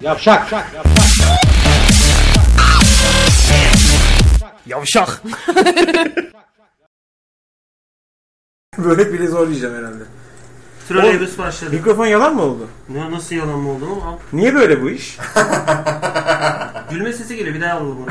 Yavşak. Yavşak. Böyle bile zorlayacağım herhalde. Trolleybüs başladı. Mikrofon yalan mı oldu? Ne, nasıl yalan mı oldu ama? Niye böyle bu iş? Gülme sesi geliyor bir daha alalım bunu.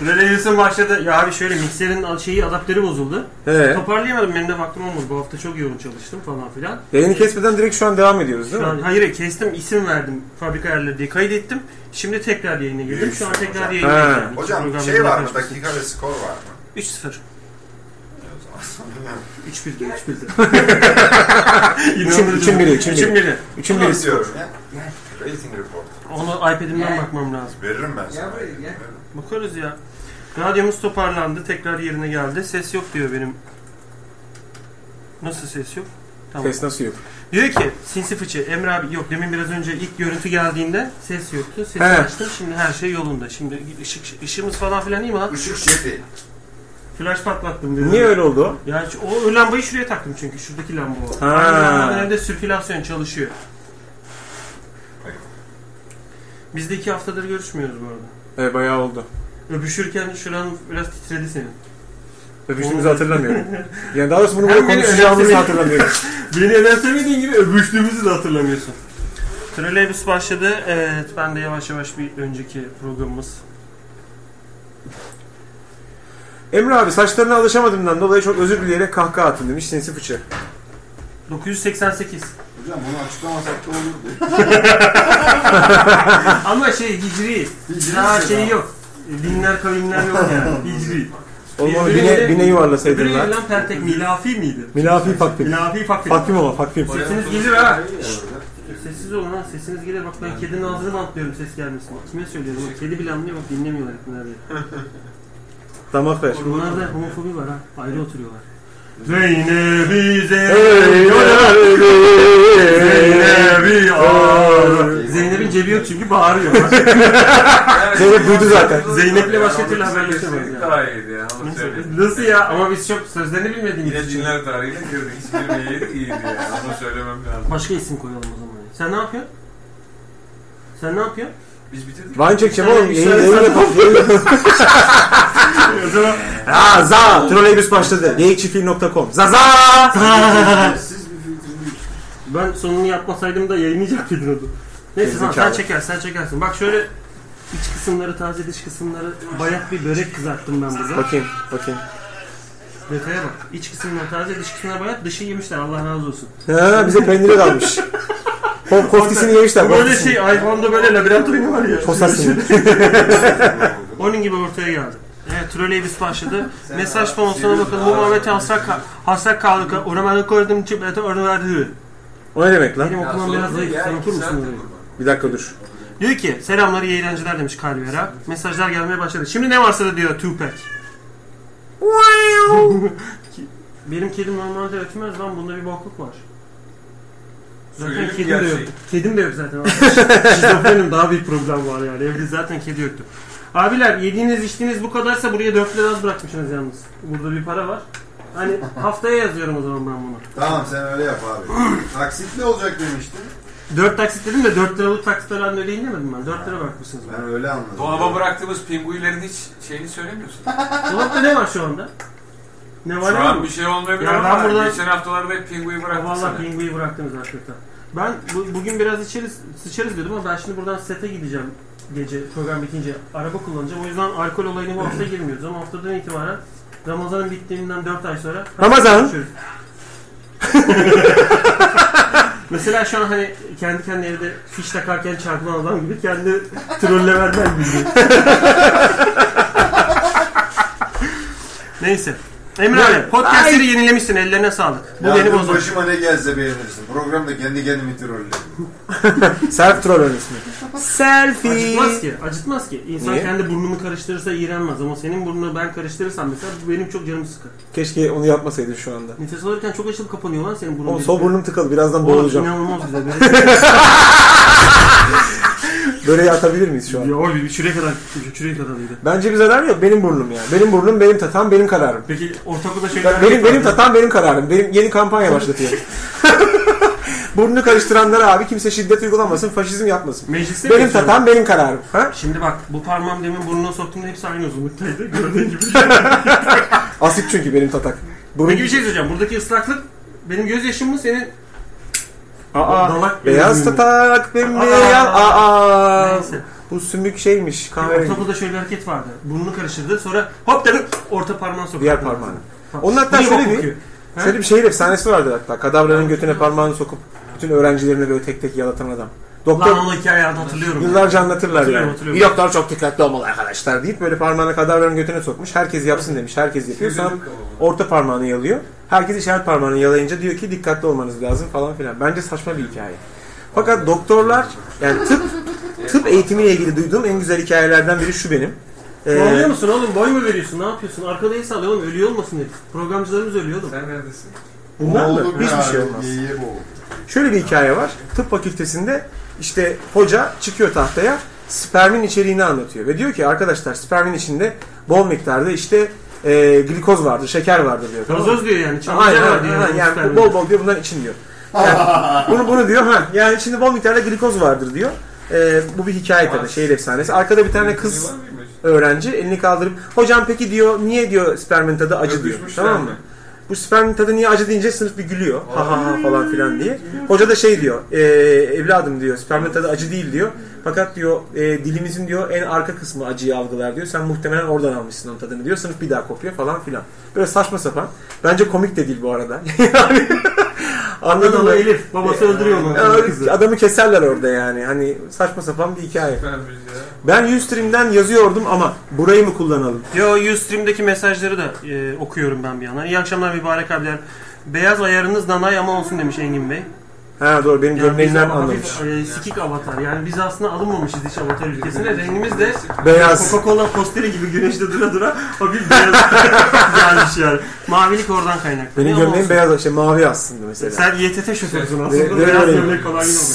Trolleybüs'ün başladı. Ya abi şöyle mikserin al- şeyi adaptörü bozuldu. He. Toparlayamadım benim de vaktim olmadı. Bu hafta çok yoğun çalıştım falan filan. Yayını kesmeden direkt şu an devam ediyoruz değil Şu an, mi? hayır kestim isim verdim fabrika ayarları diye kaydettim. Şimdi tekrar yayına girdim. Şu an tekrar yayına Ha. girdim. İki Hocam programda şey var mı? kaçmışsın. Dakika ve skor var mı? 3-0. O zaman sonra 3-1 diyor. 3-1 diyor. üçün biri, üçün biri. 3'ün biri. Üçün Ne biri istiyorum ya? Rating report. Onu iPad'imden bakmam lazım. Veririm ben sana. Bakarız ya. Radyomuz toparlandı. Tekrar yerine geldi. Ses yok diyor benim. Nasıl ses yok? Tamam. Ses nasıl yok? Diyor ki sinsi fıçı Emre abi yok demin biraz önce ilk görüntü geldiğinde ses yoktu. Sesi Evet. açtım şimdi her şey yolunda. Şimdi ışık, ışığımız falan filan iyi mi lan? Işık şefi. Flash patlattım dedi. Niye öyle oldu? o? Ya hiç- o lambayı şuraya taktım çünkü şuradaki lamba o. Ha. Aynı lambanın önünde sirkülasyon çalışıyor. Biz de iki haftadır görüşmüyoruz bu arada. Evet bayağı oldu. Öpüşürken şuran biraz titredi senin. Öpüştüğümüzü hatırlamıyorum. Yani daha doğrusu bunu böyle Hem beni konuşacağımızı önemsemedi- hatırlamıyorum. Beni önemsemediğin gibi öbüştüğümüzü de hatırlamıyorsun. Trolleybüs başladı. Evet ben de yavaş yavaş bir önceki programımız. Emre abi saçlarına alışamadığımdan dolayı çok özür dileyerek kahkaha attım demiş sinsi fıçı. 988. Hocam bunu açıklamasak da olurdu. Ama şey hicri. Hicri Daha misin şey ya? yok. Dinler kavimler yok yani. Hicri. Oğlum onu Birbirine- bine, bine yuvarlasaydın Öbürü lan. lan pertek milafi miydi? Milafi faktim. Milafi fakir. Faktim ama faktim. Sesiniz gelir ha. Sessiz olun ha. Sesiniz gelir. Bak ben kedinin ağzını bantlıyorum ses gelmesin. Kime söylüyorum? Bak, kedi bile anlıyor. Bak dinlemiyorlar bunlar diye. Damak ver. Bunlarda homofobi var ha. Ayrı oturuyorlar. Ve yine bize Zeynep'i ağır. Zeynep'in cebi yok çünkü bağırıyor. Zeynep duydu zaten. Zeynep'le başka türlü haberleşemez yani. Daha iyiydi ya. Onu Nasıl- söyleyeyim. Nasıl ya? Ama biz çok sözlerini Yine bilmediğimiz için. Çinler tarihiyle girdik. Hiçbiri iyiydi ya. Onu söylemem lazım. Başka isim koyalım o zaman. ya. Sen ne yapıyorsun? Sen ne yapıyorsun? Biz bitirdik. Vine çekeceğim oğlum. Bir Yayın şey- yayın yapalım. Yayın yapalım. Ha za. Trolleybüs başladı. Geyikçifil.com. Za za. Siz bir filtriniz. Ben sonunu yapmasaydım da yayınlayacak dedin onu. Neyse sen, sen Gerizekalı. çekersin, sen çekersin. Bak şöyle iç kısımları, taze dış kısımları bayat bir börek kızarttım ben burada. Bakayım. Bakayım. Detaya bak. İç kısımları taze, dış kısımları bayat. Dışı yemişler Allah razı olsun. Ha bize peyniri kalmış. Ko koftisini yemişler. Bu böyle koftisini. şey iPhone'da böyle labirent oyunu var ya. şey- Posasını. Onun gibi ortaya geldi. Evet, troleybüs başladı. Mesaj panosuna bakın. Bu Muhammed Hasak Hasak Kalka. Ormanı koydum çip ete onu verdi. O ne demek lan? Benim okumam biraz zayıf. Sen okur musun orayı? Bir dakika dur. Diyor ki selamlar iyi eğlenceler demiş Kalvera. Mesajlar gelmeye başladı. Şimdi ne varsa da diyor Tupac. Benim kedim normalde ötmez lan bunda bir bokluk var. Zaten Söyleyelim kedim de yok. gerçeği. Kedim de yok zaten. abi. Şizofrenim daha büyük problem var yani. Evde zaten kedi yoktu. Abiler yediğiniz içtiğiniz bu kadarsa buraya 4 lira az bırakmışsınız yalnız. Burada bir para var. Hani haftaya yazıyorum o zaman ben bunu. Tamam sen öyle yap abi. Taksit ne olacak demiştin. 4 taksit dedim de 4 liralık taksitler halinde öyle inlemedim ben. 4 lira bırakmışsınız bana. Ben öyle anladım. Dolaba bıraktığımız pinguilerin hiç şeyini söylemiyorsun. Dolapta ne var şu anda? Ne var Şu ne an var? bir şey olmayabilir Ya ben ama burada- geçen haftalarda hep pinguyu bıraktım Valla sana. pinguyu bıraktınız hakikaten. Ben bu- bugün biraz içeriz, sıçarız diyordum ama ben şimdi buradan sete gideceğim gece program bitince. Araba kullanacağım. O yüzden alkol olayına bu hafta girmiyoruz ama haftadan itibaren Ramazan'ın bittiğinden 4 ay sonra Ramazan. Görüşürüz. Mesela şu an hani kendi kendine evde fiş takarken çarpılan adam gibi kendi trolleverden gibi. Neyse. Emre abi podcastleri yenilemişsin ellerine sağlık. Bu Ya beni dur, bozdu. Başıma ne gelse beğenirsin. Programda kendi kendimi trolledim. Self troll ismi. Acıtmaz ki. Acıtmaz ki. İnsan Niye? kendi burnunu karıştırırsa iğrenmez ama senin burnunu ben karıştırırsam mesela bu benim çok canımı sıkar. Keşke onu yapmasaydın şu anda. Nefes alırken çok açılıp kapanıyor lan senin burnun. Oğlum sol burnum tıkalı. Birazdan Oğlum boğulacağım. inanılmaz güzel. Böreği atabilir miyiz şu an? Ya oy bir şuraya kadar gitmiş, şuraya kadar iyiydi. Bence bir zararı yok. Benim burnum ya. Benim burnum, benim tatam, benim kararım. Peki ortaokulda şeyler... Ben- Benim benim tatam, benim kararım. Benim yeni kampanya başlatıyorum. Burnunu karıştıranlara abi kimse şiddet uygulamasın, faşizm yapmasın. Mecliste Benim geçiyorum. tatam, benim kararım. Ha? Şimdi bak bu parmağım demin burnuna soktuğumda hepsi aynı uzunluktaydı. Gördüğün gibi. Asip çünkü benim tatak. Burun- Peki bir şey söyleyeceğim. Buradaki ıslaklık benim gözyaşım mı senin? Aa, dalak beyaz gözlüğün mü? tatak, bembeyaz. Aa. Aa, Neyse. bu sümük şeymiş, kahverengi. Ortaokulda şöyle bir hareket vardı. Burnunu karıştırdı. Sonra hop dedi orta parmağını soktu. Diğer parmağını. Bak, Onun hatta niye bok şöyle bir- kokuyor? Ha? Şöyle bir şehir efsanesi vardır hatta. Kadavranın götüne parmağını sokup bütün öğrencilerini böyle tek tek yalatan adam. Doktor Lan onu hikayeyi hatırlıyorum. yıllarca anlatırlar Hatırlıyorum, yani. hatırlıyorum. Bir doktor çok dikkatli olmalı arkadaşlar deyip böyle parmağını kadavranın götüne sokmuş. Herkes yapsın demiş. Şey Herkes yapıyor. Sonra orta parmağını yalıyor. Herkes işaret parmağını yalayınca diyor ki dikkatli olmanız lazım falan filan. Bence saçma bir hikaye. Fakat doktorlar yani tıp tıp eğitimiyle ilgili duyduğum en güzel hikayelerden biri şu benim. Ne oluyor Ee, musun oğlum? Boy mu veriyorsun? Ne yapıyorsun? Arkada el sallıyor oğlum. Ölüyor olmasın diye. Programcılarımız ölüyor oğlum. Sen neredesin? bundan da Oldu hiçbir be abi, şey olmaz. Ye ye bu. Şöyle bir hikaye var. Tıp fakültesinde işte hoca çıkıyor tahtaya spermin içeriğini anlatıyor. Ve diyor ki arkadaşlar spermin içinde bol miktarda işte e, glikoz vardır, şeker vardır diyor. Tamam mı? Gazoz diyor yani. Aynen, Çalınca var diyor. aynen, yani, yani süper bir- bol bol diyor bundan için diyor. Yani bunu bunu diyor ha yani içinde bol miktarda glikoz vardır diyor. E, bu bir hikaye tabii şehir efsanesi. Arkada bir tane kız öğrenci elini kaldırıp hocam peki diyor niye diyor spermin tadı acı diyor. Tamam mı? Bu spermin tadı niye acı deyince sınıf bir gülüyor. Ha ha ha falan filan diye. Hoca da şey diyor. "Ee, evladım diyor spermin tadı acı değil diyor. Fakat diyor "ee, dilimizin diyor en arka kısmı acıyı algılar diyor. Sen muhtemelen oradan almışsın onun tadını diyor. Sınıf bir daha kopuyor falan filan. Böyle saçma sapan. Bence komik de değil bu arada. yani anladın mı? Adanalı Elif. Babası öldürüyor onu. Ya, Adamı keserler orada yani. Hani saçma sapan bir hikaye. Süpermiş ya. Ben Ustream'den yazıyordum ama burayı mı kullanalım? Yo Ustream'deki mesajları da e, okuyorum ben bir yana. İyi akşamlar mübarek abiler. Beyaz ayarınız nanay ama olsun demiş Engin Bey. Ha doğru benim Yani biz gömleğimden hafif, anlamış. e, sikik avatar. Yani biz aslında alınmamışız hiç avatar ülkesine. Rengimiz de Beyaz. Coca-Cola posteri gibi güneşte dura dura hafif beyaz gelmiş yani. Mavilik oradan kaynaklı. Benim gömleğim beyaz şey mavi aslında mesela. Sen YTT şoförüsün aslında. Ve- ve- beyaz ve- gömlek kolay yine olur.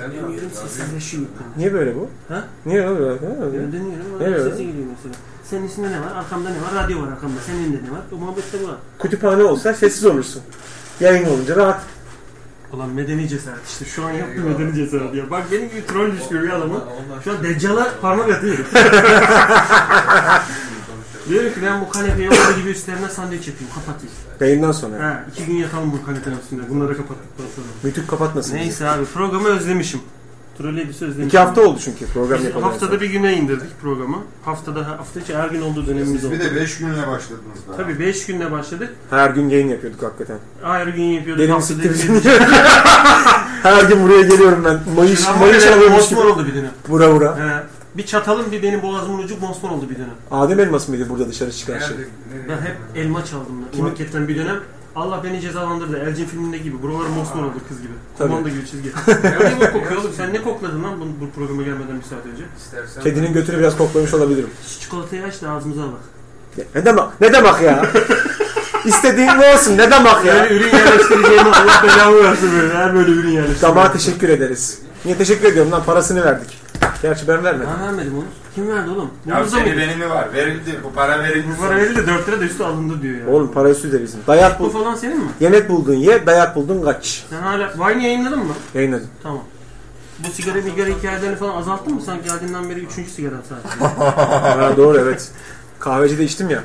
Sen ne yapıyorsun? Niye böyle bu? Ha? Niye öyle böyle? Ha, öyle. Yani dönüyorum. Evet. Evet. Sesi geliyor mesela. Senin üstünde ne var? Arkamda ne var? Radyo var arkamda. Senin önünde ne var? O muhabbette bu var. Kütüphane olsa sessiz olursun. Yayın olunca rahat. Ulan medeni cesaret işte. Şu an yaptım medeni cesaret ya. Bak benim gibi troll düşkünü bir adamı. Onlar Şu an deccala parmak atıyorum. Diyorum ki ben bu kanepeyi olduğu gibi üstlerine sandviç yapayım. Kapatayım. Yayından sonra. Ha, iki gün yatalım bu kanepenin üstünde. Bunları kapattıktan sonra. Mütük kapatmasın. bizi. Neyse abi programı özlemişim. Trolleybüsü özlemişim. İki hafta oldu çünkü program Biz yapalım. haftada bir güne indirdik programı. Haftada hafta içi her gün olduğu dönemimiz Siz oldu. bir de 5 günle başladınız daha. Tabii 5 günle başladık. Her gün yayın yapıyorduk hakikaten. Her gün yapıyorduk. Benim haftada siktir iki- bizi. Her gün buraya geliyorum ben. Mayış, Şırnak mayış böyle alıyormuş gibi. Mosmor oldu bir dönem. Vura vura. He. Bir çatalım bir benim boğazımın ucu mosmor oldu bir dönem. Adem elması mıydı burada dışarı çıkan şey? Nerede? Nereye? Ben hep elma çaldım. ben. Kimin- Marketten bir dönem. Allah beni cezalandırdı. Elcin filminde gibi. Buralar mosmor oldu kız gibi. Tabii. Kumanda gibi çizgi. ya niye bu kokuyor oğlum? Sen ne kokladın lan bu, bu programa gelmeden bir saat önce? İstersen- Kedinin götünü biraz koklamış olabilirim. Şu çikolatayı aç da ağzımıza bak. Ya, Ne demek? Ne demek ya? İstediğin ne olsun? Ne demek ya? Yani ürün yerleştireceğime Allah belamı versin böyle. Her böyle ürün yerleştireceğim. Damağa teşekkür ederiz. Niye teşekkür ediyorum lan? Parasını verdik. Gerçi ben vermedim. Ben vermedim onu. Kim verdi oğlum? Ya Yavuz'a mı? seni benimi var. Verildi. Bu para verildi. Bu para verildi de 4 lira da üstü alındı diyor ya. Oğlum para üstü de bizim. Dayak Bu bul. falan senin mi? Yemek buldun ye, dayak buldun kaç. Sen hala Vine yayınladın mı? Yayınladım. Tamam. Bu sigara migara hikayelerini falan azalttın mı? Sen geldiğinden beri üçüncü sigara sadece. ha, doğru evet. Kahvecide içtim ya.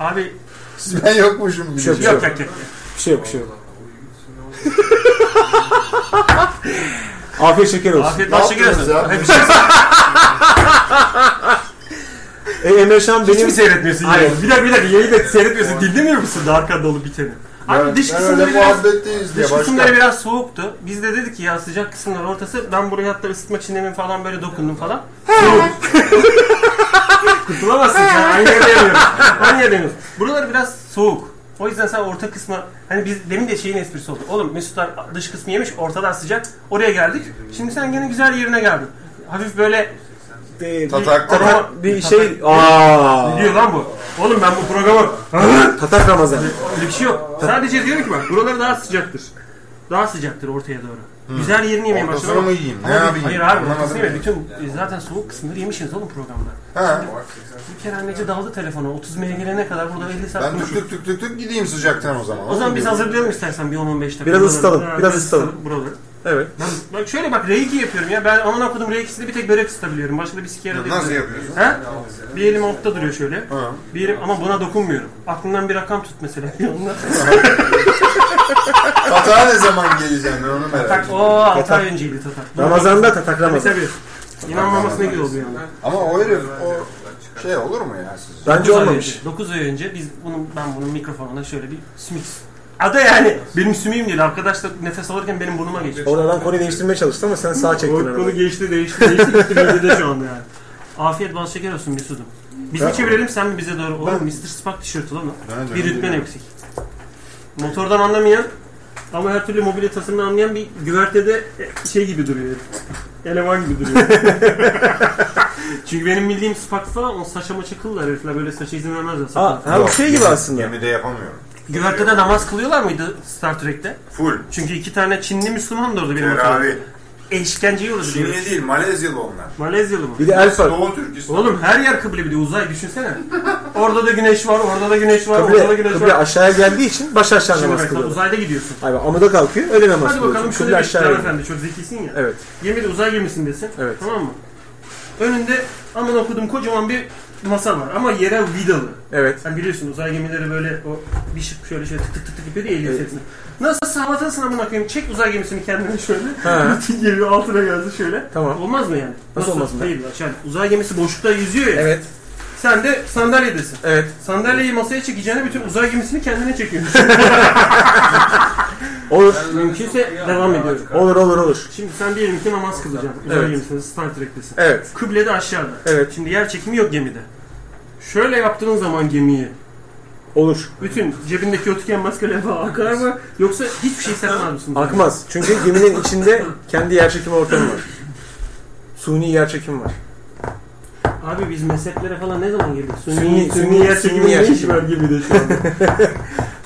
Abi Siz ben yokmuşum gibi. Şey yok, yok yok yok. Bir şey yok, bir şey yok. Afiyet şeker olsun. Afiyet olsun. Sigara yaptınız ya? Hep bir şey E, Emre Şan Hiç mi benim... seyretmiyorsun Hayır. yayını? Bir dakika bir dakika yayını da seyretmiyorsun. Dinlemiyor musun da arkan dolu biteni? Abi Ben- dış ben öyle kısımları biraz... muhabbetteyiz diye Dış başka. kısımları biraz soğuktu. Biz de dedik ki ya sıcak kısımlar ortası. Ben burayı hatta ısıtmak için demin falan böyle dokundum falan. Kurtulamazsın sen. Aynı yerde yanıyoruz. Aynı yerde yanıyoruz. Buralar biraz soğuk. O yüzden sen orta kısma... Hani biz demin de şeyin esprisi oldu. Oğlum Mesutlar dış kısmı yemiş, ortalar sıcak. Oraya geldik. Şimdi sen gene güzel yerine geldin. Hafif böyle... E, Tatak. Tatak bir şey... Aa. Ne diyor lan bu? Oğlum ben bu programa... Tatak Ramazan. Öyle bir şey yok. Sadece diyorum ki bak buraları daha sıcaktır. Daha sıcaktır ortaya doğru. Biz her yerini yemeye başladık. Ortasını mı yiyeyim? Ne Ama- yapayım? Hayır abi Anlamadım ortasını yeme. ben. Bütün e, zaten soğuk kısımları yemişsiniz oğlum programda. Ha. Bir kere anneci daldı telefona. 30 M'ye gelene kadar burada 50 saat Ben tük konuşuruz. tük tük tük tük gideyim sıcaktan o zaman. O zaman biz hazırlayalım istersen bir 10-15 dakika. Biraz Buraları- ısıtalım, Ha, biraz ısıtalım. Buraları. Evet. Ben, bak şöyle bak reiki yapıyorum ya. Ben aman okudum reikisini bir tek börek ısıtabiliyorum. Başka da bir sikiyer değil. Nasıl yapıyorsun? Ha? Bir elim altta duruyor şöyle. Ha. Bir elim ama buna dokunmuyorum. Aklından bir rakam tut mesela yanına. Katağa ne zaman geleceğim ben onu merak ediyorum. Oo 6 Tatar. ay önceydi Tatar. Ramazan'da tatak Ramazan. Tabii. İnanmaması ne güzel oldu yani. Ama o herif o şey olur mu ya siz? Bence olmamış. 9 ay önce biz bunun ben bunun mikrofonuna şöyle bir sümüks. Ada yani benim sümüğüm değil arkadaşlar nefes alırken benim burnuma geçti. Orada adam konuyu değiştirmeye çalıştı ama sen sağ çektin Konu herhalde. geçti değişti değişti gitti bölgede şu anda yani. Afiyet bal şeker olsun Mesut'um. Biz mi çevirelim sen mi bize doğru? Oğlum Mr. Spock tişörtü lan. Ben de Bir rütben biliyorum. eksik. Motordan anlamayan ama her türlü mobilyatasını anlayan bir güvertede şey gibi duruyor. Eleman gibi duruyor. Çünkü benim bildiğim Spock falan o saça maça kıllar herifler böyle saça izin vermezler. Ha, sakın. ha bu şey gibi aslında. Gemide yapamıyorum. Güvertede namaz kılıyorlar mıydı Star Trek'te? Full. Çünkü iki tane Çinli Müslüman da orada benim hatırladığım. Teravih. Eşkence yiyoruz diyor. Çinli değil Malezyalı onlar. Malezyalı mı? Bir de el fark. Doğu Türküsü. Oğlum her yer kıble bir de uzay düşünsene. Orada da güneş var, orada da güneş var, orada da Kıble, güneş kıble var. aşağıya geldiği için baş aşağı Şimdi namaz mesela kılıyorlar. uzayda gidiyorsun. Hayır bak, amuda kalkıyor öyle namaz Hadi bakalım kılıyorsun. Kıble şöyle bir Can aşağıya gidiyor. Efendi çok zekisin ya. Evet. Gemide uzay gemisindesin. Evet. Tamam mı? Önünde aman okudum kocaman bir masa var ama yere vidalı. Evet. Sen biliyorsun uzay gemileri böyle o bir şık şöyle şöyle tık tık tık tık yapıyor diye eliyor sesini. Nasıl havatasın amına koyayım çek uzay gemisini kendine şöyle. Ha. Bütün geliyor altına geldi şöyle. Tamam. Olmaz mı yani? Nasıl olmaz mı? Değil lan. Yani uzay gemisi boşlukta yüzüyor ya. Evet. Sen de sandalyedesin. Evet. Sandalyeyi masaya çekeceğine bütün uzay gemisini kendine çekiyorsun. Olur. Mümkünse devam ediyorum. Olur olur olur. Şimdi sen diyelim ki namaz kılacaksın. Uzay Evet. gemisinde Star Trek'tesin. Evet. Kıble de aşağıda. Evet. Şimdi yer çekimi yok gemide. Şöyle yaptığın zaman gemiyi Olur. bütün cebindeki o tüken maskeler falan akar mı? Yoksa hiçbir şey sevmez misin? Akmaz. Çünkü geminin içinde kendi yerçekimi ortamı var. Suni yerçekim var. Abi biz mezheplere falan ne zaman girdik? Sünni, Sünni- sünni, sünni yer çekimi yer ne iş çekimi. var gemide şu anda?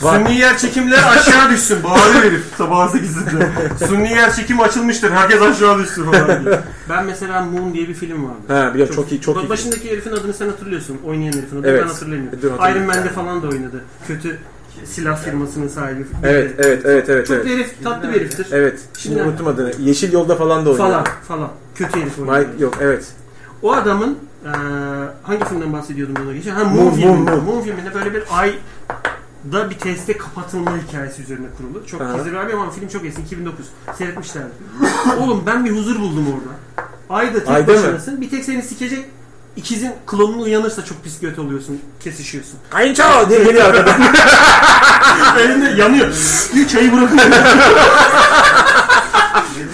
Var. sünni yer çekimler aşağı düşsün. Bağırıyor herif sabah 8'de. sünni yer çekimi açılmıştır. Herkes aşağı düşsün falan diye. Ben mesela Moon diye bir film vardı. Ha biliyorum çok iyi çok iyi. Başındaki herifin adını sen hatırlıyorsun. Oynayan herifin adını Evet. ben hatırlamıyorum. Dur, hatırlıyorum. Iron Man'de falan da oynadı. Kötü silah firmasının sahibi. Evet evet evet evet Çok da evet. herif tatlı bir heriftir. Evet. Şimdi Şimdi- unuttum adını. Yeşil yolda falan da oynuyor. Falan falan. Kötü herif oynuyor. May- yok evet. O adamın eee hangi filmden bahsediyordum ben o geçen? Ha Moon, Moon, filminde. Moon, Moon. filminde böyle bir ay da bir teste kapatılma hikayesi üzerine kurulu. Çok Aha. gizli bir abi ama film çok eski 2009. Seyretmişlerdi. Oğlum ben bir huzur buldum orada. Ayda tek Ayda mı? başınasın. Bir tek seni sikecek ikizin klonunu uyanırsa çok pis göt oluyorsun. Kesişiyorsun. Kayınço diye geliyor arkadan. Elinde yanıyor. diyor çayı bırakın.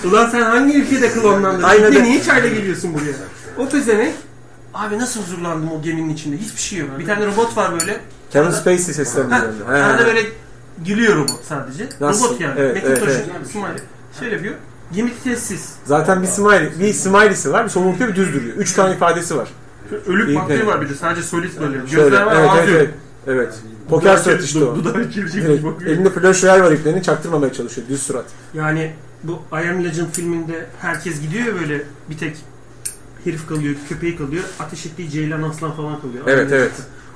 Ulan sen hangi ülkede klonlandın? Aynen Bir de öyle. niye çayla geliyorsun buraya? O pezevenk Abi nasıl huzurlandım o geminin içinde? Hiçbir şey yok. Bir tane robot var böyle. Kevin Spacey seslendiriyor. Ha, onu. Ha, ha, arada ha. böyle gülüyor robot sadece. Ee. Nasıl? Robot yani. Evet, Metin evet, Toş'un smiley. Şöyle yapıyor. Gemi sessiz. Zaten bir smiley, bir smiley'si var, bir somurtuyor, bir düz duruyor. Üç tane ifadesi var. Ölüp İyi, baktığı evet. var bir de. Sadece solist böyle. Şöyle. Gözler var Evet, evet, ağzı yok. evet. Evet. Poker sırtıştı o. Dudağı çirkin Direkt bakıyor. elinde flash royal var iplerini çaktırmamaya çalışıyor. Düz surat. Yani bu I Am Legend filminde herkes gidiyor ya böyle bir tek herif kalıyor, köpeği kalıyor. Ateş ettiği ceylan aslan falan kalıyor. I Am Evet, Legend'da. evet.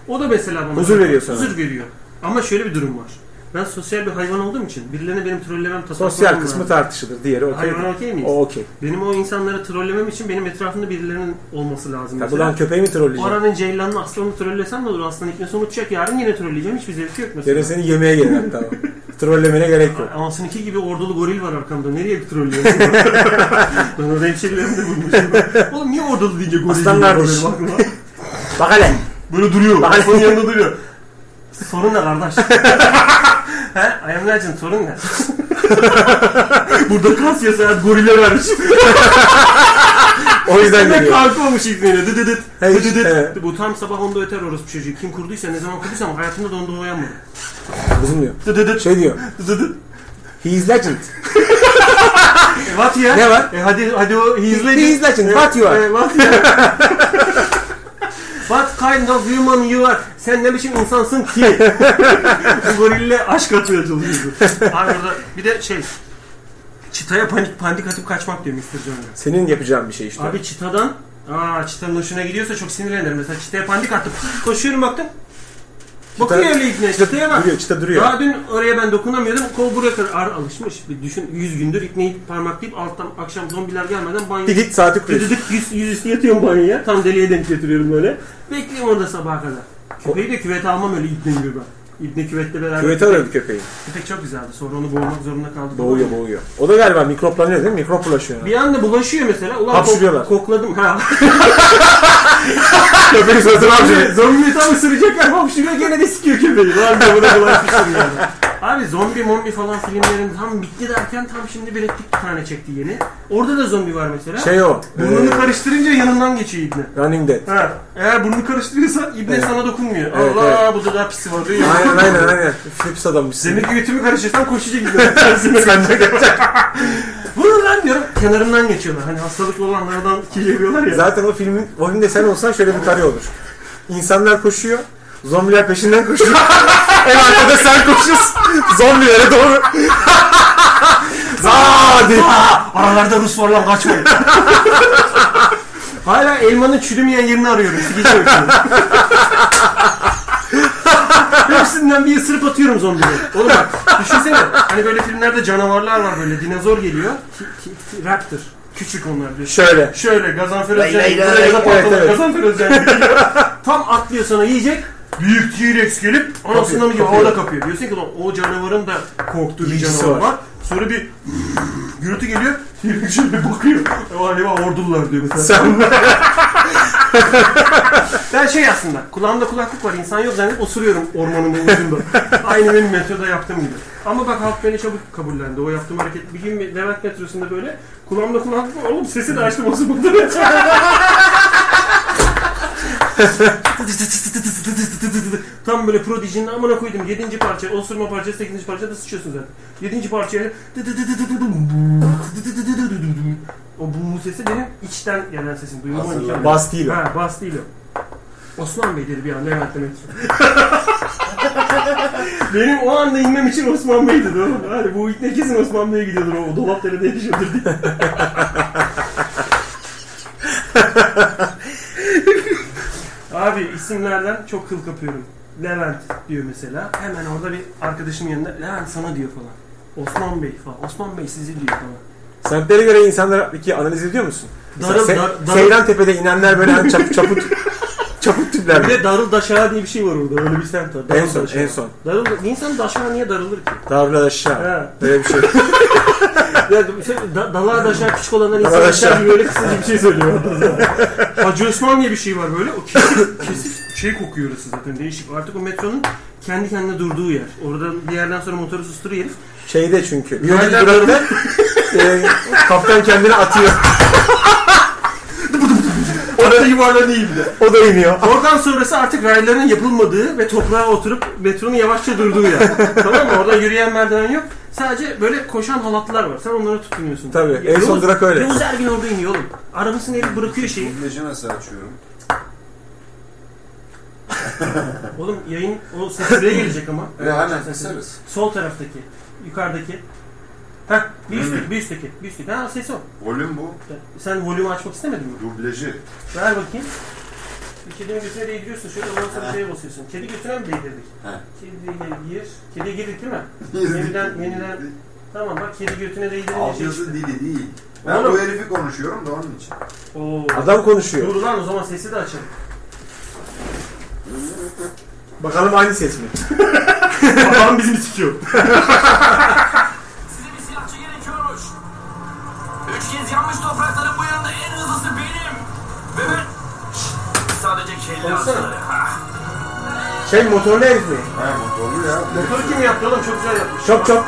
O da mesela bana Huzur veriyor sana. Huzur veriyor. Ama şöyle bir durum var. Ben sosyal bir hayvan olduğum için birilerine benim trollemem tasarruf Sosyal olmam kısmı lazım. tartışılır. Diğeri okey. Hayvan okey miyiz? O okey. Benim o insanları trollemem için benim etrafımda birilerinin olması lazım. Ya mesela. Ulan köpeği mi O trolleyeceksin? aranın ceylanını aslanını trollesem ne olur? Aslan iknesi unutacak. Yarın yine trolleyeceğim. Hiçbir zevki yok mesela. Yarın seni yemeğe gelir hatta. o. Trollemene gerek yok. Anasınınki gibi ordulu goril var arkamda. Nereye bir trollüyorsun? ben orada hemşerilerim de bulmuşum. Oğlum niye ordulu deyince goril Aslan geliyor kardeş. benim aklıma? Bak hele. Böyle duruyor. Bak hele. Aslanın yanında duruyor. Sorun ne kardeş? He? I am legend sorun ne? Burada kas ya saat gorile vermiş. O yüzden Ne geliyor. kalkmamış ikneyle. Dı dı dıt. Hey, Dı dı dıt. evet. Bu tam sabah onda öter orospu çocuğu. Kim kurduysa ne zaman kurduysa ama hayatımda da onda uyanmadım. Bozulmuyor. Dı dı dıt. Şey diyor. Dı dı dıt. He is legend. E, What ya? Ne var? E, hadi hadi o he's legend. He is legend. What you are? Ee, what ya? What kind of human you are? Sen ne biçim insansın ki? Bu Gorille aşk atmaya çalışıyordu. Abi orada bir de şey Çitaya panik pandik atıp kaçmak diyor Mr. Jones. Senin yapacağın bir şey işte. Abi çitadan Aa çitanın hoşuna gidiyorsa çok sinirlenirim. Mesela çitaya pandik attım. Koşuyorum baktım. Bakıyor öyle ibne çitaya bak. duruyor, çıta duruyor. Daha dün oraya ben dokunamıyordum. Kol buraya kadar ar alışmış. Bir düşün 100 gündür ipneyi parmaklayıp alttan akşam zombiler gelmeden banyo. Bir git saati kuruyorsun. Düdüdük yüz, yüz üstü yatıyorum banyoya. Tam deliye denk getiriyorum böyle. Bekliyorum orada sabaha kadar. Köpeği de küvete almam öyle ibne gibi ben. İbne küvette beraber. Küvete aradı köpeği. Köpek çok güzeldi. Sonra onu boğmak zorunda kaldık. Boğuyor boğuyor. O da galiba mikroplanıyor değil mi? Mikrop bulaşıyor. Bir anda bulaşıyor mesela. Ulan Hapşırıyorlar. kok- kokladım. Ha. Köpeğin suratına Zombi, zombi tam ısıracak ve hapşırıyor gene de sikiyor köpeği. Lan diyor buna bulaşmışım yani. Abi zombi mombi falan filmlerin tam bitti derken tam şimdi bir ettik bir tane çekti yeni. Orada da zombi var mesela. Şey o. Burnunu e, karıştırınca yanından geçiyor ibne. Running Dead. Ha, eğer burnunu karıştırırsan ibne sana dokunmuyor. Evet, Allah bu da daha pisi var diyor. Aynen aynen aynen. Flips adammışsın. Demek ki götümü karıştırırsam koşacak ibne. Sen de kaçak. Vurun lan diyorum. Kenarından geçiyorlar. Hani hastalıklı olanlardan geliyorlar ya. Zaten o filmin, o filmde sen olsan şöyle bir kare olur. İnsanlar koşuyor. Zombiler peşinden koşuyor. en arkada sen koşuyorsun. Zombilere doğru. Zaa diye. Aralarda Rus var lan kaçmayın. Hala elmanın çürümeyen yerini arıyorum. Sikeceğim şimdi. Hepsinden bir ısırıp atıyorum zombileri. Oğlum bak düşünsene. Hani böyle filmlerde canavarlar var böyle. Dinozor geliyor. Ki, ki, ki- raptor. Küçük onlar diyor. Şöyle. Şöyle Gazanfer Özcan. lay lay. buraya da Evet, patladı, evet. Gazanfer Özcan geliyor. Tam atlıyor sana yiyecek. Büyük T-Rex gelip anasından mı gibi kapıyor. havada kapıyor. Diyorsun ki "Lan o canavarın da korktuğu bir İlgisi canavar var. var. Sonra bir gürültü geliyor. T-Rex şöyle bakıyor. Galiba ordular diyor mesela. Sen Ben şey aslında kulağımda kulaklık var insan yok zannedip osuruyorum ormanın ucunda. Aynı benim metroda yaptığım gibi. Ama bak halk beni çabuk kabullendi. O yaptığım hareket bir gün bir Levent metrosunda böyle kulağımda kulaklık var. Oğlum sesi de açtım osurmadım. Tam böyle Prodigy'nin amına koydum. 7. parça, osurma parçası, 8. parça da sıçıyorsun zaten. 7. parçaya o bu sesi benim içten gelen sesim. Duyulma imkanı. bas değil o. Ha, bas değil o. Osman Bey dedi bir an Levent demek için. Benim o anda inmem için Osman Bey dedi oğlum. Hadi bu ikne kesin Osman Bey'e gidiyordur o dolap derede yaşıyordur diye. Abi isimlerden çok kıl kapıyorum. Levent diyor mesela. Hemen orada bir arkadaşımın yanında Levent sana diyor falan. Osman Bey falan. Osman Bey sizi diyor falan. Semtlere göre insanları iki analiz ediyor musun? Mesela Darıl- Se- dar- darıl- Seyran Tepe'de inenler böyle hani çap, çaput çaput tipler. Bir de darıl daşağı diye bir şey var orada. Öyle bir semt var. Darıl En son, daşağı. en son. Darıl, bir insan daşağı niye darılır ki? Darla aşağı. Ha. Böyle bir şey. Ya, işte da, dalağa daşağı küçük olanlar insan Dalağa daşağı daşağı. gibi böyle kısaca bir şey söylüyor. orada zaten. Hacı Osman diye bir şey var böyle. O kesif, kesif şey kokuyor orası zaten değişik. Artık o metronun kendi kendine durduğu yer. Oradan bir yerden sonra motoru susturuyor herif. Şeyde çünkü. Biyoloji durakta e, kaptan kendini atıyor. Orada yuvarlanıyor gibi. O da iniyor. Oradan sonrası artık rayların yapılmadığı ve toprağa oturup metronun yavaşça durduğu yer. tamam mı? Orada yürüyen merdiven yok. Sadece böyle koşan halatlar var. Sen onlara tutunuyorsun. Tabii. Ya En son Yavuz- durak öyle. Yavuz Ergin orada iniyor oğlum. Arabasını elip bırakıyor şeyi. Dublajı nasıl açıyorum? Oğlum yayın o ses buraya gelecek ama. Ve hemen keseriz. Sol taraftaki, yukarıdaki. Heh, bir üstteki, bir üstteki, bir üstteki. Ha ses o. Volüm bu. Sen volümü açmak istemedin mi? Dublajı. Ver bakayım. Bir kedinin götüne değdiriyorsun. Şöyle ondan sonra şeye basıyorsun. Kedi götüne mi değdirdik? Ha. Kediye gir. Kediye girdik değil mi? Yeniden, yeniden. Tamam bak kedi götüne değdirince şey işte. Altyazı dili değil. Ben Oğlum. bu herifi konuşuyorum da onun için. Oo. Adam konuşuyor. Dur lan o zaman sesi de açalım. Bakalım aynı ses mi? Babam bizim sikiyor. Size bir silahçı gerekiyormuş. Üç kez yanmış toprakların bu yanında en hızlısı benim. Ve ben... Şşt, sadece kelle Konuşsana. atları. Ha. Şey motorlu herif mi? Ha motorlu ya. Motoru kim yaptı oğlum? Çok güzel yapmış. Çok çok.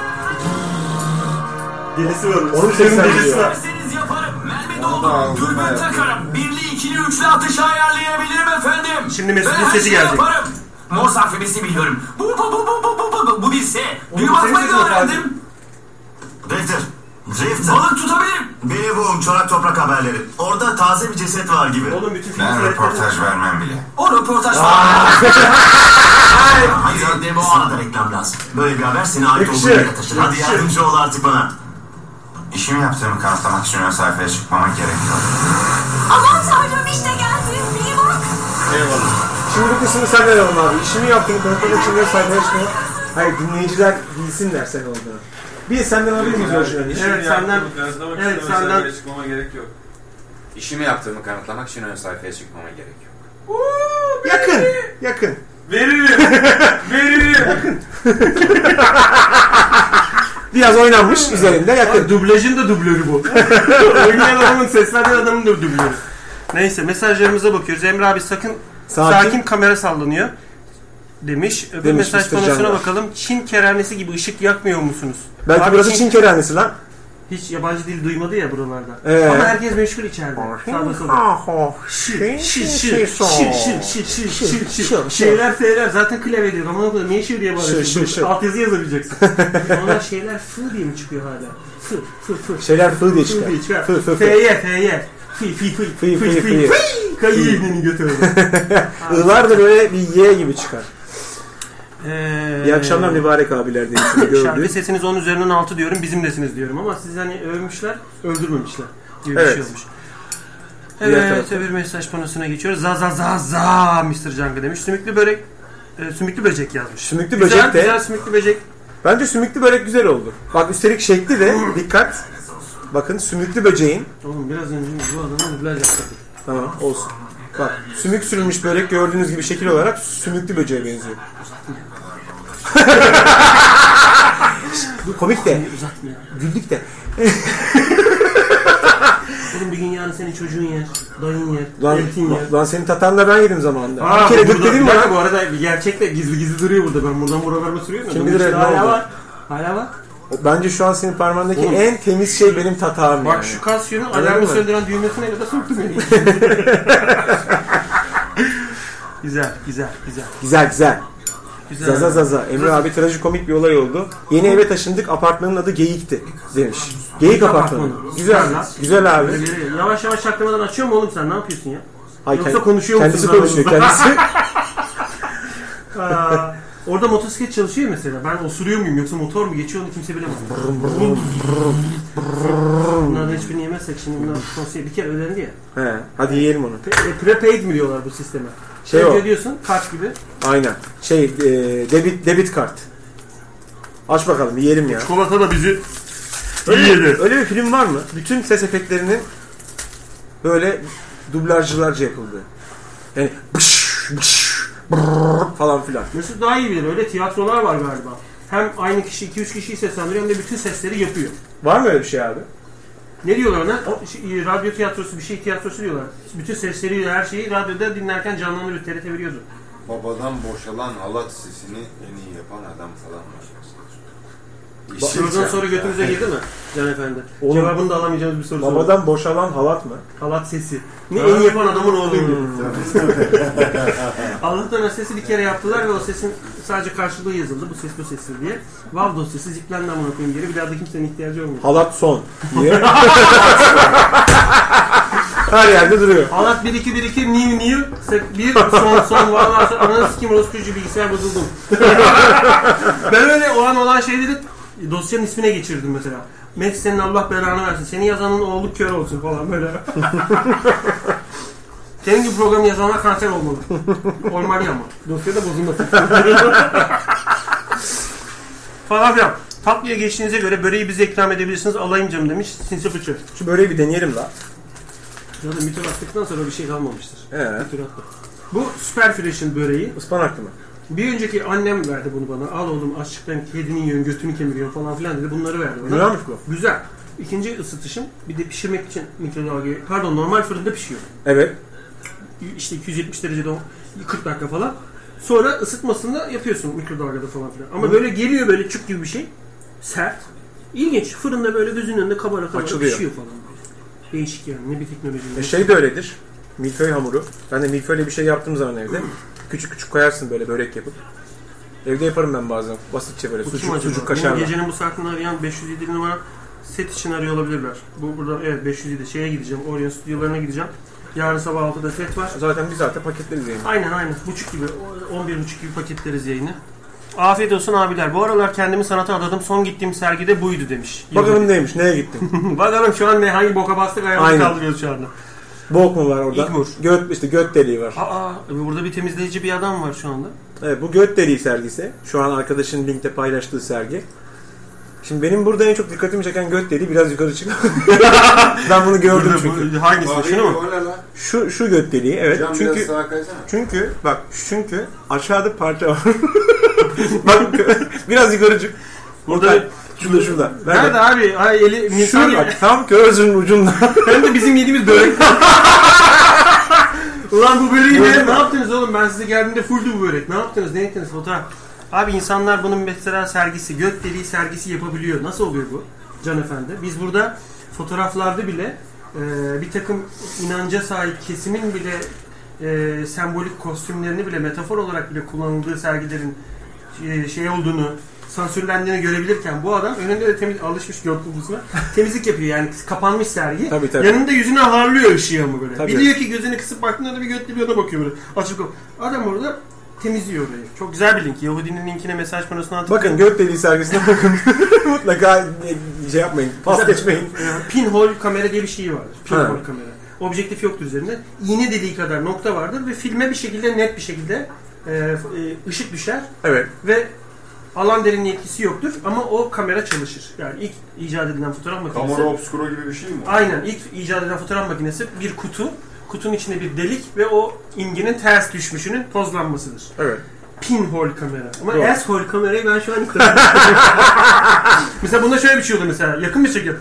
Delisi var. Onun sesi geliyor. İsterseniz yaparım. Mermi Onu da doldum. aldım, Dürbün hayatım. takarım. Birli, ikili, üçlü ateş ayarlayabilirim efendim. Şimdi Mesut'un Ben her sesi şeyi gelecek. yaparım. Mor sarfemesi biliyorum. Bu bu bu bu bu bu bu bu bu bilse. Oğlum, Düğüm senin atmayı sesin da yok öğrendim. Drifter. Drifter. Balık tutabilirim. Bilivum çorak toprak haberleri. Orada taze bir ceset var gibi. Oğlum bütün Ben filmleri röportaj vermem bile. O röportaj var. Hayır demo. Sana da reklam lazım. Böyle bir haber seni ait Yakışır. olduğun yere taşır. Hadi yardımcı ol artık bana. İşimi yaptığımı kanıtlamak için ön sayfaya çıkmama gerek yok. Aman tanrım işte geldi. İyi bak. Eyvallah. Şimdi bu kısmı sen ver oğlum abi. İşimi yaptım. Kanıtlamak için bir sayfaya çıkmıyor. Hayır dinleyiciler bilsinler sen olduğunu. Biz senden alabilir miyiz orijinalini? Evet, senden- evet, senden- çıkmama gerek yok. İşimi yaptığımı kanıtlamak için ön sayfaya çıkmama gerek yok. Yakın. Yakın. Veririm. Veririm. Biraz oynanmış üzerinde yakın. Abi, dublajın da dublörü bu. Oynayan adamın seslenen adamın da dublörü. Neyse mesajlarımıza bakıyoruz. Emre abi sakın sakin, Sakin. kamera sallanıyor demiş. Öbür Demiş mesaj Mr. konusuna Candar. bakalım. Çin keranesi gibi ışık yakmıyor musunuz? Belki Abi, burası Çin kerhanesi lan. Hiç yabancı dil duymadı ya buralarda. Ee? Ama herkes meşgul içeride. Sağda solda. Şir, şir, şir, şir, şir, şir, şir, şir, şir. Şeyler şeyler zaten klavye diyor. Aman okudum. Niye şir diye Şir, şir, şir. bağırıyorsun? Altyazı yazabileceksin. Onlar şeyler fı diye mi çıkıyor hala? Fı, fı, fı. Şeyler fı diye çıkar. Fıy çıkar. Fı fı fı. F'ye F'ye. Fıy fıy fıy. Fıy, fıy, fıy. Kayı elini götürdü. Ilar da böyle bir Y gibi çıkar. Ee, İyi akşamlar mübarek abiler diye seni Şarkı gördük. sesiniz 10 üzerinden 6 diyorum bizimdesiniz diyorum ama siz hani övmüşler öldürmemişler gibi bir Evet. şey olmuş. Diğer Evet tarafta. öbür mesaj panosuna geçiyoruz. Za za za za Mr. Canka demiş. Sümüklü börek e, sümüklü böcek yazmış. Sümüklü Güzel, böcek de- Güzel sümüklü böcek. Bence sümüklü börek güzel oldu. Bak üstelik şekli de dikkat. Bakın sümüklü böceğin. Oğlum biraz önce bu adamın dublaj yaptırdık. Tamam olsun. Bak sümük sürülmüş börek gördüğünüz gibi şekil olarak sümüklü böceğe benziyor. Komik de. Uzatma ya. Güldük de. Oğlum bir gün yarın senin çocuğun yer, dayın yer, Lan, eltin yer. lan senin tatanla ben yedim zamanında. Aa, bir kere Ah, bu gök burada- dedim mi bir lan? dakika, Bu arada gerçekte gizli gizli duruyor burada. Ben buradan buralarıma sürüyorum. Kim Bunun bilir içinde ne hala oldu? var. Hala var. Bence şu an senin parmağındaki Oğlum. en temiz şey benim tatağım Bak yani. şu kasyonun Öyle alarmı mi? söndüren düğmesine kadar soktu beni. güzel, güzel, güzel. Güzel güzel. Güzel. Zaza zaza. Emre abi trajikomik bir olay oldu. Yeni eve taşındık apartmanın adı Geyik'ti demiş. Geyik apartmanı. Apartmanı. Güzel. Güzel lan. Güzel abi. Böyle geliyor. Yavaş yavaş çaktırmadan açıyor mu oğlum sen? Ne yapıyorsun ya? Ay, Yoksa kend- konuşuyor Kendisi musunuz konuşuyor. Kendisi Aa, orada motosiklet çalışıyor mesela. Ben osuruyor muyum yoksa motor mu geçiyor onu kimse bilemez. Bunlardan hiçbirini yemezsek şimdi bunlar konseyi bir kere ödendi ya. He, hadi yiyelim onu. Pre- e, Prepaid mi diyorlar bu sisteme? Şey Önce o. ödüyorsun kart gibi. Aynen. Şey, e, debit debit kart. Aç bakalım yiyelim ya. Kolata da bizi Öyle, yedi. öyle bir film var mı? Bütün ses efektlerinin böyle dublajcılarca yapıldığı. Yani bış, bış, brrr falan filan. Mesut daha iyi bilir. Öyle tiyatrolar var galiba. Hem aynı kişi 2-3 kişiyi seslendiriyor hem de bütün sesleri yapıyor. Var mı öyle bir şey abi? Ne diyorlar ona? O, şey, radyo tiyatrosu bir şey tiyatrosu diyorlar. Bütün sesleri her şeyi radyoda dinlerken canlandırıyor. TRT veriyordu. Babadan boşalan halat sesini en iyi yapan adam falan var. İşin Sorudan sen- sonra götümüze girdi mi? Can Efendi. Şey Oğlum- Cevabını da alamayacağımız bir soru sordu. Babadan boşalan halat mı? Halat sesi. Ne en iyi yapan adamın oğluyum diyor. Allah'tan o sesi bir kere yaptılar ve o sesin sadece karşılığı yazıldı. Bu ses bu sesi diye. Vav dosyası ziplendi amına koyayım geri. Bir daha da kimsenin ihtiyacı olmuyor. Halat son diye. Her yerde duruyor. Halat 1 2 1 2 new new Sek- bir son son vallahi son- ananı sikim orospucu bilgisayar bozuldum. ben öyle o an olan şeyleri dosyanın ismine geçirdim mesela. Max senin Allah belanı versin. Seni yazanın oğlu kör olsun falan böyle. Senin gibi programı yazanlar kanser olmalı. Olmalı ama. Dosyada bozulmasın. falan filan. Tatlıya geçtiğinize göre böreği bize ikram edebilirsiniz. Alayım canım demiş. Sinsi fıçı. Şu böreği bir deneyelim la. Zaten bir tur attıktan sonra bir şey kalmamıştır. He. Bir tur attı. Bu Super Fresh'in böreği. Ispanaklı mı? Bir önceki annem verdi bunu bana. Al oğlum açlıktan kedini yiyorsun, götünü kemiriyorsun falan filan dedi. Bunları verdi bana. Güzelmiş bu. Güzel. İkinci ısıtışım bir de pişirmek için mikrodalga, pardon normal fırında pişiyor. Evet. İşte 270 derecede o 40 dakika falan. Sonra ısıtmasında yapıyorsun mikrodalgada falan filan. Ama böyle geliyor böyle çık gibi bir şey. Sert. İlginç. Fırında böyle gözünün önünde kabara kabara Açılıyor. pişiyor falan. Değişik yani. Ne bir teknoloji. E şey de öyledir. Milföy hamuru. Ben de milföyle bir şey yaptığım zaman evde. Küçük küçük koyarsın böyle börek yapıp. Evde yaparım ben bazen. Basitçe böyle Bu kim sucuk, acaba? sucuk Bunu kaşarla. Gecenin bu saatinde arayan 507 numara set için arıyor olabilirler. Bu burada evet 507 şeye gideceğim. Orion stüdyolarına gideceğim. Yarın sabah 6'da set var. Zaten biz zaten paketleriz yani. Aynen aynen. Buçuk gibi. 11 buçuk gibi paketleriz yayını. Afiyet olsun abiler. Bu aralar kendimi sanata adadım. Son gittiğim sergide buydu demiş. Bakalım neymiş, neye gittin? Bakalım şu an ne hangi boka bastık ayağımızı Aynen. kaldırıyoruz şu anda. Bok mu var orada? İlk vur. Göt, işte göt deliği var. Aa e, burada bir temizleyici bir adam var şu anda. Evet, bu göt deliği sergisi. Şu an arkadaşın linkte paylaştığı sergi. Şimdi benim burada en çok dikkatimi çeken göt deliği biraz yukarı çık. ben bunu gördüm Burada çünkü. bu- hangisi? Abi, Şunu mu? O ne lan? Şu şu göt deliği evet. Can çünkü biraz sağa kaysana. Çünkü bak çünkü aşağıda parça var. bak biraz yukarı çık. Burada Burada şurada şurada. Ver Nerede bak. abi? Ay eli insan Şurada bak tam gözünün ucunda. Hem de bizim yediğimiz börek. Ulan bu böreği ne? Ne yaptınız oğlum? Ben size geldiğimde fulldü bu börek. Ne yaptınız? Ne ettiniz? Fotoğraf. Abi insanlar bunun mesela sergisi, gök deliği sergisi yapabiliyor. Nasıl oluyor bu? Can Efendi. Biz burada fotoğraflarda bile e, bir takım inanca sahip kesimin bile e, sembolik kostümlerini bile metafor olarak bile kullanıldığı sergilerin e, şey olduğunu sansürlendiğini görebilirken bu adam önünde de temiz alışmış gökyüzüne temizlik yapıyor yani kapanmış sergi. Tabii, tabii. Yanında yüzünü avarlıyor ışığı ama böyle. Tabii. Biliyor ki gözünü kısıp baktığında da bir götlü bir yana bakıyor böyle. Açık kap- Adam orada temizliyor orayı. Çok güzel bir link. Yahudinin linkine mesaj panosuna atıp bakın göt deliği sergisine bakın. Mutlaka e, şey yapmayın. Pas geçmeyin. e, pinhole kamera diye bir şey vardır. Pinhole Ha. kamera. Objektif yoktur üzerinde. İğne deliği kadar nokta vardır ve filme bir şekilde net bir şekilde e, e, ışık düşer Evet. ve alan derinliği etkisi yoktur ama o kamera çalışır. Yani ilk icat edilen fotoğraf makinesi. Kamera obscura gibi bir şey mi? Aynen ilk icat edilen fotoğraf makinesi bir kutu. Kutunun içinde bir delik ve o imgenin ters düşmüşünün tozlanmasıdır. Evet. Pinhole kamera. Ama Doğru. asshole kamerayı ben şu an ilk defa- Mesela bunda şöyle bir şey oluyor mesela. Yakın bir çekim.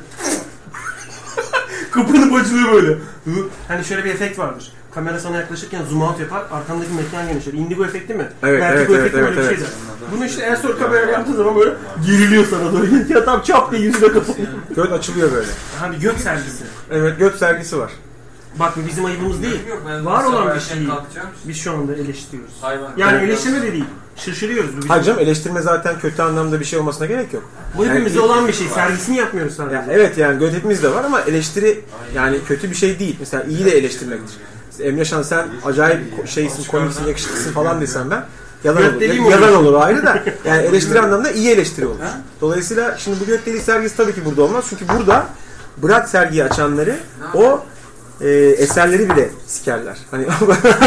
Kapanıp açılıyor böyle. Hı. Hani şöyle bir efekt vardır. Kamera sana yaklaşırken zoom out yapar. Arkandaki mekan genişler. Indigo efekti mi? Evet, Vertigo evet, efekti mi? evet, Öyle bir evet, şeydir. Bunu işte asshole kamera yaptığı zaman böyle geriliyor sana doğru. ya tam çap diye yüzüne kapanıyor. Göt açılıyor böyle. Hani gök sergisi. Evet göt sergisi var. Bak bu bizim ayıbımız değil. Yok, ben Var sabah olan bir erken şeyi. kalkacağım. Biz şu anda eleştiriyoruz. Hayvan. Yani eleştirme de değil. Şaşırıyoruz. Bu, bizim- Hayır canım eleştirme zaten kötü anlamda bir şey olmasına gerek yok. bu hepimizde Yani- olan bir şey. Sergisini yapmıyoruz sadece. Yani evet yani göt hepimizde var ama eleştiri yani kötü bir şey değil. Mesela iyi de eleştirmektir. Emre Şan sen acayip ko- şeysin, komiksin, yakışıklısın falan desem ben yalan Göt olur. deliği mi Ya- Yalan oluyorsun? olur ayrı da yani eleştiri anlamında iyi eleştiri olur. Dolayısıyla şimdi bu göt deliği sergisi tabii ki burada olmaz. Çünkü burada bırak sergiyi açanları o e, eserleri bile sikerler. Hani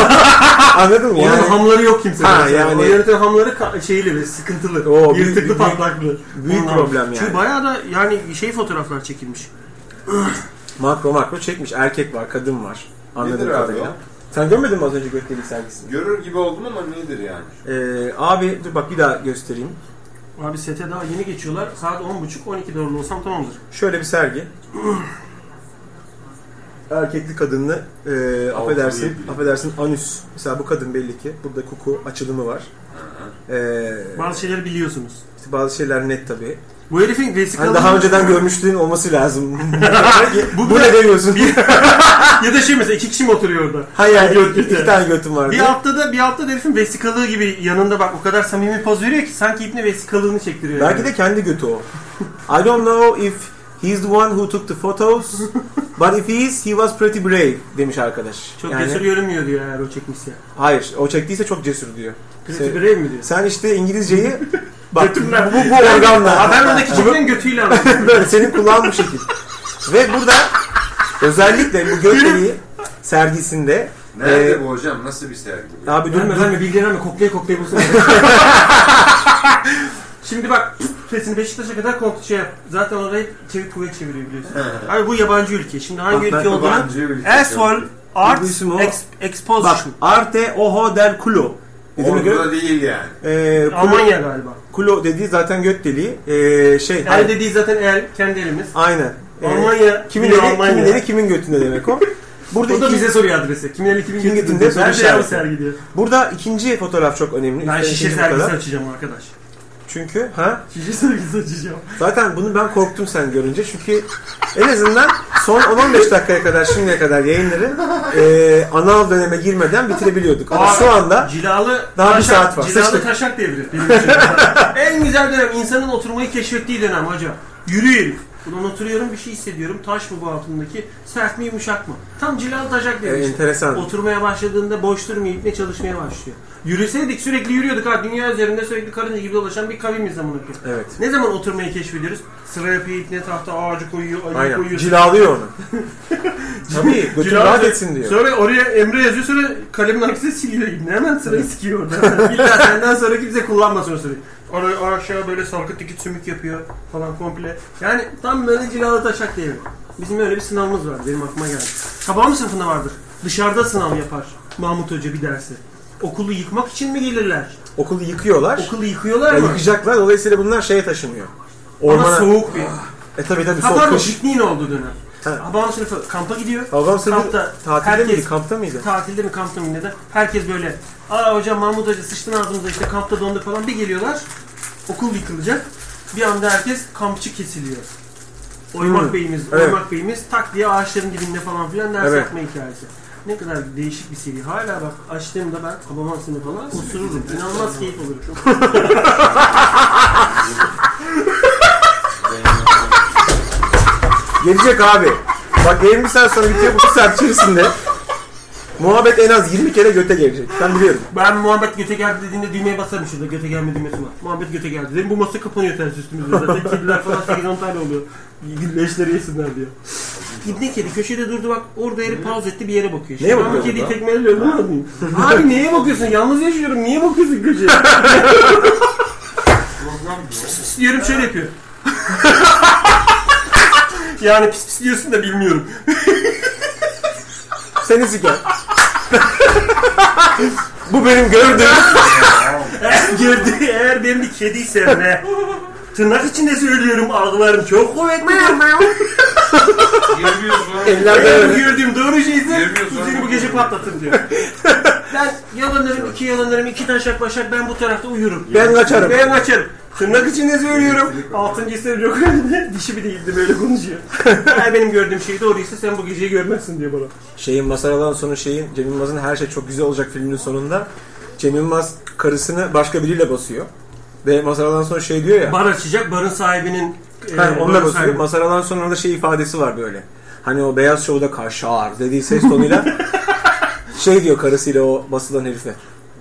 anladın mı? Onun Yani hamları yok kimse. Ha, yani- yani. O yöneten hamları ka- şeyli ve sıkıntılı. Oo, büyük- yırtıklı büyük- patlaklı. büyük Onlar. problem yani. Çünkü bayağı da yani şey fotoğraflar çekilmiş. makro makro çekmiş. Erkek var, kadın var. Anladığım Nedir abi kadarıyla. o? Sen görmedin mi az önce göt deliği sergisini? Görür gibi oldum ama nedir yani? Ee, abi dur bak bir daha göstereyim. Abi sete daha yeni geçiyorlar. Saat 10.30 12 doğru olsam tamamdır. Şöyle bir sergi. Erkekli kadınlı e, affedersin, affedersin anüs. Mesela bu kadın belli ki burada kuku açılımı var. Ee, Bazı şeyleri biliyorsunuz. işte bazı şeyler net tabii. Bu herifin vesikalı Hani daha önceden görmüşlüğün olması lazım. bu, Bu ne biraz- demiyorsun? ya da şey mesela iki kişi mi oturuyor orada? Hayır, yani Göt iki, göte. iki tane götüm vardı. Bir haftada bir haftada herifin vesikalığı gibi yanında bak o kadar samimi poz veriyor ki sanki ipne vesikalığını çektiriyor. Belki yani. de kendi götü o. I don't know if he's the one who took the photos, but if he is, he was pretty brave demiş arkadaş. çok Yani- cesur görünmüyor diyor eğer o çekmişse. Hayır, o çektiyse çok cesur diyor. Pretty Se- brave mi diyor? Sen işte İngilizceyi bak bu, Götümle. bu organla. Ha, ben oradaki çiftlerin götüyle anladım. Böyle senin kulağın bu şekil. Ve burada özellikle bu gökdeliği sergisinde Ee, Nerede e, bu hocam? Nasıl bir sergi? bu? abi Dur durma lan. mi bilgiler mi? Koklaya koklaya bulsun. Şimdi bak sesini Beşiktaş'a kadar kontrol şey yap. Zaten orayı çevik kuvvet çeviriyor biliyorsun. Abi bu yabancı ülke. Şimdi hangi Bak, ben ülke yabancı olduğunu ülke. Asshole Arts Duygusum o. Ex- Bak Exposition. Arte Oho del Culo. E, Dediğine göre Orada değil yani. e, kulo, Almanya galiba. kulo dediği zaten göt deliği. E, şey El dediği zaten el. Kendi elimiz. aynen. E, Almanya. kimin diyor eli, Almanya. kimin eli kimin götünde demek o. Burada, O da iki- bize soruyor adresi. Kimin eli kimin Kimin getirdi? getirdi? Soru Nerede ya bu işareti. sergi diyor. burada ikinci fotoğraf çok önemli. Ben Üstelik şişe ikinci fotoğraf. şey sergisi açacağım arkadaş. Çünkü ha Şişe sergisi açacağım. Zaten bunu ben korktum sen görünce çünkü en azından son 10-15 dakikaya kadar şimdiye kadar yayınları e, anal döneme girmeden bitirebiliyorduk. Ama şu anda Cilalı Daha bir taşak, saat var. Cilalı Sıçtık. taşak devri. Benim için. en güzel dönem insanın oturmayı keşfettiği dönem hacı. Yürüyün. Ulan oturuyorum bir şey hissediyorum. Taş mı bu altındaki? Sert mi yumuşak mı? Tam cilalı taşak E, demiş. enteresan. Oturmaya başladığında boş durmayıp ne çalışmaya başlıyor. Yürüseydik sürekli yürüyorduk ha. Dünya üzerinde sürekli karınca gibi dolaşan bir kavimiz amına koyayım. Evet. Ne zaman oturmayı keşfediyoruz? Sıraya bir ne tahta ağacı koyuyor, ayı Aynen. koyuyor. Cilalıyor onu. Tabii. Götür Cilalı- rahat etsin diyor. Sonra oraya Emre yazıyor sonra kalemin aksine siliyor gibi. Hemen sırayı sikiyor orada. İlla senden sonra kimse kullanmasın o sırayı. Oraya aşağı böyle sarkıt dikit sümük yapıyor falan komple. Yani tam böyle cilalı taşak diyelim. Bizim öyle bir sınavımız var benim aklıma geldi. Kabağım sınıfında vardır. Dışarıda sınav yapar Mahmut Hoca bir dersi. Okulu yıkmak için mi gelirler? Okulu yıkıyorlar. Okulu yıkıyorlar Yani mı? yıkacaklar. Dolayısıyla bunlar şeye taşınıyor. Ama Ormana. soğuk bir. E tabii tabii Ha soğuk pardon kış. pikniğin olduğu dönem. Ha. Abam sınıfı kampa gidiyor. Babam senin Kampta tatilde herkes- miydi? Kampta mıydı? Tatilde mi kampta mı neden? Herkes böyle aa hocam Mahmut Hoca sıçtın ağzımıza işte kampta dondu falan bir geliyorlar. Okul yıkılacak. Bir anda herkes kampçı kesiliyor. Oymak Hmm. beyimiz, Evet. oymak beyimiz tak diye ağaçların dibinde falan filan ders Evet. yapma hikayesi. Ne kadar değişik bir seri. Hala bak açtığımda ben babamın sınıfına osururum. İnanılmaz keyif olurum. Gelecek abi. Bak 20 saat sonra bitiyor bu saat içerisinde. Muhabbet en az 20 kere göte gelecek. Ben biliyorum. Ben muhabbet göte geldi dediğinde düğmeye basarım şurada göte gelme düğmesi var. Muhabbet göte geldi dedim bu masa kapanıyor ters üstümüzde zaten kediler falan 8-10 tane oluyor. Leşleri yesinler diyor. İbne kedi köşede durdu bak orada yeri pause etti bir yere bakıyor. Neye ben bakıyor bu Kediyi orada? tekmeliyorum ne yapayım? Abi neye bakıyorsun? Yalnız yaşıyorum niye bakıyorsun köşeye? pis diyorum şöyle yapıyor. yani pis pis diyorsun da bilmiyorum. Seni siker. bu benim gördüğüm. Girdi eğer benim bir kediysem ne? Tırnak içinde söylüyorum algılarım çok kuvvetlidir. Girmiyoruz lan. Ellerde Eğer öyle. gördüğüm doğru şeyse Yemiyoruz seni abi. bu gece patlatın diyor. ben yalanırım iki yalanırım iki taşak başak ben bu tarafta uyurum. Ben kaçarım. Ben kaçarım. Tırnak içinde söylüyorum. Altıncı isim yok. Dişi bir değildi böyle konuşuyor. Eğer benim gördüğüm şey doğruysa sen bu geceyi görmezsin diyor bana. Şeyin Masaralan sonu şeyin Cem Yılmaz'ın her şey çok güzel olacak filminin sonunda Cem Yılmaz karısını başka biriyle basıyor. Ve Masaralan sonra şey diyor ya. Bar açacak barın sahibinin e, Ha, barın onunla basıyor. sahibi- Masaralan sonra orada şey ifadesi var böyle. Hani o beyaz şovda kaşar dediği ses tonuyla şey diyor karısıyla o basılan herife.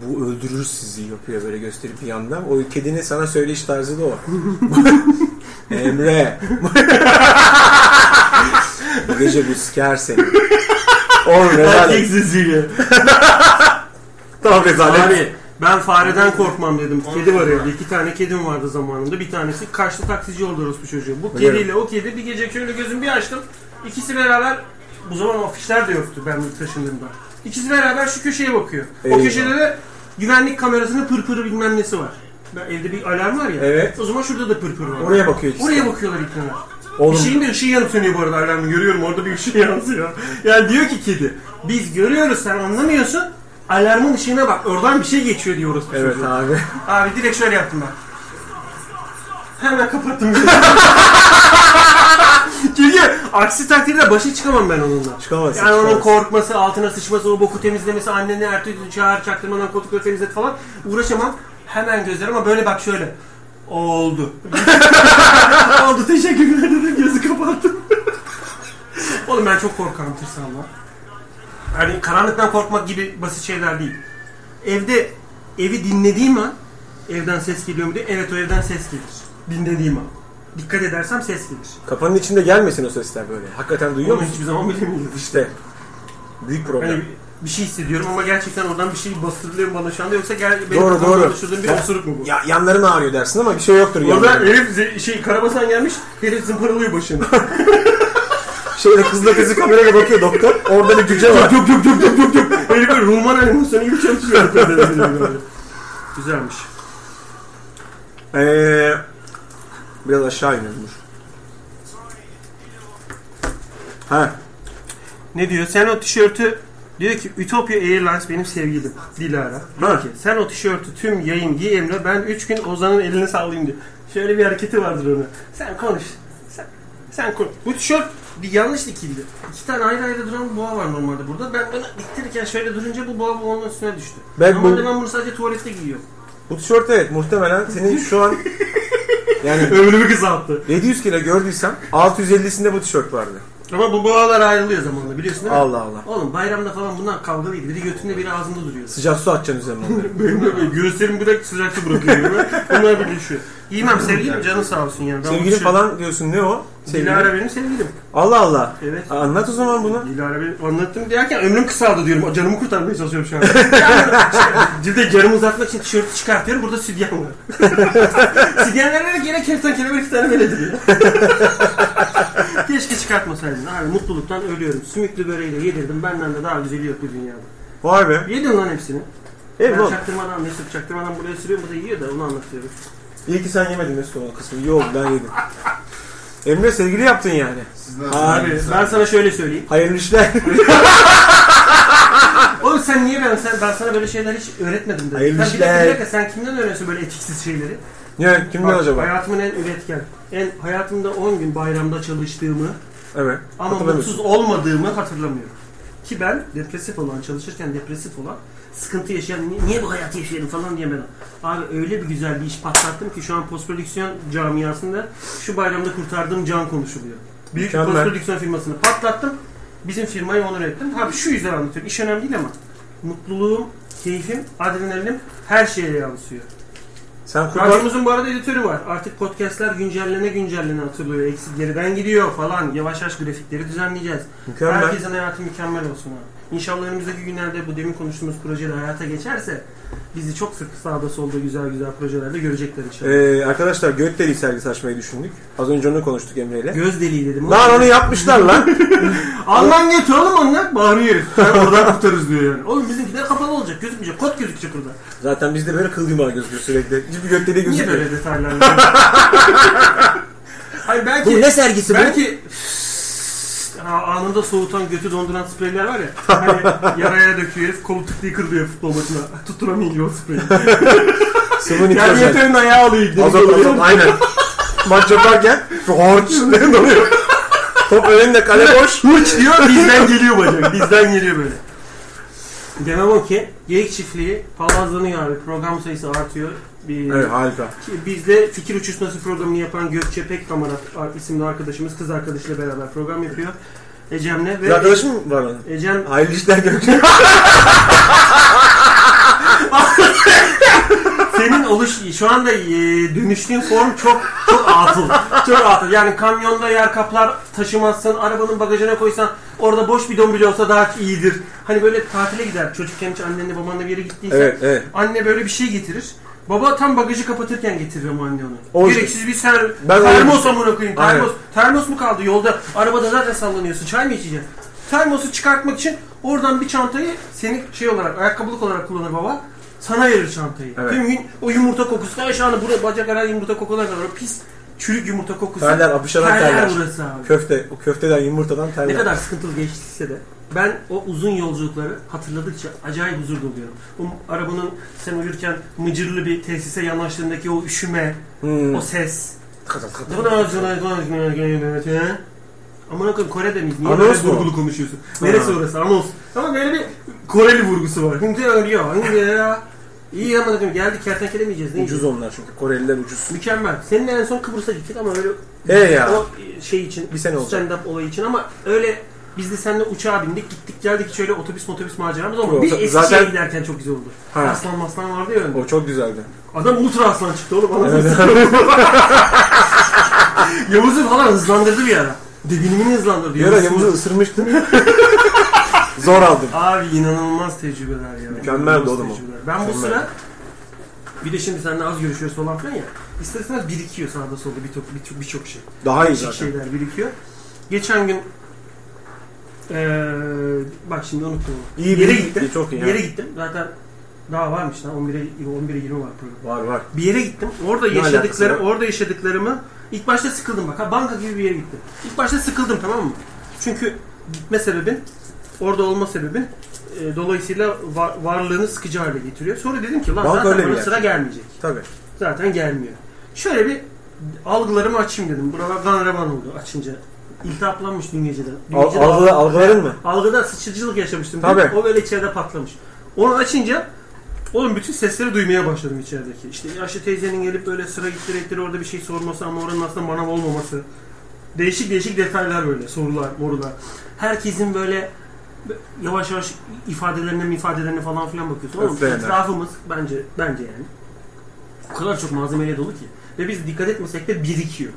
Bu öldürür sizi yapıyor böyle gösterip bir yandan. O kedinin sana söyleyiş tarzı da o. Emre. bu gece bu siker seni. Oğlum Erkek rezalet. sesiyle. Tam rezalet. Abi ben fareden korkmam dedim. Kedi var evde. İki tane kedim vardı zamanında. Bir tanesi kaçtı taksici oldu orospu çocuğu. Bu Biliyorum. kediyle o kedi bir gece şöyle gözümü bir açtım. İkisi beraber bu zaman afişler de yoktu ben ilk taşındığımda. İkisi beraber şu köşeye bakıyor. O Eyvah. köşede de güvenlik kamerasının pırpırı bilmem nesi var. Ben- Evde bir alarm var ya. Evet. O zaman şurada da pırpır var. Oraya bakıyor ikisi. Oraya bakıyorlar ikna. Bir şey- Oğlum şeyin de ışığı yanıp sönüyor bu arada alarmı. Görüyorum orada bir ışığı yansıyor. Yani diyor ki kedi. Biz görüyoruz sen anlamıyorsun. Alarmın ışığına bak. Oradan bir şey geçiyor diyoruz. evet abi. Abi direkt şöyle yaptım ben. Hemen kapattım. Çünkü aksi takdirde başa çıkamam ben onunla. Çıkamazsın, Yani onun çıkamazsın. korkması, altına sıçması, o boku temizlemesi, anneni ertesi çağır, çaktırmadan koltukları temizlet falan. Uğraşamam. Hemen gözler ama böyle bak şöyle. Oldu. Oldu teşekkürler dedim gözü kapattım. Oğlum ben çok korkarım tırsanla. Hani karanlıktan korkmak gibi basit şeyler değil. Evde evi dinlediğim an evden ses geliyor mu diye evet o evden ses gelir. Dinlediğim an. Dikkat edersem ses gelir. Kafanın içinde gelmesin o sesler böyle. Hakikaten duyuyor Yok musun? hiçbir zaman bilemiyorum. İşte. Büyük problem. Hani bir şey hissediyorum ama gerçekten oradan bir şey bastırılıyor mu bana şu anda yoksa gel, benim Doğru, kafamda doğru. oluşturduğum bir Ya- absürt mu bu? Ya yanların ağrıyor dersin ama bir şey yoktur Orada yanlarında. herif ze- şey karabasan gelmiş, herif zımparalıyor başını. Şeyde kızla kızı kameraya bakıyor doktor. Orada bir cüce var. yok yok yok yok yok yok. Herif böyle Roman animasyonu gibi çalışıyor. Güzelmiş. Ee, biraz aşağı iniyormuş. Ha. Ne diyor? Sen o tişörtü diyor ki Ütopya Airlines benim sevgilim Dilara. Diyor Ha. ki sen o tişörtü tüm yayın giy Emre ben 3 gün Ozan'ın elini sallayayım diyor. Şöyle bir hareketi vardır ona. Sen konuş. Sen, sen konuş. Bu tişört bir yanlış dikildi. İki tane ayrı ayrı duran boğa var normalde burada. Ben bunu diktirirken şöyle durunca bu boğa boğanın üstüne düştü. Ben bu- normalde ben bunu sadece tuvalette giyiyorum. Bu tişört evet muhtemelen senin şu an Yani Ömrümü kısalttı. 700 kere gördüysem 650'sinde bu tişört vardı. Ama bu bağlar ayrılıyor zamanla biliyorsun değil mi? Allah Allah. Oğlum bayramda falan bunlar kavga değil. Biri götünde biri ağzında duruyor. Sıcak su atacaksın üzerine onları. Benim de böyle göğüslerim bir dakika sıcakta bırakıyor. beni. Onlar birleşiyor. İyiyim sevgilim canın sağ olsun yani. Ben Sevgili uğraşıyorum. falan diyorsun ne o? Sevgili. şey- Dilara benim sevgilim. Allah Allah. Evet. Anlat o zaman bunu. Dilara benim anlattım derken ömrüm kısaldı diyorum. Canımı kurtarmaya çalışıyorum şu an. Yani şey, bir de canımı uzatmak için tişörtü çıkartıyorum. Burada sütyen var. Sütyenlerle de gene kertan kelebek iki tane böyle duruyor. Keşke çıkartmasaydın. Abi mutluluktan ölüyorum. Sümüklü böreğiyle yedirdim. Benden de daha güzeli yok bu dünyada. Vay be. Yedin lan hepsini. Evet ben oğlum. çaktırmadan Mesut çaktırmadan buraya sürüyorum. Bu da yiyor da onu anlatıyorum. İyi ki sen yemedin Mesut o kısmı. İyi oldu ben yedim. Emre sevgili yaptın yani. Siz nasıl? Abi ben sana şöyle söyleyeyim. Hayırlı işler. Oğlum sen niye ben, sen, ben sana böyle şeyler hiç öğretmedim dedim. Hayırlı sen bir dakika, işler. bir dakika sen kimden öğreniyorsun böyle etiksiz şeyleri? ne? Kimden Bak, acaba? Hayatımın en üretken, en hayatımda 10 gün bayramda çalıştığımı Evet. ama Hatırlamıyorsun. mutsuz olmadığımı hatırlamıyorum. Ki ben depresif olan, çalışırken depresif olan, sıkıntı yaşayan, niye, niye bu hayatı yaşıyorum falan diye ben. Abi öyle bir güzel bir iş patlattım ki şu an post prodüksiyon camiasında şu bayramda kurtardığım can konuşuluyor. Büyük bir Mükemmel. post prodüksiyon firmasını patlattım. Bizim firmayı onur ettim. Abi şu yüzden anlatıyorum. İş önemli değil ama mutluluğum, keyfim, adrenalinim her şeye yansıyor. Sen kurtar. Radyomuzun bu arada editörü var. Artık podcastler güncellene güncellene atılıyor. Eksik geriden gidiyor falan. Yavaş yavaş grafikleri düzenleyeceğiz. Mükemmel. Herkesin hayatı mükemmel olsun abi. İnşallah önümüzdeki günlerde bu demin konuştuğumuz projeler hayata geçerse bizi çok sık sağda solda güzel güzel projelerde görecekler inşallah. Ee, arkadaşlar göt deliği sergisi açmayı düşündük. Az önce onu konuştuk Emre ile. Göz deliği dedim. Lan onu yapmışlar lan. Alman geç oğlum onlar bağırıyor. Yani oradan kurtarız diyor yani. Oğlum bizimkiler kapalı olacak gözükmeyecek. Kot gözükecek burada. Zaten bizde böyle kıl yumağı gözüküyor sürekli. Hiçbir göt deliği Niye gözükmüyor. böyle detaylar? Hayır belki... Bu ne sergisi bu? Belki Ha, anında soğutan götü donduran spreyler var ya. Hani yaraya döküyor herif kolu tıklayı kırılıyor futbol maçına. Tutturamayınca o spreyi. Sıvı yani nitrojen. yeterin ayağı alıyor. gidiyor. Azot azot aynen. Maç yaparken horç doluyor. Top önünde kale boş. Hırç diyor bizden geliyor bacak. Bizden geliyor böyle. Demem o ki geyik çiftliği palazlanıyor abi. Program sayısı artıyor. Bir, Evet harika. Ki Biz de Fikir Uçuşması programını yapan Gökçe Pekkamara isimli arkadaşımız kız arkadaşıyla beraber program yapıyor. Ecem'le Bir ve arkadaşım mı var lan? Ecem Hayırlı işler görüşürüz. Senin oluş şu anda e, dönüştüğün form çok çok atıl. Çok atıl. Yani kamyonda yer kaplar taşımazsın, arabanın bagajına koysan orada boş bidon bile olsa daha iyidir. Hani böyle tatile gider çocukken hiç annenle babanla bir yere gittiysen. evet evet. Anne böyle bir şey getirir. Baba tam bagajı kapatırken getirir ama anne onu. O yüzden. Gereksiz bir ser Ben termos öyle- amına koyayım. Aynen. Termos, termos mu kaldı yolda? Arabada zaten sallanıyorsun. Çay mı içeceksin? Termosu çıkartmak için oradan bir çantayı seni şey olarak ayakkabılık olarak kullanır baba. Sana verir çantayı. Evet. Tüm gün o yumurta kokusu da aşağıda buraya bacak aran yumurta kokular kadar o pis çürük yumurta kokusu. Terler, apışanan terler. burası abi. Köfte, o köfteden yumurtadan terler. Ne kadar sıkıntılı geçtiyse de ben o uzun yolculukları hatırladıkça acayip huzur doluyorum. O arabanın sen uyurken mıcırlı bir tesise yanaştığındaki o üşüme, Hmm. o ses. Kadar- kadar- Amına koyayım Kore'de miyiz? Niye Anons böyle mu? vurgulu konuşuyorsun? Neresi orası? Anons. Ama böyle bir Koreli vurgusu var. Hınca ölüyor. Hınca ya. İyi amına koyayım geldik kertenkele mi yiyeceğiz? Ne Ucuz yiyeceğiz? onlar çünkü. Koreliler ucuz. Mükemmel. Seninle en son Kıbrıs'a gittik ama öyle E ya. o şey için Bir sene olacak. stand up olayı için ama öyle biz de seninle uçağa bindik gittik geldik şöyle otobüs otobüs maceramız ama Yok, biz zaten- Eskişehir'e zaten- giderken çok güzel oldu. Ha. Aslan maslan vardı ya önde. O çok güzeldi. Adam ultra aslan çıktı oğlum. anasını satayım. Yavuz'u falan hızlandırdı bir ara. Devinimini hızlandırdı. Bir ara Yavuz'u- Yavuz'u ısırmıştım. Zor aldım. Abi inanılmaz tecrübeler ya. Mükemmeldi İnanılmaz oğlum o. tecrübeler. Ben bu Mükemmel. sıra bir de şimdi seninle az görüşüyoruz falan filan ya. İsterseniz birikiyor sağda solda birçok birçok birçok şey. Daha iyi Değişik zaten. şeyler birikiyor. Geçen gün eee bak şimdi unuttum. onu. İyi yere bir- gittim. iyi, çok iyi, Bir yere evet. gittim. Zaten daha varmış lan 11'e 11'e 20 var program. Var var. Bir yere gittim. Orada Ne yaşadıklarım, alakası var? orada yaşadıklarımı ilk başta sıkıldım bak. Ha, banka gibi bir yere gittim. İlk başta sıkıldım tamam mı? Çünkü gitme sebebin, orada olma sebebin e, dolayısıyla var- varlığını sıkıcı hale getiriyor. Sonra dedim ki lan Banka öyle zaten bir bana yer. sıra gelmeyecek. Tabii. Zaten gelmiyor. Şöyle bir algılarımı açayım dedim. Buralar ganrevan oldu açınca. İltihaplanmış dün geceden. Dün Al, gece de algıla- algıladın mı? Algıda sıçrıcılık yaşamıştım. değil mi? Tabii. O böyle içeride patlamış. Onu açınca Oğlum bütün sesleri duymaya başladım içerideki. İşte yaşlı teyzenin gelip böyle sıra gittirekleri orada bir şey sorması ama oranın aslında manav olmaması. Değişik değişik detaylar böyle sorular, morular. Herkesin böyle yavaş yavaş ifadelerine mi ifadelerine falan filan bakıyorsun. Oğlum Öfleyenler. etrafımız bence bence yani. O kadar çok malzemeyle dolu ki. Ve biz dikkat etmesek de birikiyor.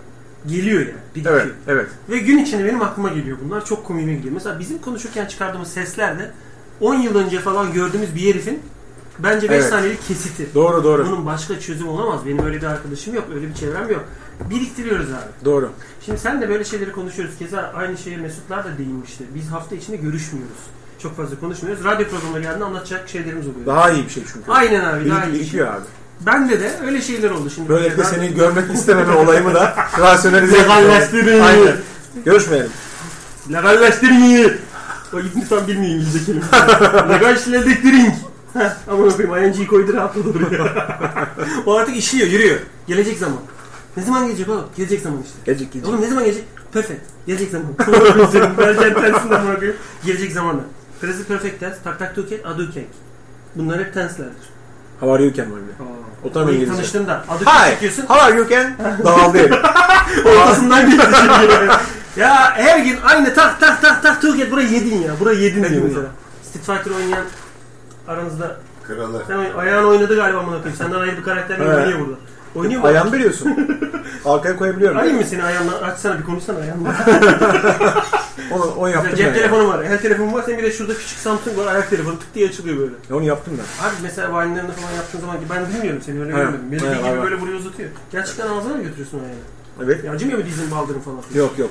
Geliyor yani. Birikiyor. Evet, evet. Ve gün içinde benim aklıma geliyor bunlar. Çok komiğime gidiyor. Mesela bizim konuşurken çıkardığımız sesler de 10 yıl önce falan gördüğümüz bir herifin bence 5 Evet. saniyelik kesiti. Doğru, doğru. Bunun başka çözümü olamaz. Benim öyle bir arkadaşım yok. Öyle bir çevrem yok. Biriktiriyoruz abi. Doğru. Şimdi sen de böyle şeyleri konuşuyoruz. Keza aynı şeye Mesutlar da değinmişti. Biz hafta içinde görüşmüyoruz. Çok fazla konuşmuyoruz. Radyo programına geldiğinde anlatacak şeylerimiz oluyor. Daha iyi bir şey çünkü. Aynen abi. Daha Birik, iyi. birikiyor abi. Bende de öyle şeyler oldu şimdi. Böylelikle Radyo- seni görmek istememe olayımı da rasyonelize Legalleştirin. Aynen. Görüşmeyelim. Legalleştirin. O İbn tam bilmiyor İngilizce kelimeleri. Legalleştirin. Ama okuyayım ING'yi koydu rahatladı oraya. o artık işliyor, yürüyor. Gelecek zaman. Ne zaman gelecek oğlum? Gelecek zaman işte. Gelecek gelecek. Oğlum ne zaman gelecek? Perfect. Gelecek zaman. Belgen tensinden bırakıyor. Gelecek zamanla. Present perfect tense, tak tak tuket, adu kek. Bunlar hep tenselerdir. How are you Ken var bir de. O tam Orayı İngilizce. Tanıştığında adu kek Hi. çekiyorsun. How are you Ken? Dağıldı. Ortasından geçti şimdi. ya her gün aynı tak tak tak tak tuket. Burayı yedin ya. Burayı yedin diyor mesela. Street Fighter oynayan aranızda Kralı. sen oyn- ayağın oynadı galiba amına koyayım. Senden ayrı bir karakter Evet. oynuyor burada. Oynuyor mu? Ayağımı biliyorsun. Arkaya koyabiliyorum. Arayayım mı seni ayağınla? Açsana bir konuşsana ayağınla. Onu, onu yaptım Cep ben. telefonu var. El telefonu var. Senin bir de şurada küçük Samsung var. Ayak telefonu tık diye açılıyor böyle. Onu yaptım ben. Abi mesela valilerinde falan yaptığın zaman ki ben bilmiyorum seni öyle Ha, görmedim. Melih ha, gibi var, var. böyle buraya uzatıyor. Gerçekten ağzına mı götürüyorsun ayağını? Evet. Ya acımıyor mu dizin baldırın falan? Yok yok.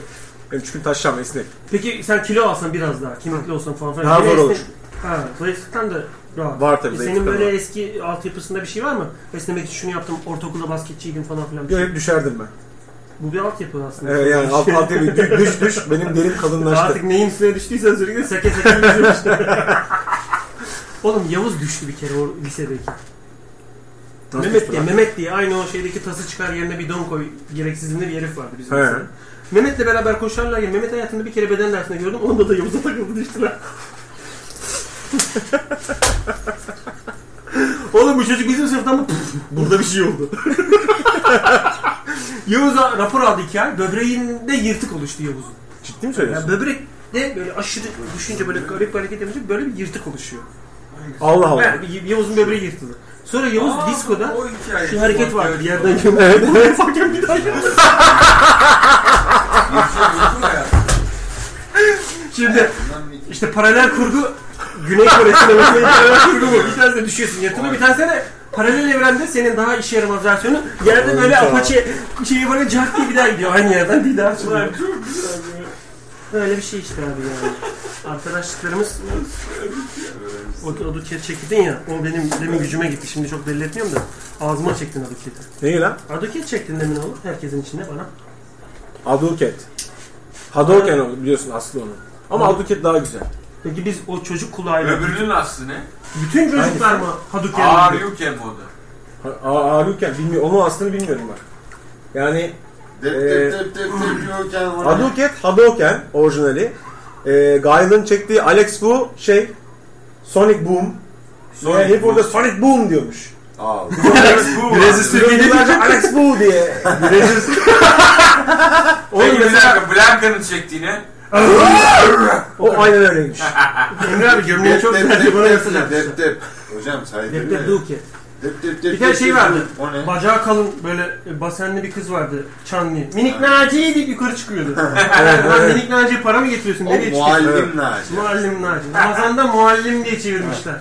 Benim çünkü taşlam esnek. Peki sen kilo alsan biraz daha, kemikli olsan falan filan. Daha Bir de zor esne- olur. Ha, zayıflıktan da rahat. Var tabii, E, Senin zayıflıktan böyle var. eski altyapısında bir şey var mı? Esnemek için şunu yaptım, ortaokulda basketçiydim falan filan. bir Yok şey. hep düşerdim ben. Bu bir altyapı aslında. Ee, yani alt alt bir dü- düş düş benim derim kalınlaştı. Artık neyin üstüne düştüysen sürekli seke seke yüzüyorsun. Oğlum Yavuz düştü bir kere o lisedeki. Nasıl Mehmet düştü diye, lan? Mehmet diye aynı o şeydeki tası çıkar yerine bir don koy gereksizliğinde bir herif vardı bizim He. lisede. Mehmet'le beraber koşarlar ya Mehmet hayatında bir kere beden dersinde gördüm onda da Yavuz'a takıldı düştüler. Oğlum bu çocuk bizim sınıftan mı? Püf, Burada bir şey oldu. Yavuz'a rapor aldı iki ay. Böbreğinde yırtık oluştu Yavuz'un. Ciddi mi Ya söylüyorsun? böbrekte böyle aşırı düşünce böyle garip hareket edince böyle bir yırtık oluşuyor. Allah Allah. Yani bir- Yavuz'un böbreği yırtıldı. Sonra Yavuz diskoda O hikaye. şu hareket vardı yerden gömülüyor. Bunu yaparken bir daha yaptı. Şimdi işte paralel kurgu Güney Kore sinemasındaki paralel kurgu bu. Bir tanesi de düşüyorsun yatına bir tanesi de paralel evrende senin daha işe yaramaz versiyonu yerde böyle apaçı şeyi böyle cart diye bir daha gidiyor. Aynı yerden bir daha açılıyor. Böyle bir şey işte abi yani. Arkadaşlıklarımız o, o duket çekildin ya. O benim demin gücüme gitti. Şimdi çok belli etmiyorum da. Ağzıma çektin aduketi. Neyi lan? Aduket çektin demin oğlum. Herkesin içinde bana. Aduket. Hadouken o biliyorsun aslı onu. Ama Aduket daha güzel. Peki biz o çocuk kulağıyla Öbürünün aslı ne? bütün çocuklar mı Hadouken Ağır diyor? yuke modu. Hadouken bilmiyorum. Onun aslını bilmiyorum bak. Yani Dep Ee, dep dep dep dep yokken ona. Hadouken, Hadouken orijinali. Ee, Gail'ın çektiği Alex Wu şey Sonic Boom. Sonra hep orada Sonic Boom diyormuş. Al. Yıllarca Alex Wu diye. Peki bir dakika Blanka'nın çektiğine O aynen öyleymiş. Emre abi gömleği Dep çok dep güzeldi. dep Bana dep yapacak. dep dep dep. Hocam saydın Depte mı? Duket. Dep dep dep Bir tane dep şey dep. vardı. O ne? Bacağı kalın böyle e, basenli bir kız vardı. Çanlı. Minik Naciye deyip yukarı çıkıyordu. Lan Minik Naciye para mı getiriyorsun? O Nereye çıkıyorsun? muallim Naci. Muallim Naciye. Ramazan'da muallim diye çevirmişler.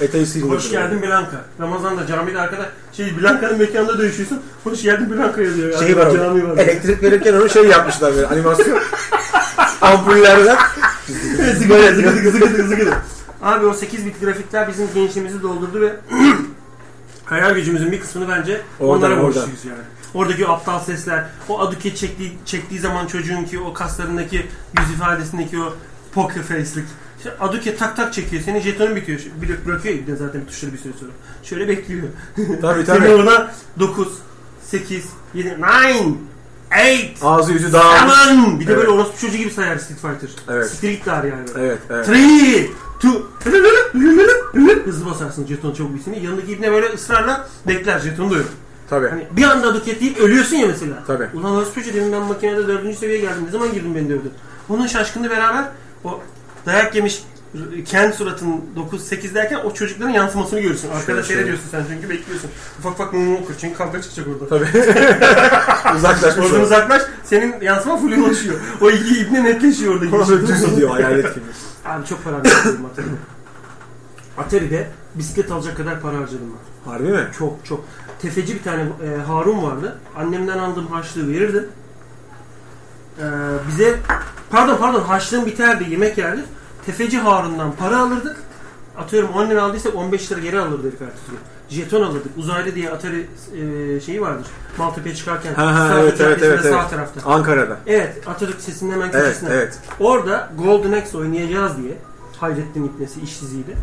Eteği sildi. Hoş geldin Blanka. Ramazan'da camide arkada şey Blanka'nın mekanında dövüşüyorsun. Hoş geldin Blanka yazıyor. Şey var Cami orada. var. Elektrik verirken onu şey yapmışlar böyle animasyon. Ampullerden. Sigara, sigara, sigara, sigara. Abi o 8 bit grafikler bizim gençliğimizi doldurdu ve hayal gücümüzün bir kısmını bence Oradan, onlara oradan. borçluyuz yani. Oradaki o aptal sesler, o aduket çektiği, çektiği zaman çocuğun ki o kaslarındaki yüz ifadesindeki o poker face'lik. İşte aduket tak tak çekiyor, senin jetonun bitiyor. Şu- Bir de bırakıyor elinde zaten tuşları bir süre sonra. Şöyle bekliyor. Tabii Senin tabii. ona 9, 8, 7, 9, Eight. Ağzı yüzü dağılmış. Aman! Bir de Evet. böyle orospu çocuğu gibi sayar Street Fighter. Evet. Street git yani. böyle. Evet, evet. Three, two, hızlı basarsın jeton çabuk bitsin. Yanındaki ibne böyle ısrarla bekler jetonu da yok. Tabii. Hani bir anda adık yetleyip ölüyorsun ya mesela. Tabii. Ulan orospu çocuğu demin ben makinede dördüncü seviyeye geldim. Ne zaman girdin beni dövdü. Onun şaşkınlığı beraber o dayak yemiş kendi suratın 9-8 derken o çocukların yansımasını görürsün. Arkada Şöyle, şöyle. seyrediyorsun sen çünkü bekliyorsun. Ufak ufak mumu okur çünkü kavga çıkacak orada. Uzaklaşmış Oradan oldu. uzaklaş, senin yansıma full oluşuyor. O iki ibne netleşiyor orada. Düz diyor hayalet gibi. Abi çok para harcadım Atari'de. Atari'de bisiklet alacak kadar para harcadım ben. Harbi mi? Çok çok. Tefeci bir tane e, Harun vardı. Annemden aldığım harçlığı verirdim. E, bize, pardon pardon harçlığım biterdi, yemek yerdik. Tefeci Harun'dan para alırdık. Atıyorum 10 lira aldıysak 15 lira geri alırdı herif ertesi gün. Jeton alırdık. Uzaylı diye Atari e, şeyi vardır. Maltepe'ye çıkarken. Ha, ha, Sarı evet, evet, Caddesi'nde evet, Sağ evet. tarafta. Ankara'da. Evet, Atatürk sesinin hemen Evet, köşesinde. evet. Orada Golden Axe oynayacağız diye Hayrettin İpnesi işsiziydi.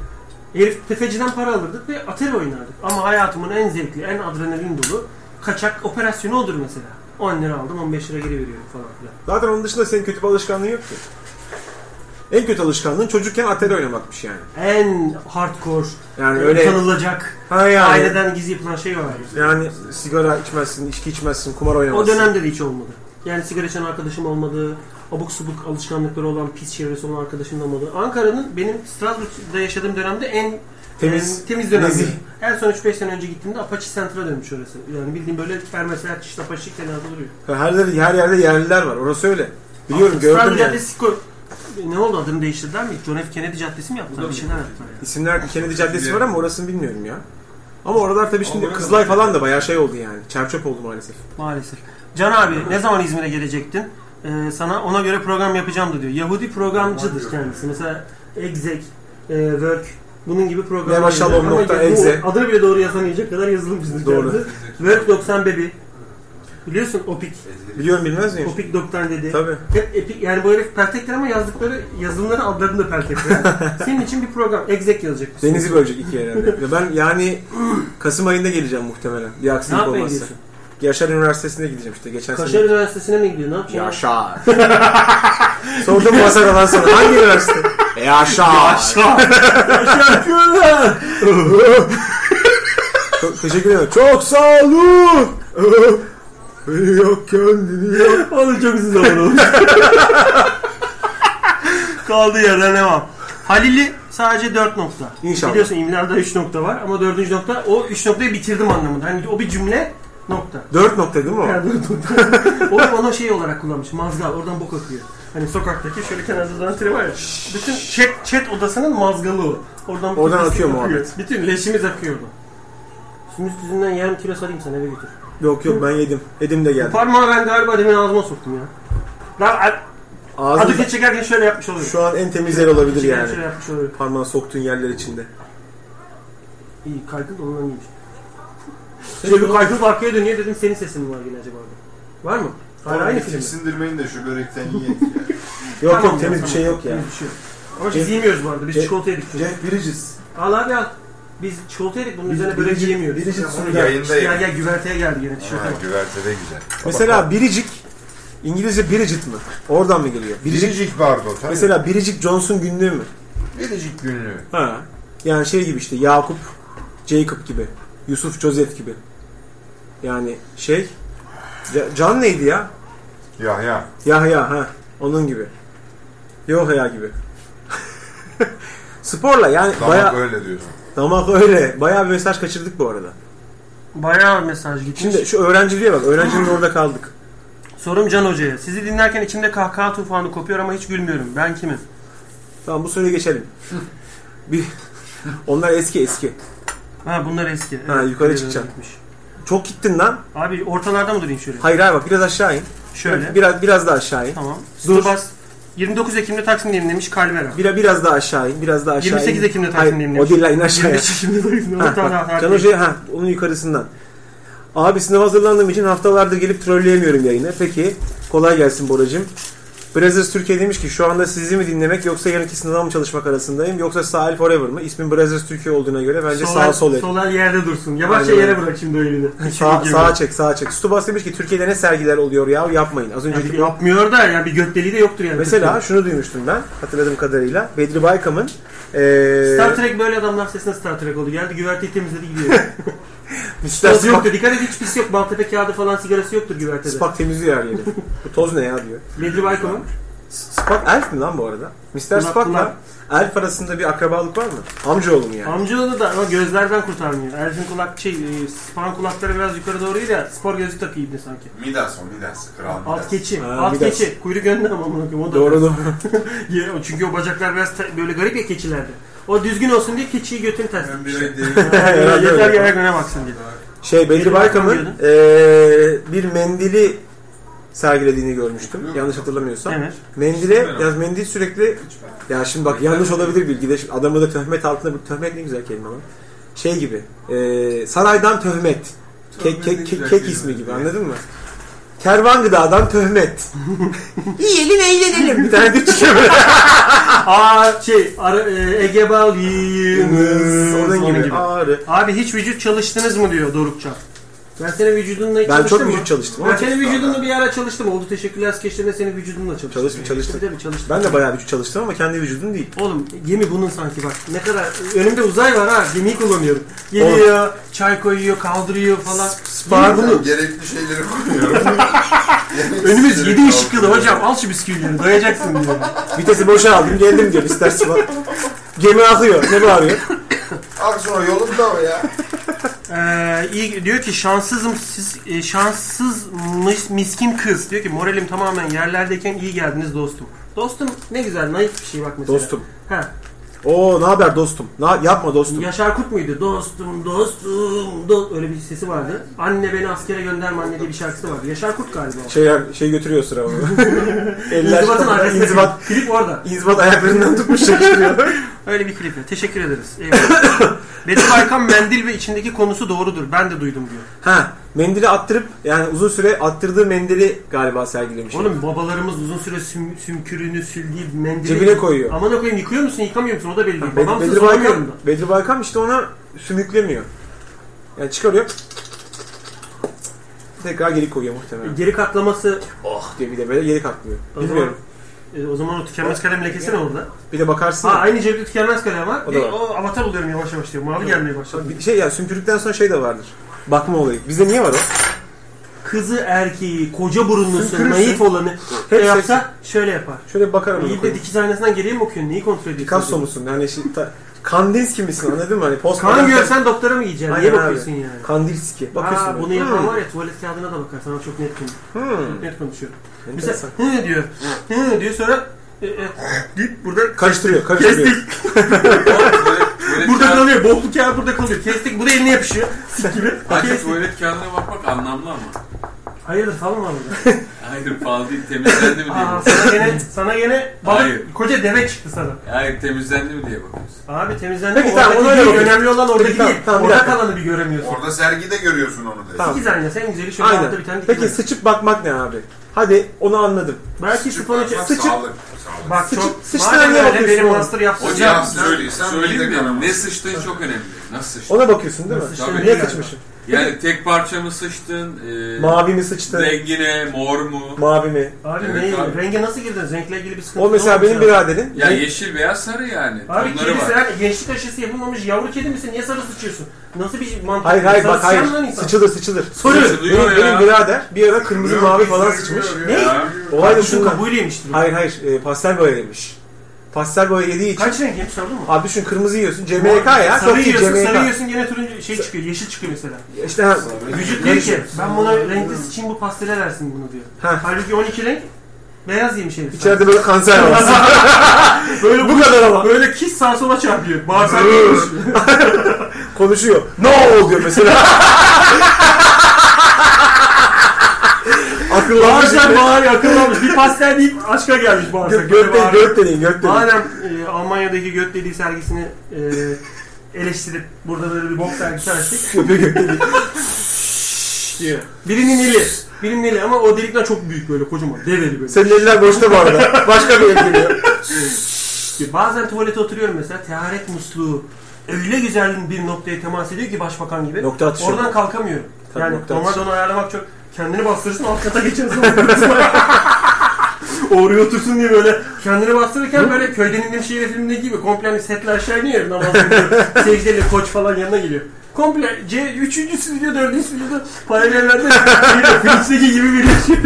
Herif tefeciden para alırdık ve Atari oynardık. Ama hayatımın en zevkli, en adrenalin dolu kaçak operasyonu odur mesela. 10 lira aldım, 15 lira geri veriyorum falan filan. Zaten onun dışında senin kötü bir alışkanlığın yok ki. En kötü alışkanlığın çocukken atari oynamakmış yani. En hardcore, Yani yani öyle- utanılacak, Ha yani. aileden gizli yapılan şey var. yani. Yani sigara içmezsin, içki içmezsin, kumar O oynamazsın. dönemde de hiç olmadı. Yani sigara içen arkadaşım olmadı. Abuk subuk alışkanlıkları olan, pis çevresi olan arkadaşım da olmadı. Ankara'nın benim Strasbourg'da yaşadığım dönemde en Temiz, En temiz dönemdi. nezih. En son 3-5 sene önce gittiğimde Apache Center'a dönmüş orası. Yani bildiğim böyle kermesler, çişte Apache kenarda duruyor. Her yerde, her yerde yerliler var. Orası öyle. Biliyorum gördüm Strasbourg yani. Caddesi koy- Ne oldu adını değiştirdiler mi? John F. Kennedy Caddesi mi yaptılar? Bir şeyler yaptılar. yani. İsimler Kennedy Caddesi var ama orasını bilmiyorum ya. Ama oralar tabii şimdi Kızılay falan da bayağı şey oldu yani. Çerçöp oldu maalesef. Maalesef. Can abi ne zaman İzmir'e gelecektin? Ee, sana ona göre program yapacağım da diyor. Yahudi programcıdır kendisi. Mesela Exec, e, Work bunun gibi programlar. Leva Shalom yazıyor. Ama nokta ya- bu exe. Adını bile doğru yazamayacak kadar yazılım bizde. Doğru. kendisi. Work 90 Baby. Biliyorsun Opik. Biliyorum bilmez miyim? Opik 90 dedi. Tabii. Hep epi- yani bu herif pertekler ama yazdıkları yazılımların adlarını da pertekler. Senin için bir program. Exec yazacak. mısın? Denizi bölecek ikiye herhalde. Ve ben yani Kasım ayında geleceğim muhtemelen. Bir Ne aksilik yapmaya olmazsa. gidiyorsun? Yaşar Üniversitesi'ne gideceğim işte geçen Kaşar sene. Üniversitesi'ne mi gidiyorsun? Ne yapacaksın? Yaşar. Sordum masadan sonra hangi üniversite? E, Yaşar. Çok teşekkür ederim. Çok sağ olun. Beni yok kendini yok. Oğlum çok uzun zaman olmuş. Kaldı yerden devam. Halil'i sadece 4 nokta. İnşallah. Biliyorsun İmla'da 3 nokta var ama 4. nokta o 3 noktayı bitirdim anlamında. Hani o bir cümle nokta. Dört nokta değil mi o? Yani dört nokta. Onu ona şey olarak kullanmış. Mazgal. Oradan bok akıyor. Hani sokaktaki şöyle kenarda duran tire var ya. Bütün chat, chat odasının mazgalı o. Oradan, bütün Oradan pislik akıyor muhabbet. Bütün leşimiz akıyordu. Sümüş tüzünden yarım kilo sarayım sana eve götür. Yok yok ben yedim. Yedim de geldi. Parmağı ben galiba demin ağzıma soktum ya. Lan Ağzım Adıke çekerken şöyle yapmış oluyor. şu an en temiz yer olabilir Çekerken yani. Şöyle yapmış oluyor. Parmağını soktuğun yerler içinde. İyi kaykıl da ondan iyiymiş. Şöyle bir kaykıl arkaya dönüyor dedim senin sesin mi var yine acaba orada? Var mı? Hayır aynı film. mi? Tiksindirmeyin de şu börekten yiyin. Yok Tamam yok ya, temiz bir tamam. şey yok ya. Temiz bir şey yok. Ama biz yemiyoruz bu arada. Biz Cem- çikolata yedik. çünkü. Jeff Bridges. Al abi al. Biz çikolata yedik bunun üzerine börek yemiyoruz. Bridges sunuyor. Yayında Ya yiyin. gel güverteye geldi yine tişörte Ha, bak. güvertede güzel. Mesela biricik İngilizce biricik mi? Oradan mı geliyor? Biricik Biricik bardo. Tabii. mesela biricik Johnson günlüğü mü? Biricik günlüğü. Ha. Yani şey gibi işte Yakup, Jacob gibi. Yusuf, Joseph gibi. Yani şey Ca- Can neydi ya? Ya ya. Yahya ha. Onun gibi. Yahya gibi. Sporla yani Damak baya öyle diyorsun. damak öyle. Baya bir mesaj kaçırdık bu arada. Bayağı mesaj gitmiş. Şimdi şu öğrenciliğe bak. Öğrenciliğin orada kaldık. Sorum Can Hoca'ya. Sizi dinlerken içimde kahkaha tufanı kopuyor ama hiç gülmüyorum. Ben kimim? Tamam bu soruya geçelim. bir onlar eski eski. Ha bunlar eski. Ha, yukarı çıkacağım. gitmiş. Çok gittin lan. Abi ortalarda mı durayım şöyle? Hayır hayır bak biraz aşağı in. Şöyle. Biraz biraz daha aşağı in. Tamam. Dur. Dur. 29 Ekim'de Taksim'deyim demiş Kalvera. Bira, biraz daha aşağı in. Biraz daha aşağı in. 28 Ekim'de Hayır, Taksim'deyim O demiş. değil lan in aşağıya. 25 Ekim'de Taksim'deyim. Ha, Tamam, bak, tamam, Can Hoca'ya ha, onun yukarısından. Abi sınav hazırlandığım için haftalardır gelip trolleyemiyorum yayını. Peki kolay gelsin Boracığım. Brothers Türkiye demiş ki şu anda sizi mi dinlemek yoksa yarınki sınava mı çalışmak arasındayım yoksa sahil forever mı? İsmin Brothers Türkiye olduğuna göre bence sağ sol et. Soler yerde dursun. Yavaşça Aynen. yere bırak şimdi o elini. Sağ, Gibi. sağa çek sağa çek. Stubas demiş ki Türkiye'de ne sergiler oluyor ya yapmayın. Az Yani önceki yapmıyor da yani bir götdeliği de yoktur yani. Mesela şunu duymuştum ben hatırladığım kadarıyla. Bedri Baykam'ın Star eee Trek böyle adamlar sesine Star Trek oldu. Geldi güverteyi temizledi gidiyor. Mr. Toz Spock, yoktu. Dikkat et hiç pis yok. Maltepe kağıdı falan sigarası yoktur güvertede. Spak. Spock temizliyor her yeri. Bu toz ne ya diyor. Bedri Baykam'ın. Spock elf mi lan bu arada? Mr. Pınar. Spock'la elf arasında bir akrabalık var mı? Amcaoğlu mu yani? Amcaları da ama gözlerden kurtarmıyor. Elfin kulak şey, e, Spahn kulakları biraz yukarı doğruydu ya spor gözlük takıyordu sanki. Midas o Midas. Kral Midas. Alt keçi, Ha, alt bir dakika. keçi. Kuyruk önde ama amına koyayım, o da. Doğru doğru. Ya, çünkü o bacaklar biraz te- böyle garip ya keçilerde. O düzgün olsun diye keçiyi götünü ters. Ben Yani bir ay değilim. Herhalde yeter öyle. ki ayak öne baksın diye. Şey Bedri Bedri Baykam'ın Baykam eee, bir mendili sergilediğini görmüştüm. Yanlış hatırlamıyorsam. Evet. Mendile, ya mendil sürekli ya şimdi bak yanlış olabilir bilgide. Şimdi Adamı da töhmet altında bir töhmet ne güzel kelime lan. Şey gibi. eee, saraydan töhmet. Kek, Töhmet kek, ne kek, güzel kek kelime. ismi gibi anladın mı? Kervan gıdadan töhmet. Yiyelim eğlenelim. Bir tane de çıkıyor böyle. Aa şey, ara, e, Ege Balıyımız. Onun gibi. Ağrı. Abi hiç vücut çalıştınız mı diyor Dorukcan. Ben senin vücudunla hiç Ben çok çalıştım mı? vücut çalıştım Ben ama senin vücudunla bir ara çalıştım. Oldu teşekkürler skeçlerinde senin vücudunla çalıştım. Çalıştım, çalıştım. Tabii, tabii, çalıştım. Ben de bayağı vücut çalıştım ama kendi vücudum değil. Oğlum gemi bunun sanki bak. Ne kadar önümde uzay var ha. Gemiyi kullanıyorum. Geliyor, çay koyuyor, kaldırıyor falan. Spar Tamam, Gerekli şeyleri koyuyorum. Önümüz 7 ışık yılı hocam. Al şu bisküvileri doyacaksın diyor. Vitesi boşa aldım geldim diyor istersen bak. Gemi akıyor. Ne bağırıyor? Al sonra yolum da o ya. Ee, iyi diyor ki şanssızım siz e, şanssız mis- miskin kız diyor ki moralim tamamen yerlerdeyken iyi geldiniz dostum. Dostum ne güzel naif bir şey bak mesela. Dostum. Ha, Oo ne haber dostum? Na, yapma dostum. Yaşar Kurt muydu? Dostum dostum do öyle bir sesi vardı. Anne beni askere gönderme anne diye bir şarkısı vardı. Yaşar Kurt galiba. o. Şey, şey götürüyor sıra onu. Eller İnzibatın arkasında inzibat, klip orada. inzibat ayaklarından tutmuş çekiştiriyor. Öyle bir kliple. Teşekkür ederiz. Eyvallah. Betül Baykan mendil ve içindeki konusu doğrudur. Ben de duydum diyor. ha mendili attırıp yani uzun süre attırdığı mendili galiba sergilemiş. Oğlum babalarımız uzun süre süm, sümkürünü süldüğü mendili... Cebine koyuyor. Aman koyayım yıkıyor musun yıkamıyor musun o da belli değil. Bed- Babamsın Bedri soramıyorum Baykam, da. Bedri Baykam işte ona sümüklemiyor. Yani çıkarıyor. Tekrar geri koyuyor E, muhtemelen. Geri katlaması... Oh diye bir de böyle geri katlıyor. Ah. O Bilmiyorum. zaman, e, o zaman o tükenmez kalem lekesi ne orada? Bir de bakarsın. Ha, aynı cebde tükenmez kalem var. E, O O, da var. o avatar oluyorum yavaş yavaş diyor. Mavi gelmeye başladı. Bir şey yani sümkürükten sonra şey de vardır. Bakma olayı. Bizde niye var o? Şey Kızı erkeği, koca burunlusu, Sümkürürsün. naif olanı şey Hepsi- yapsa şöyle yapar. Şöyle bakarım. İyi de dikiz aynasından geriye mi okuyorsun? Neyi kontrol ediyorsun? Picasso musun? Yani şey, ta, Kandinsky misin anladın mı? Hani post Kan görsen doktora mı gideceksin? Niye bakıyorsun yani? Kandinsky. Bakıyorsun. Aa, bunu böyle. yapan Hmm. var ya tuvalet kağıdına da bakar. Sana çok net konuşuyor. Hmm. Net konuşuyor. Enteresan. Hmm. Mesela hı diyor. Hı diyor sonra e, e, deyip burada Karıştırıyor, karıştırıyor. kestik. burada kalıyor. Bokluk kağıt burada kalıyor. Kestik. Bu da eline yapışıyor. Sik gibi. Hadi Kestik. tuvalet kağıdına bakmak anlamlı ama. Hayırdır falan var burada. Hayır pahalı değil temizlendi mi diye Aa, bakıyorsun. sana gene, sana gene Hayır. balık, koca deve çıktı sana. Hayır temizlendi mi diye bakıyorsun. Abi temizlendi Peki, mi? tamam, Oradaki ona değil, bakıyorum. önemli olan Peki, oradaki tamam, değil. tamam, bir Orada dakika. kalanı bir göremiyorsun. Orada sergide görüyorsun onu da. Tamam. Dikiz aynası en güzeli şöyle altta Aynen. bir tane dikiz Peki aynası. sıçıp bakmak ne abi? Hadi onu anladım. Belki sponucu... Sağlık. Sağlık. Bak Sıçıp- çok... sıçtığına Madem niye öyle bakıyorsun benim oğlum? master şey- yapsın. Hocam sen- söyle, sen söyleyeyim bir de mi? kanama. Ne sıçtığın çok önemli. Nasıl sıçtın? Ona bakıyorsun değil mi? Nasıl işte, Niye yani. sıçmışım? Yani tek parça mı sıçtın? E, Mavi mi sıçtı? Rengine, mor mu? Mavi mi? Abi Evet neyi? abi. Renge nasıl girdiniz? Renkle ilgili bir sıkıntı O mesela olmamış benim ya. biraderim. Ya yeşil, beyaz, sarı yani. Abi Tonları kedi var. sen gençlik aşısı yapılmamış yavru kedi misin? Niye sarı sıçıyorsun? Nasıl bir mantık? Hayır hayır Sarı bak sıçan hayır. lan insan. Sıçılır sıçılır. Soruyor. Benim, benim birader bir ara kırmızı mavi falan sıçmış. Ya. Olay da Şu şundan. kabuğuyla yemiştir. Hayır hayır e, pastel boya yemiş. Pastel boya yediği için. Kaç renk yemiş sordun mu? Abi düşün kırmızı yiyorsun. CMYK ya. Sarı Çok iyi yiyorsun, sarı CMYK. yiyorsun gene turuncu şey çıkıyor, yeşil çıkıyor mesela. İşte ha, Vücut diyor ki Karışıyor. ben buna renkli sıçayım bu pastele versin bunu diyor. Ha. Halbuki 12 renk beyaz yemiş herif. içeride böyle kanser var. böyle Bu kadar ama. Böyle kis sağa sola çarpıyor. Bağırsak yemiş. konuşuyor. No oluyor mesela. Akıllı Bağırsak bağırıyor akıllanmış. Bir pastel deyip aşka gelmiş bağırsak. Böyle Göt de- bağırıyor. göt dediğin göt dediğin. Madem e, Almanya'daki göt deliği sergisini e, eleştirip burada böyle bir bok sergisi açtık. Göt dediğin. diye. Birinin eli. Birinin eli ama o delikler çok büyük böyle kocaman. Dev eli böyle. Senin eller boşta bu arada. Başka bir el geliyor. Bazen tuvalete oturuyorum mesela teharet musluğu öyle güzel bir noktaya temas ediyor ki başbakan gibi. Nokta atışı. Oradan kalkamıyorum. Tabii yani nokta normalde atışı. onu ayarlamak çok kendini bastırırsın alt kata geçersin. Oraya otursun diye böyle kendini bastırırken böyle köyden indiğim şehir filmindeki gibi komple hani setler aşağı iniyor ya, namaz kılıyor. Secdeyle koç falan yanına geliyor. Komple C, üçüncü stüdyo, dördüncü stüdyo paralellerde Philips'teki gibi bir şey. yaşıyor.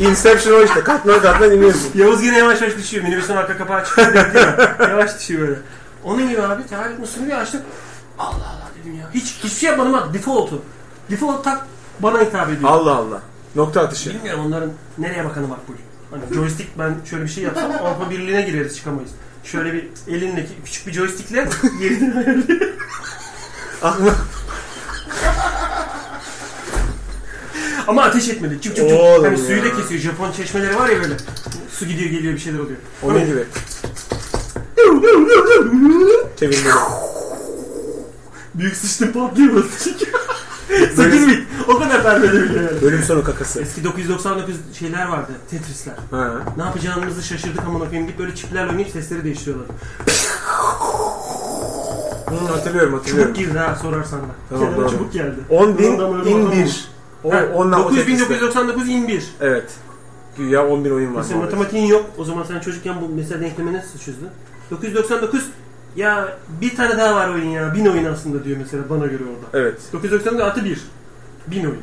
Inception o işte. Katman katman iniyorsun. Yavuz yine yavaş yavaş düşüyor. Minibüsün arka kapağı çıkıyor. bekliyor. yavaş düşüyor böyle. Onun gibi abi teharet musluğunu bir açtım. Allah Allah dedim ya. Hiç hiçbir şey yapmadım bak default'u. Default tak bana hitap ediyor. Allah Allah. Nokta atışı. Bilmiyorum onların nereye bakanı makbul. Hani joystick ben şöyle bir şey yapsam Avrupa Birliği'ne gireriz çıkamayız. Şöyle bir elindeki küçük bir joystickle yerini ayarlıyor. Ah, Ama ateş etmedi. Çık çık çık. Oğlum Hani ya. suyu da kesiyor. Japon çeşmeleri var ya böyle. Su gidiyor geliyor bir şeyler oluyor. Onun gibi. Çevirmeli. Büyük sıçtım patlıyor böyle. 8 bit. O kadar vermedi bile yani. Bölüm sonu kakası. Eski 999 şeyler vardı. Tetris'ler. Ha. Ne yapacağımızı şaşırdık ama koyayım deyip böyle çiplerle oynayıp sesleri değiştiriyorlar. Hı, hatırlıyorum hatırlıyorum. Çubuk girdi ha sorarsan da. Tamam, Kenara doğru. çubuk geldi. 10 bin Ondan böyle in bakalım. 1. O, Ha, onunla o tetrisle. 9999 in 1. Evet. Güya 10 bin oyun var. Mesela muhabbet. matematiğin yok. O zaman sen çocukken bu mesela denkleme nasıl çözdün? 999 ya bir tane daha var oyun ya. Bin oyun aslında diyor mesela bana göre orada. Evet. 999 artı 1. 1000 oyun.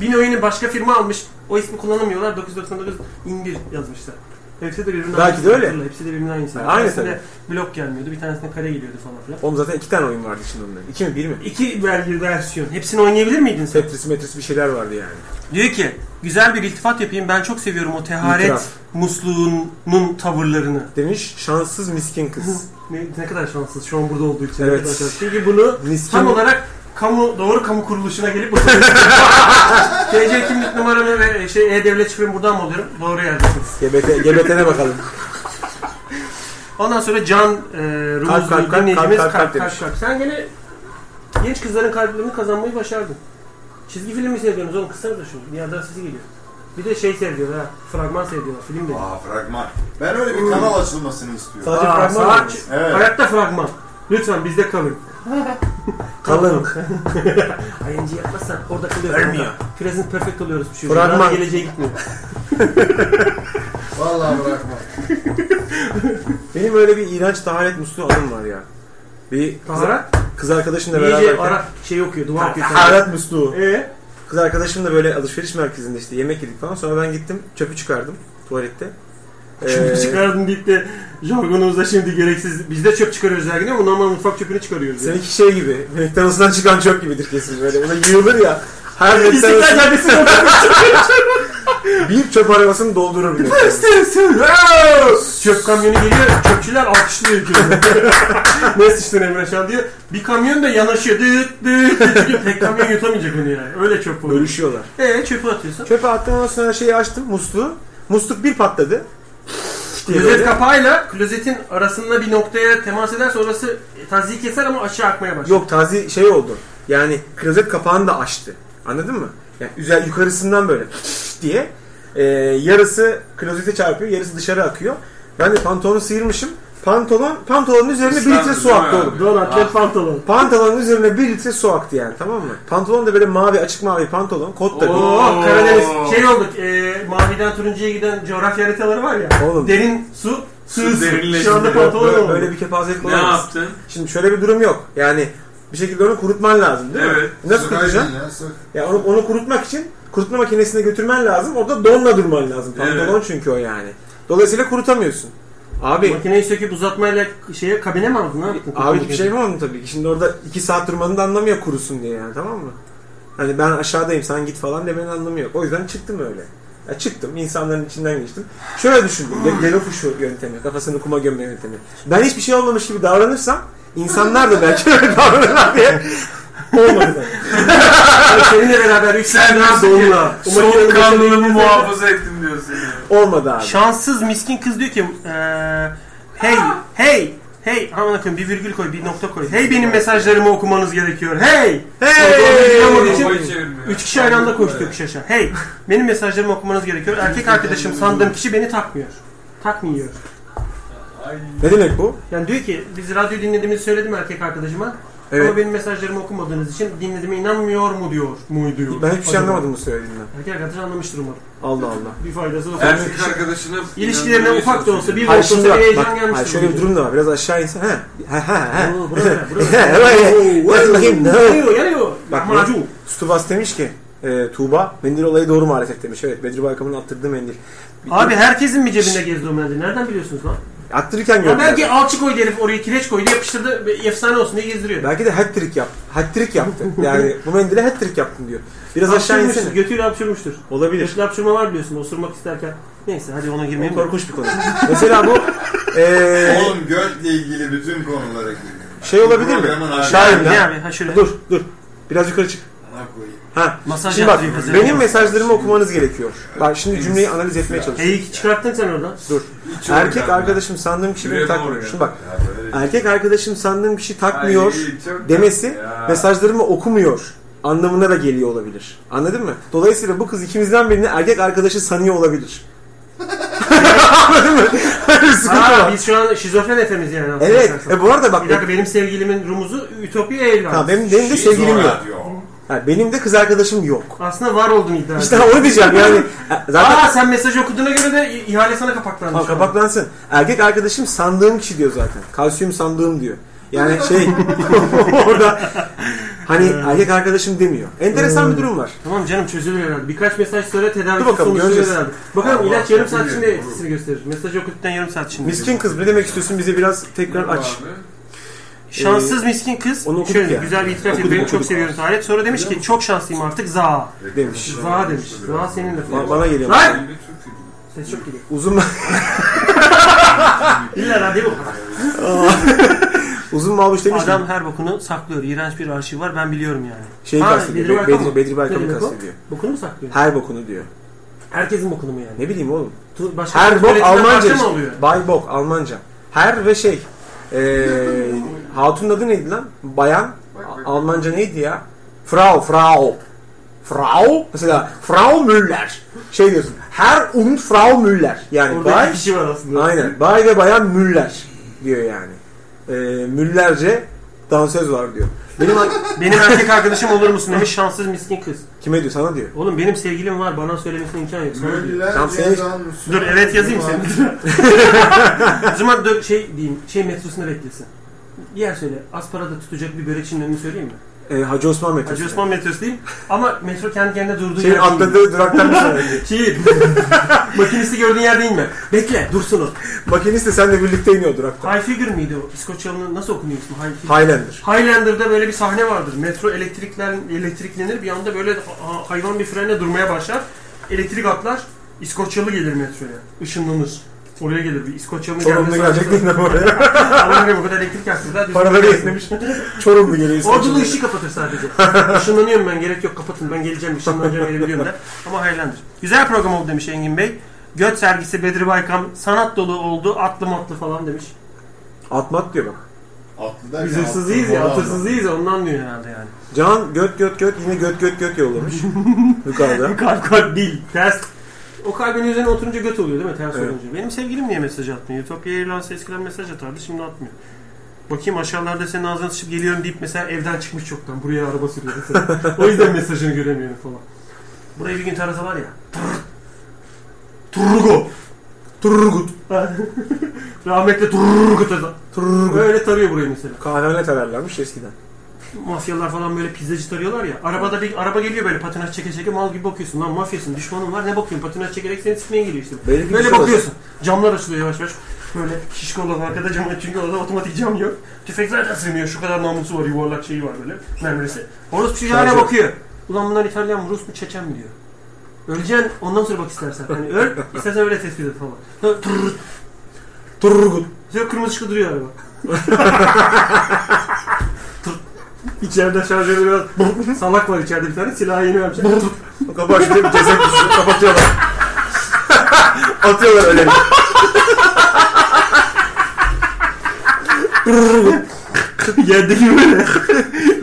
1000 oyunu başka firma almış. O ismi kullanamıyorlar. 999 in 1 yazmışlar. Hepsi de birbirinden Belki aynısı. de öyle. Hatırla, Hepsi de birbirinden aynısı. Ha, aynı Bir tanesinde blok gelmiyordu. Bir tanesinde kare geliyordu falan filan. Oğlum zaten iki tane oyun vardı şimdi onların. İki mi bir mi? İki vergi versiyon. Hepsini oynayabilir miydin sen? Tetris metris bir şeyler vardı yani. Diyor ki güzel bir iltifat yapayım. Ben çok seviyorum o teharet İtiraf. musluğunun tavırlarını. Demiş şanssız miskin kız. Ne, ne kadar şanssız şu an burada olduğu için. Evet. arkadaşlar. Çünkü bunu Miskin- tam olarak kamu doğru kamu kuruluşuna gelip bu- TC kimlik numaramı ve şey e-devlet şifremi buradan mı alıyorum? Doğru yerdesiniz. GBT, GBT'ne bakalım. Ondan sonra Can e, Kalp, Rumuz kalp, kalp, dinleyicimiz kalp, kalp, kalp kalp demiş. kalp, Sen gene genç kızların kalplerini kazanmayı başardın. Çizgi film mi seviyorsunuz oğlum? Kısa da şu. Diyardan sesi geliyor. Bir de şey seviyorlar ha. Fragman seviyorlar. Film de. değil. Aa fragman. Ben öyle bir kanal açılmasını istiyorum. Sadece Aa, fragman saat- varmış. Evet. Hayatta fragman. Lütfen bizde kalın. Kalın. ING yapmazsan orada kalıyor. Vermiyor. Present perfect oluyoruz bir şey. Fragman. Yarın Geleceğe gitmiyor. Vallahi bırakma. Benim öyle bir iğrenç taharet musluğu anım var ya. Bir kız, Taharet? kız arkadaşımla İyice beraber. ara şey okuyor. Duvar okuyor. Ee? Taharet musluğu. Eee? Kız arkadaşımla böyle alışveriş merkezinde işte yemek yedik falan. Sonra ben gittim çöpü çıkardım tuvalette. Ee? Çöpü çıkardın deyip de jargonumuzda şimdi gereksiz. Biz de çöp çıkarıyoruz her gün ama normal mutfak çöpünü çıkarıyoruz. Yani. Seninki şey gibi. McDonald's'tan çıkan çöp gibidir kesin böyle. Buna yığılır ya. Her İstiklal McDonald's Caddesi bir çöp arabasını doldurur bile. Çöp kamyonu geliyor, çöpçüler alkışlıyor ülkeyi. ne sıçtın Emre Şan diye. Bir kamyon da yanaşıyor. Dıt dıt dıt gidiyor. Tek kamyon yutamayacak onu yani. Öyle çöp oluyor. Bölüşüyorlar. Eee çöpü atıyorsun. Çöpe attım ondan sonra şeyi açtım musluğu. Musluk bir patladı. diye Klozet böyle. kapağıyla klozetin arasında bir noktaya temas ederse orası taziyi keser ama aşağı akmaya başlar. Yok tazi şey oldu. Yani klozet kapağını da açtı. Anladın mı? Yani üzer yukarısından böyle diye. Ee, yarısı klozete çarpıyor, yarısı dışarı akıyor. Ben de pantolonu sıyırmışım. Pantolon, pantolonun üzerine bir litre Islandı su değil mi aktı abi? oğlum. Don atlet pantolon. Pantolonun üzerine bir litre su aktı yani tamam mı? Pantolon da böyle mavi, açık mavi pantolon. Kot da değil. Oo, Karadeniz şey olduk. E, maviden turuncuya giden coğrafya haritaları var ya. Oğlum. Derin su, sığ Su su. Şu derinleştiriyor. anda pantolon Böyle, oldu. böyle bir kepazelik Ne olamaz. yaptın? Şimdi şöyle bir durum yok. Yani bir şekilde onu kurutman lazım değil mi? Evet. Nasıl Sık kurutacaksın? aynen ya sık. Ya onu, onu kurutmak için kurutma makinesine götürmen lazım. Orada donla durman lazım. Pantolon Evet. çünkü o yani. Dolayısıyla kurutamıyorsun. Abi Makineyi söküp uzatmayla şeye kabine mi aldın? Ne yaptın? şey. abi hiçbir şey yapamam tabii ki. Şimdi orada iki saat durmanın da anlamı yok kurusun diye yani tamam mı? Hani ben aşağıdayım sen git falan demenin anlamı yok. O yüzden çıktım öyle. Ya çıktım insanların içinden geçtim. Şöyle düşündüm. De, Delofuşu yöntemi. Kafasını kuma gömme yöntemi. Ben hiçbir şey olmamış gibi davranırsam insanlar da belki öyle davranırlar diye. Olmadı. da. Seninle beraber 3 Sen tane nasıl ki donla. O makinenin soğukkanlılığımı makineyi- muhafaza ettim diyorsun ya. Olmadı abi. Şanssız miskin kız diyor ki eee, e, hey hey Hey aman akın bir virgül koy bir nokta koy. Hey benim mesajlarımı okumanız gerekiyor. Hey. Hey! Şey! Sorgulamam için Kafayı çevirmiyor. Üç kişi aynı anda koştuk şaşa. Hey benim mesajlarımı okumanız gerekiyor. Erkek arkadaşım sandığım kişi beni takmıyor. Takmıyor. Ne demek bu? Yani diyor ki biz radyo dinlediğimizi söyledim erkek arkadaşıma. Evet. Ama benim mesajlarımı okumadığınız için dinlediğime inanmıyor mu diyor. Mu diyor. Ben hiçbir şey Acaba? anlamadım bu söylediğinden. Erkek arkadaş anlamıştır umarım. Allah Allah. Bir faydası da olsun. Erkek arkadaşına İlişkilerine ufak da olsa bir de şey Hayır olsa şimdi bir bak, heyecan bak gelmiştir. hayır, şöyle bir durum da var. Biraz aşağı insan. He. He he he. Oo, buraya, buraya. He, buraya. Yaz bakayım. Ne? Yanıyor yanıyor. Bak, Macun. Stubas demiş ki e, Tuğba mendil olayı doğru maalesef demiş. Evet Bedri Baykam'ın attırdığı mendil. Abi herkesin mi cebinde gezdi o mendil? Nereden biliyorsunuz lan? Attırırken Ya gördüm. belki alçı koydu herif oraya kireç koydu yapıştırdı bir efsane olsun diye gezdiriyor. Belki de hat-trick yaptı. Hat-trick yaptı. Yani bu mendile hat-trick yaptım diyor. Biraz aşağı Hapşırmıştır, insene. Götüyle hapşırmıştır. Olabilir. Götüyle hapşırma var biliyorsun osurmak isterken. Neyse hadi ona girmeyelim. Korkunç bir konu. Mesela bu e, Oğlum götle ilgili bütün konulara giriyor. şey olabilir mi? Programın abi- Şair Ne ya. abi? Ha şöyle. Dur dur. Biraz yukarı çık. Ana koyayım. Ha. Masaj Şimdi bak yaptırıyor kızı. benim mesajlarımı okumanız gerekiyor. Bak şimdi cümleyi analiz etmeye çalış. Heyi çıkarttın sen oradan. Dur. İç Erkek organ. arkadaşım sandığım kişi beni Şuraya doğru takmıyor. ya. Şimdi bak. Ya böyle Erkek arkadaşım sandığım kişi takmıyor Ay, çok- demesi Ya. mesajlarımı okumuyor anlamına da geliyor olabilir. Anladın mı? Dolayısıyla bu kız ikimizden birini erkek arkadaşı sanıyor olabilir. Anladın mı? Böyle bir sıkıntı Aa, var. biz şu an şizofren efemiz yani. aslında Evet. bakarsan. E bu arada bak. Bir dakika benim sevgilimin rumuzu Ütopya evladı. Ha, benim, benim de Şizo sevgilim yok. şey radyo. Ha, benim de kız arkadaşım yok. Aslında var oldum iddia İşte ediyorum. onu diyeceğim yani. E, Zaten Aa sen mesaj okuduğuna göre de i- ihale sana kapaklandı. Tamam, şu an. kapaklansın. Erkek arkadaşım sandığım kişi diyor zaten. Kalsiyum sandığım diyor. Yani şey orada hani erkek arkadaşım demiyor. Enteresan bir durum var. Tamam canım çözülür herhalde. Birkaç mesaj sonra tedavisi Dur bakalım, sonuçlanır göreceğiz. herhalde. Bakalım Allah, ilaç yarım saat çok iyi. içinde etkisini gösterir. Mesaj okuduktan yarım saat içinde. Miskin kız ne demek istiyorsun bize biraz tekrar aç. Abi. Şanssız miskin kız. Ee, onu okuduk şöyle ya. güzel bir itiraf Okuduk, yapıyor. Beni okuduk. çok seviyorum Tayyip. Sonra demiş ki çok şanslıyım artık za. Demiş. Za demiş. Za senin Ba- lafın. Bana geliyor. Lan! Elini Türk filmi. Ses çok gidiyor. Uzun İlla radyo bu. uzun mavuş demiş ki Adam her bokunu saklıyor. İğrenç bir arşiv var ben biliyorum yani. şeyi Ha, kastediyor. Be- Bedri Baykan Bedri, mı? Bedri Ne Baykam'ı demek o? kastediyor. Bokunu mu saklıyor? Her bokunu diyor. Herkesin bokunu mu yani? Ne bileyim oğlum. Tu- Başka Her bok tuvaletinden Almanca. parça mı işte. alıyor? Bay bok Almanca. Her ve şey. Ee, hatunun adı neydi lan? Bayan. A- Almanca neydi ya? Frau, Frau. Frau? Mesela Frau Müller. Şey diyorsun. Her und Frau Müller. Yani Orada bay. iki kişi var aslında. Aynen. Bay ve bayan Müller diyor yani. Ee, Müllerce dansöz var diyor. Benim Benim erkek arkadaşım olur musun demiş şanssız miskin kız. kime diyor? Sana diyor. Oğlum benim sevgilim var bana söylemesine imkan yok. Sana diyor. Müller Tam senin- Ceylan Musa- Dur evet yazayım seni. o zaman dur şey diyeyim şey metrosunda beklesin. Yer söyle az parada tutacak bir börekçinin önünü söyleyeyim mi? Ee, Hacı Osman metrosu. Hacı Osman metrosu Şey, diyeyim ama metro kendi kendine durduğu Şeyin yer değil. atladığı duraktan bir sonraki. Şey, makinesi gördüğün yer değil mi? Bekle dursun o. Makinist de seninle birlikte iniyor duraktan. High Figure miydi o? İskoçyalı'nın nasıl okunuyor ismi? High Figure. Highlander. Highlander'da böyle bir sahne vardır. Metro elektrikler, elektriklenir bir anda böyle ha- hayvan bir frenle durmaya başlar. Elektrik atlar. İskoçyalı gelir metroya. Işınlanır. Oraya gelir bir İskoçyalı Çorumlu gelecek değil mi oraya? Allah'ım o kadar elektrik yaktı. Paraları yetmemiş. Çorumlu geliyor. Ordu'nun ışığı kapatır sadece. Işınlanıyorum ben gerek yok kapatın ben geleceğim ışınlanacağım gelebiliyorum da. Ama hayırlandır. Güzel program oldu demiş Engin Bey. Göt sergisi Bedri Baykam sanat dolu oldu atlı matlı falan demiş. Atmat diyor bak. Atlı derken Biz hırsız değiliz ya atırsız değiliz ya ondan diyor herhalde yani. Can göt göt göt yine göt göt göt yollamış. Yukarıda. Kalp kalp değil ters. O kalbin üzerine oturunca göt oluyor değil mi ters Evet. olunca. Benim sevgilim niye mesaj atmıyor? Ütopya Airlines eskiden mesaj atardı şimdi atmıyor. Bakayım aşağılarda senin ağzına sıçıp geliyorum deyip mesela evden çıkmış çoktan. Buraya araba sürüyor mesela. o yüzden mesajını göremiyorum falan. Burayı bir gün tarasalar ya. Turrugo. Turrugut. Rahmetli turrrr kıtada. Turrugut. Öyle tarıyor burayı mesela. Kahvehane tararlarmış eskiden. Mafyalar falan böyle pizzacı tarıyorlar ya. Arabada bir araba geliyor böyle patinaj çeke çeke mal gibi bakıyorsun. Lan mafyasın düşmanın var ne bakıyorsun patinaj çekerek seni sıkmaya geliyor işte. Belki Böyle bir şey bakıyorsun. Camlar açılıyor yavaş yavaş. Böyle şişko olan arkada cam aç- çünkü orada otomatik cam yok. Tüfek zaten sığmıyor. Şu kadar namusu var yuvarlak şeyi var böyle. Mermerisi. Orası çocuğu hala Şarjör. bakıyor. Ulan bunlar İtalyan mı Rus mu Çeçen mi diyor. Öleceksin ondan sonra bak istersen. Hani öl istersen öyle tespit et falan. Sonra tırrrr. Turrugut. Sonra kırmızı ışıkta duruyor araba. Tırrrr. İçeride şarjörü biraz Bırrr. salak var içeride bir tane silahı yeni vermişler. Tırrrr. Kapağı şurada bir ceset düşüyor. Kapatıyorlar. Atıyorlar öyle. Yerdeki böyle.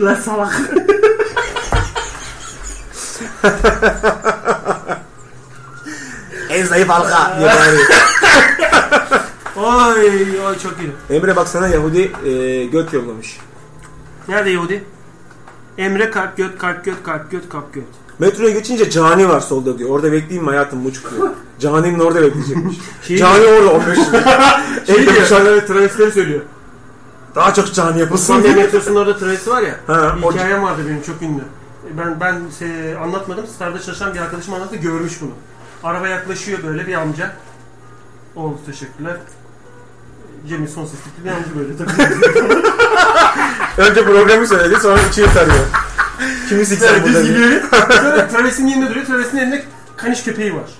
Lan salak. En zayıf halka diye bağırıyor. Oy oy çok iyi. Emre baksana Yahudi e, göt yollamış. Nerede Yahudi? Emre kalp göt kalp göt kalp göt kalp göt. Metroya geçince cani var solda diyor. Orada bekleyeyim mi hayatım muçuk diyor. Cani'nin orada bekleyecekmiş. Şey cani orada olmuş. Şey El diyor. yapışanları Travestileri söylüyor. daha çok cani yapılsın Sofya diye. metrosunun orada travesti var ya. Ha, bir orada- hikayem vardı benim çok ünlü. Ben ben se- anlatmadım. Star'da çalışan bir arkadaşım anlattı görmüş bunu. Araba yaklaşıyor böyle bir amca. Oldu teşekkürler. Cem'in son sesli bir amca böyle takılıyor. Önce programı söyledi sonra içini sarıyor. Kimi siksen burada diye. Sonra travestinin yanında duruyor. Travestinin elinde kaniş köpeği var.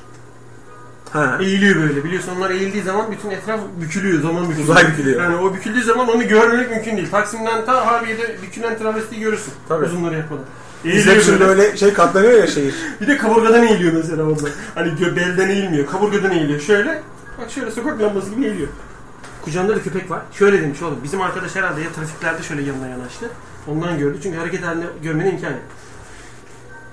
Ha. Eğiliyor böyle. Biliyorsun onlar eğildiği zaman bütün etraf bükülüyor. Zaman bükülüyor. Uzay bükülüyor. Yani o büküldüğü zaman onu görmemek mümkün değil. Taksim'den ta Harbiye'de bükülen travestiyi görürsün. Tabii. Uzunları yapalım. Biz hep şimdi öyle şey katlanıyor ya şehir. Bir de kaburgadan eğiliyor mesela onlar. Hani gö- belden eğilmiyor, kaburgadan eğiliyor. Şöyle, bak şöyle sokak lambası gibi eğiliyor. Kucağında da köpek var. Şöyle demiş oğlum, bizim arkadaş herhalde ya trafiklerde şöyle yanına yanaştı. Ondan gördü çünkü hareket halinde görmenin imkanı yok.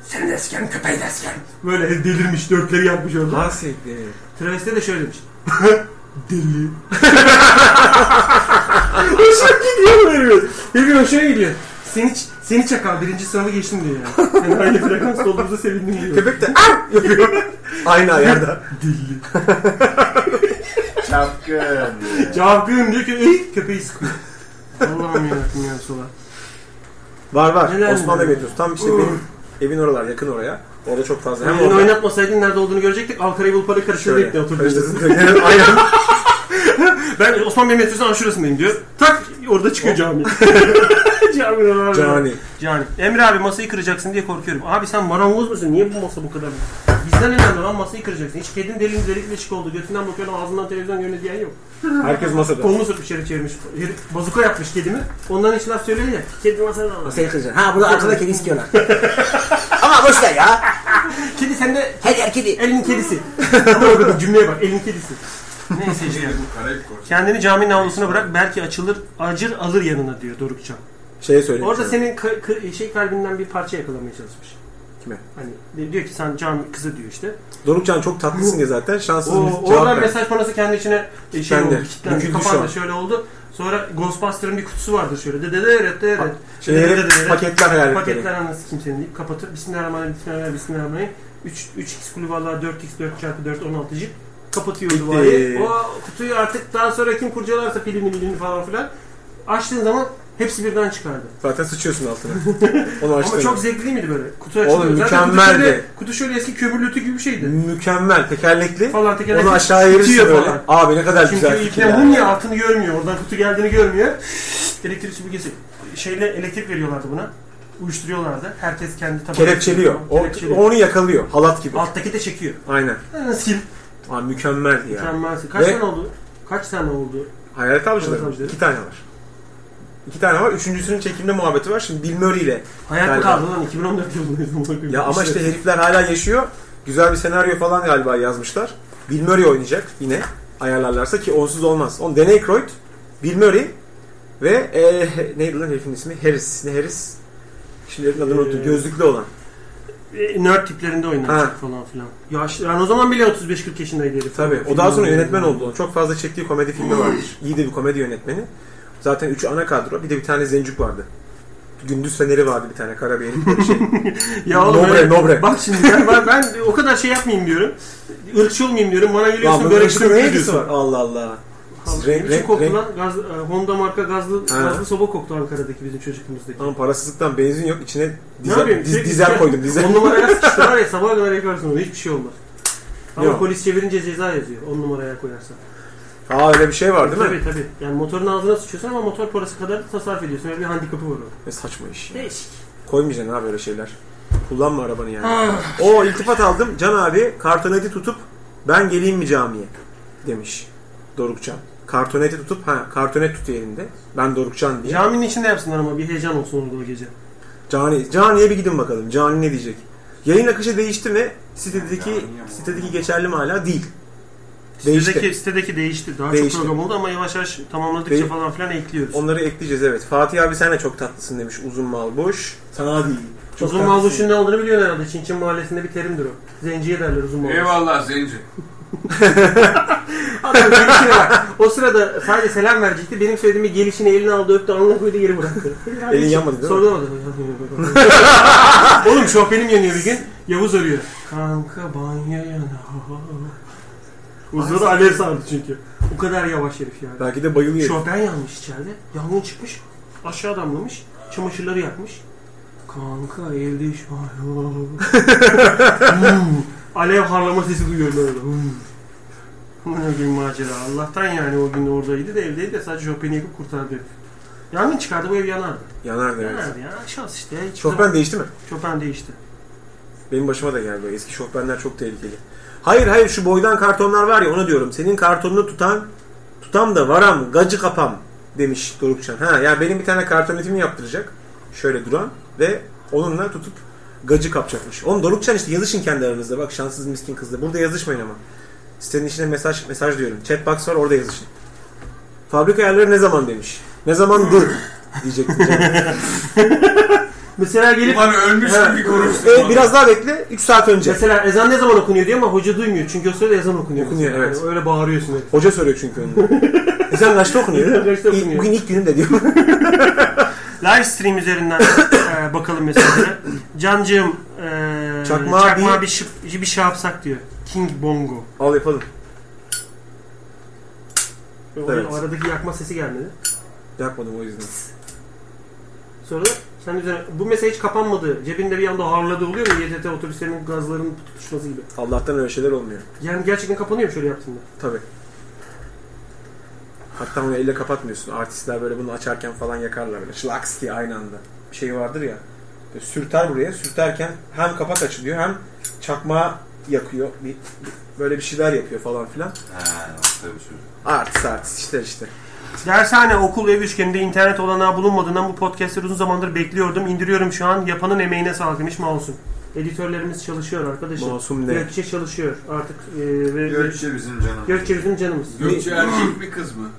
Seni de sikerim, köpeği de sikerim. Böyle delirmiş, dörtleri yapmış orada. Bahsetti. Travesti de şöyle demiş. Deli. Gidiyor veriyor. Hepim hoşuna gidiyor. Seni, ç- seni çakal, birinci sınavı geçtim diyor yani. yani aynı frekans olduğumuza sevindim diyor. Köpek de "Ar!" yapıyor. Aynı ayarda. Çapkın. Cevaplıyorum diyor ki, "Ey, köpeği sıkıyor. Allah'ım yarabbim ya sola. Var var. Neler Osmanlı neler. Beytiyoruz. Tam işte benim evin oralar yakın oraya. Orada çok fazla. Hem Elini orada. oynatmasaydın nerede olduğunu görecektik. Ankara'yı bulup para karıştırdı ipne oturdu. Karıştırdım. Aynen. Ben Osman Bey metrosunun aşurasındayım diyor. Tak orada çıkıyor cami. cami abi. Cani. Cani. Emre abi masayı kıracaksın diye korkuyorum. Abi sen marangoz musun? Niye bu masa bu kadar? Bizden önemli lan masayı kıracaksın. Hiç kedinin delinin delik deşik oldu. Götünden bakıyorum ağzından televizyon görünüyor diyen yok. Herkes masada. Kolunu sürtmüş yere çevirmiş. Herif bazuka yapmış kedimi. Ondan hiç laf söylüyor ya. Kedi masada ama. Seni kıracaksın. Ha bunu arkada kedi istiyorlar. Ama boş ver ya. Kedi sende Her yer kedi. elin kedisi. Ama o kadar cümleye bak elin kedisi. Neyse şey Yine bu Karayip Korsanı. Kendini caminin avlusuna bırak belki açılır, acır alır yanına diyor Dorukcan. Şey söyleyeyim. Orada sana. senin ka- kı- şey kalbinden bir parça yakalamaya çalışmış. Kime? Hani di- diyor ki sen cami kızı diyor işte. Dorukcan çok tatlısın ya zaten. O, Şanssız bir cevap oradan ver. mesaj panosu kendi içine e, şey Kitlendi. oldu. Kitlendi. Büküldü şu an. Kapandı şöyle oldu. Sonra Ghostbuster'ın bir kutusu vardır şöyle. Dede dede dede. Şeyleri, paketler hayal Paketler anası kimsenin deyip kapatıp bismillahirrahmanirrahim bismillahirrahmanirrahim bismillahirrahmanirrahim 3 3x kulü vallahi 4x 4 çarpı 4 16 cip kapatıyor Bitti. duvarı. O kutuyu artık daha sonra kim kurcalarsa filmin ilini falan filan açtığın zaman hepsi birden çıkardı. Zaten sıçıyorsun altına. Onu açtın. Ama çok zevkli değil miydi böyle? Kutu açılıyor. Oğlum, Zaten mükemmeldi. Kutu şöyle, kutu şöyle eski kömürlütü gibi bir şeydi. Mükemmel. Tekerlekli. Falan tekerlekli. Onu aşağı verirsin Bitiyor böyle. falan. Abi ne kadar Çünkü güzel fikir ipne ya. mum ya altını görmüyor. Oradan kutu geldiğini görmüyor. Elektrik süpürgesi. Şeyle elektrik veriyorlardı buna. Uyuşturuyorlardı. Herkes kendi tabağına. Kelepçeliyor. O, Kelepçeliyor. onu yakalıyor. Halat gibi. Alttaki de çekiyor. Aynen. Ha, Sil. Abi mükemmeldi ya. Mükemmelsin. Kaç Ve- tane oldu? Kaç tane oldu? Hayalet avcıları. Hayalet mı? Avcıları. İki tane var. İki tane var. Üçüncüsünün çekimde muhabbeti var. Şimdi Bill Murray ile. Hayat mı Galiba. kaldı lan? 2014 yılındayız. Ya ama işte herifler hala yaşıyor. Güzel bir senaryo falan galiba yazmışlar. Bill Murray oynayacak yine. Ayarlarlarsa ki onsuz olmaz. On Danny Aykroyd, Bill Murray ve e, neydi lan herifin ismi? Harris. Ne Harris? Şimdi herifin adını unuttum. Ee, Gözlüklü olan. E, nerd tiplerinde Ha. oynanacak falan filan. Yaşlı. Yani o zaman bile 35-40 yaşındaydı herif. Tabii. O daha sonra yönetmen oldu. onun. Çok fazla çektiği komedi filmi vardır. İyi de bir komedi yönetmeni. Zaten üç ana kadro. Bir de bir tane zencuk vardı. Gündüz Feneri vardı bir tane. Kara bir herif böyle şey. Ya oğlum Nobre, öyle- nobre. Bak şimdi ben, ben, ben o kadar şey yapmayayım diyorum. Irkçı olmayayım diyorum. Bana Lan geliyorsun bunun böyle ışıkla ne bir şey ilgisi diyorsun. var? Allah Allah. Siz Renk, renk, renk, renk, koktu renk. lan. Gaz, e, Honda marka gazlı, Ha. gazlı soba koktu Ankara'daki bizim çocukluğumuzdaki. Tamam parasızlıktan benzin yok. içine Ne yapayım? dizel, diz, Sürekli dizel sen- koydum. Dizel. On numaraya sıkıştılar ya sabaha kadar yakarsın onu. Hiçbir şey olmaz. Ama Yok. polis çevirince ceza yazıyor. On numaraya koyarsan. Aa öyle bir şey var değil mi? Tabii tabii. Yani motorun ağzına sıçıyorsun ama motor parası kadar tasarruf ediyorsun. Öyle bir handikapı var o. Ne saçma iş. ya. Değişik. Koymayacaksın abi öyle şeyler. Kullanma arabanı yani. o iltifat aldım. Can abi kartoneti tutup ben geleyim mi camiye? Demiş Dorukcan. Kartoneti tutup ha kartonet tutuyor elinde. Ben Dorukcan diye. Caminin içinde yapsınlar ama bir heyecan olsun orada o gece. Cani, Cani'ye bir gidin bakalım. Cani ne diyecek? Yayın akışı değişti mi? Sitedeki, sitedeki geçerli mi hala? Değil. Değişti. Sitedeki, sitedeki değişti. Daha Değişti. çok program oldu ama yavaş yavaş tamamladıkça Değil- falan filan ekliyoruz. Onları ekleyeceğiz evet. Fatih abi sen de çok tatlısın demiş uzun mal boş. Sana değil. Çok uzun tatlısın. mazluşun ne olduğunu biliyorsun herhalde. Çin Çin mahallesinde bir terimdir o. Zenciye derler uzun mazluş. Eyvallah Zenci. Adam gelişine bak. şey O sırada sadece selam verecekti. Benim söylediğimi gelişini eline aldı öptü. Anına koydu geri bıraktı. Elin yanmadı değil mi? Sorgulamadı. Oğlum şofbenim yanıyor bir gün. Yavuz arıyor. Kanka banyo yanıyor. Uzun alev sardı çünkü. O kadar yavaş herif yani. Belki de bayılıyor. Şofben yanmış içeride. Yangın çıkmış. Aşağı damlamış. Çamaşırları yakmış. Kanka evde iş var. Hmm. Alev harlama sesi duyuyorum öyle. Hmm. Ne gün macera. Allah'tan yani o gün oradaydı da evdeydi de sadece Chopin'i yakıp kurtardı. Yangın çıkardı bu ev yanardı. Yanar da evet. Yanardı ya. Şans işte. Hiç Şofben değişti mi? Chopin değişti. Benim başıma da geldi. o. Eski şofbenler çok tehlikeli. Hayır hayır şu boydan kartonlar var ya ona diyorum. Senin kartonunu tutan tutam da varam gacı kapam demiş Dorukcan. Ha ya benim bir tane kartonetimi yaptıracak. Şöyle duran ve onunla tutup gacı kapacakmış. Oğlum Dorukcan işte yazışın kendi aranızda. Bak şanssız miskin kızla. Burada yazışmayın ama. Sitenin içine mesaj mesaj diyorum. Chat box var orada yazışın. Fabrika ayarları ne zaman demiş. Ne zamandır diyecektim. Mesela gelip Ulan ölmüş gibi konuştuk. e, biraz daha bekle. 3 saat önce. Mesela ezan ne zaman okunuyor diyor ama hoca duymuyor. Çünkü o sırada ezan okunuyor. Okunuyor, Mesela. evet. Yani öyle bağırıyorsun. hep. Hoca soruyor çünkü önünde. Ezan kaçta okunuyor? Ezan kaçta İlk- okunuyor? bugün ilk günüm de diyor. Live stream üzerinden e, bakalım mesela. Cancığım e, Çakmağı çakmağı, bir- bir, şıp- bir şey yapsak diyor. King Bongo. Al yapalım. E, O Evet. Aradaki yakma sesi gelmedi. Yapmadım o yüzden. Sonra da sen üzerine bu mesaj hiç kapanmadı. Cebinde bir anda harladı oluyor mu? YTT otobüslerinin gazlarının tutuşması gibi. Allah'tan öyle şeyler olmuyor. Yani gerçekten kapanıyor mu şöyle yaptığında? Tabi. Hatta onu elle kapatmıyorsun. Artistler böyle bunu açarken falan yakarlar böyle. Şlaks diye aynı anda. Bir şey vardır ya. Böyle sürter buraya. Sürterken hem kapak açılıyor hem çakmağı yakıyor. Bir, böyle bir şeyler yapıyor falan filan. Ha, tabii çocuk. Artist artist işler işte. Dershane, okul, ev üçgeninde internet olanağı bulunmadığından bu podcastleri uzun zamandır bekliyordum. İndiriyorum şu an. Yapanın emeğine sağlık demiş Masum. Editörlerimiz çalışıyor arkadaşım. Masum ne? Gökçe çalışıyor artık. E, ve, Gökçe. Gökçe bizim canım. Gökçe bizim canımız. Gökçe erkek mi kız mı?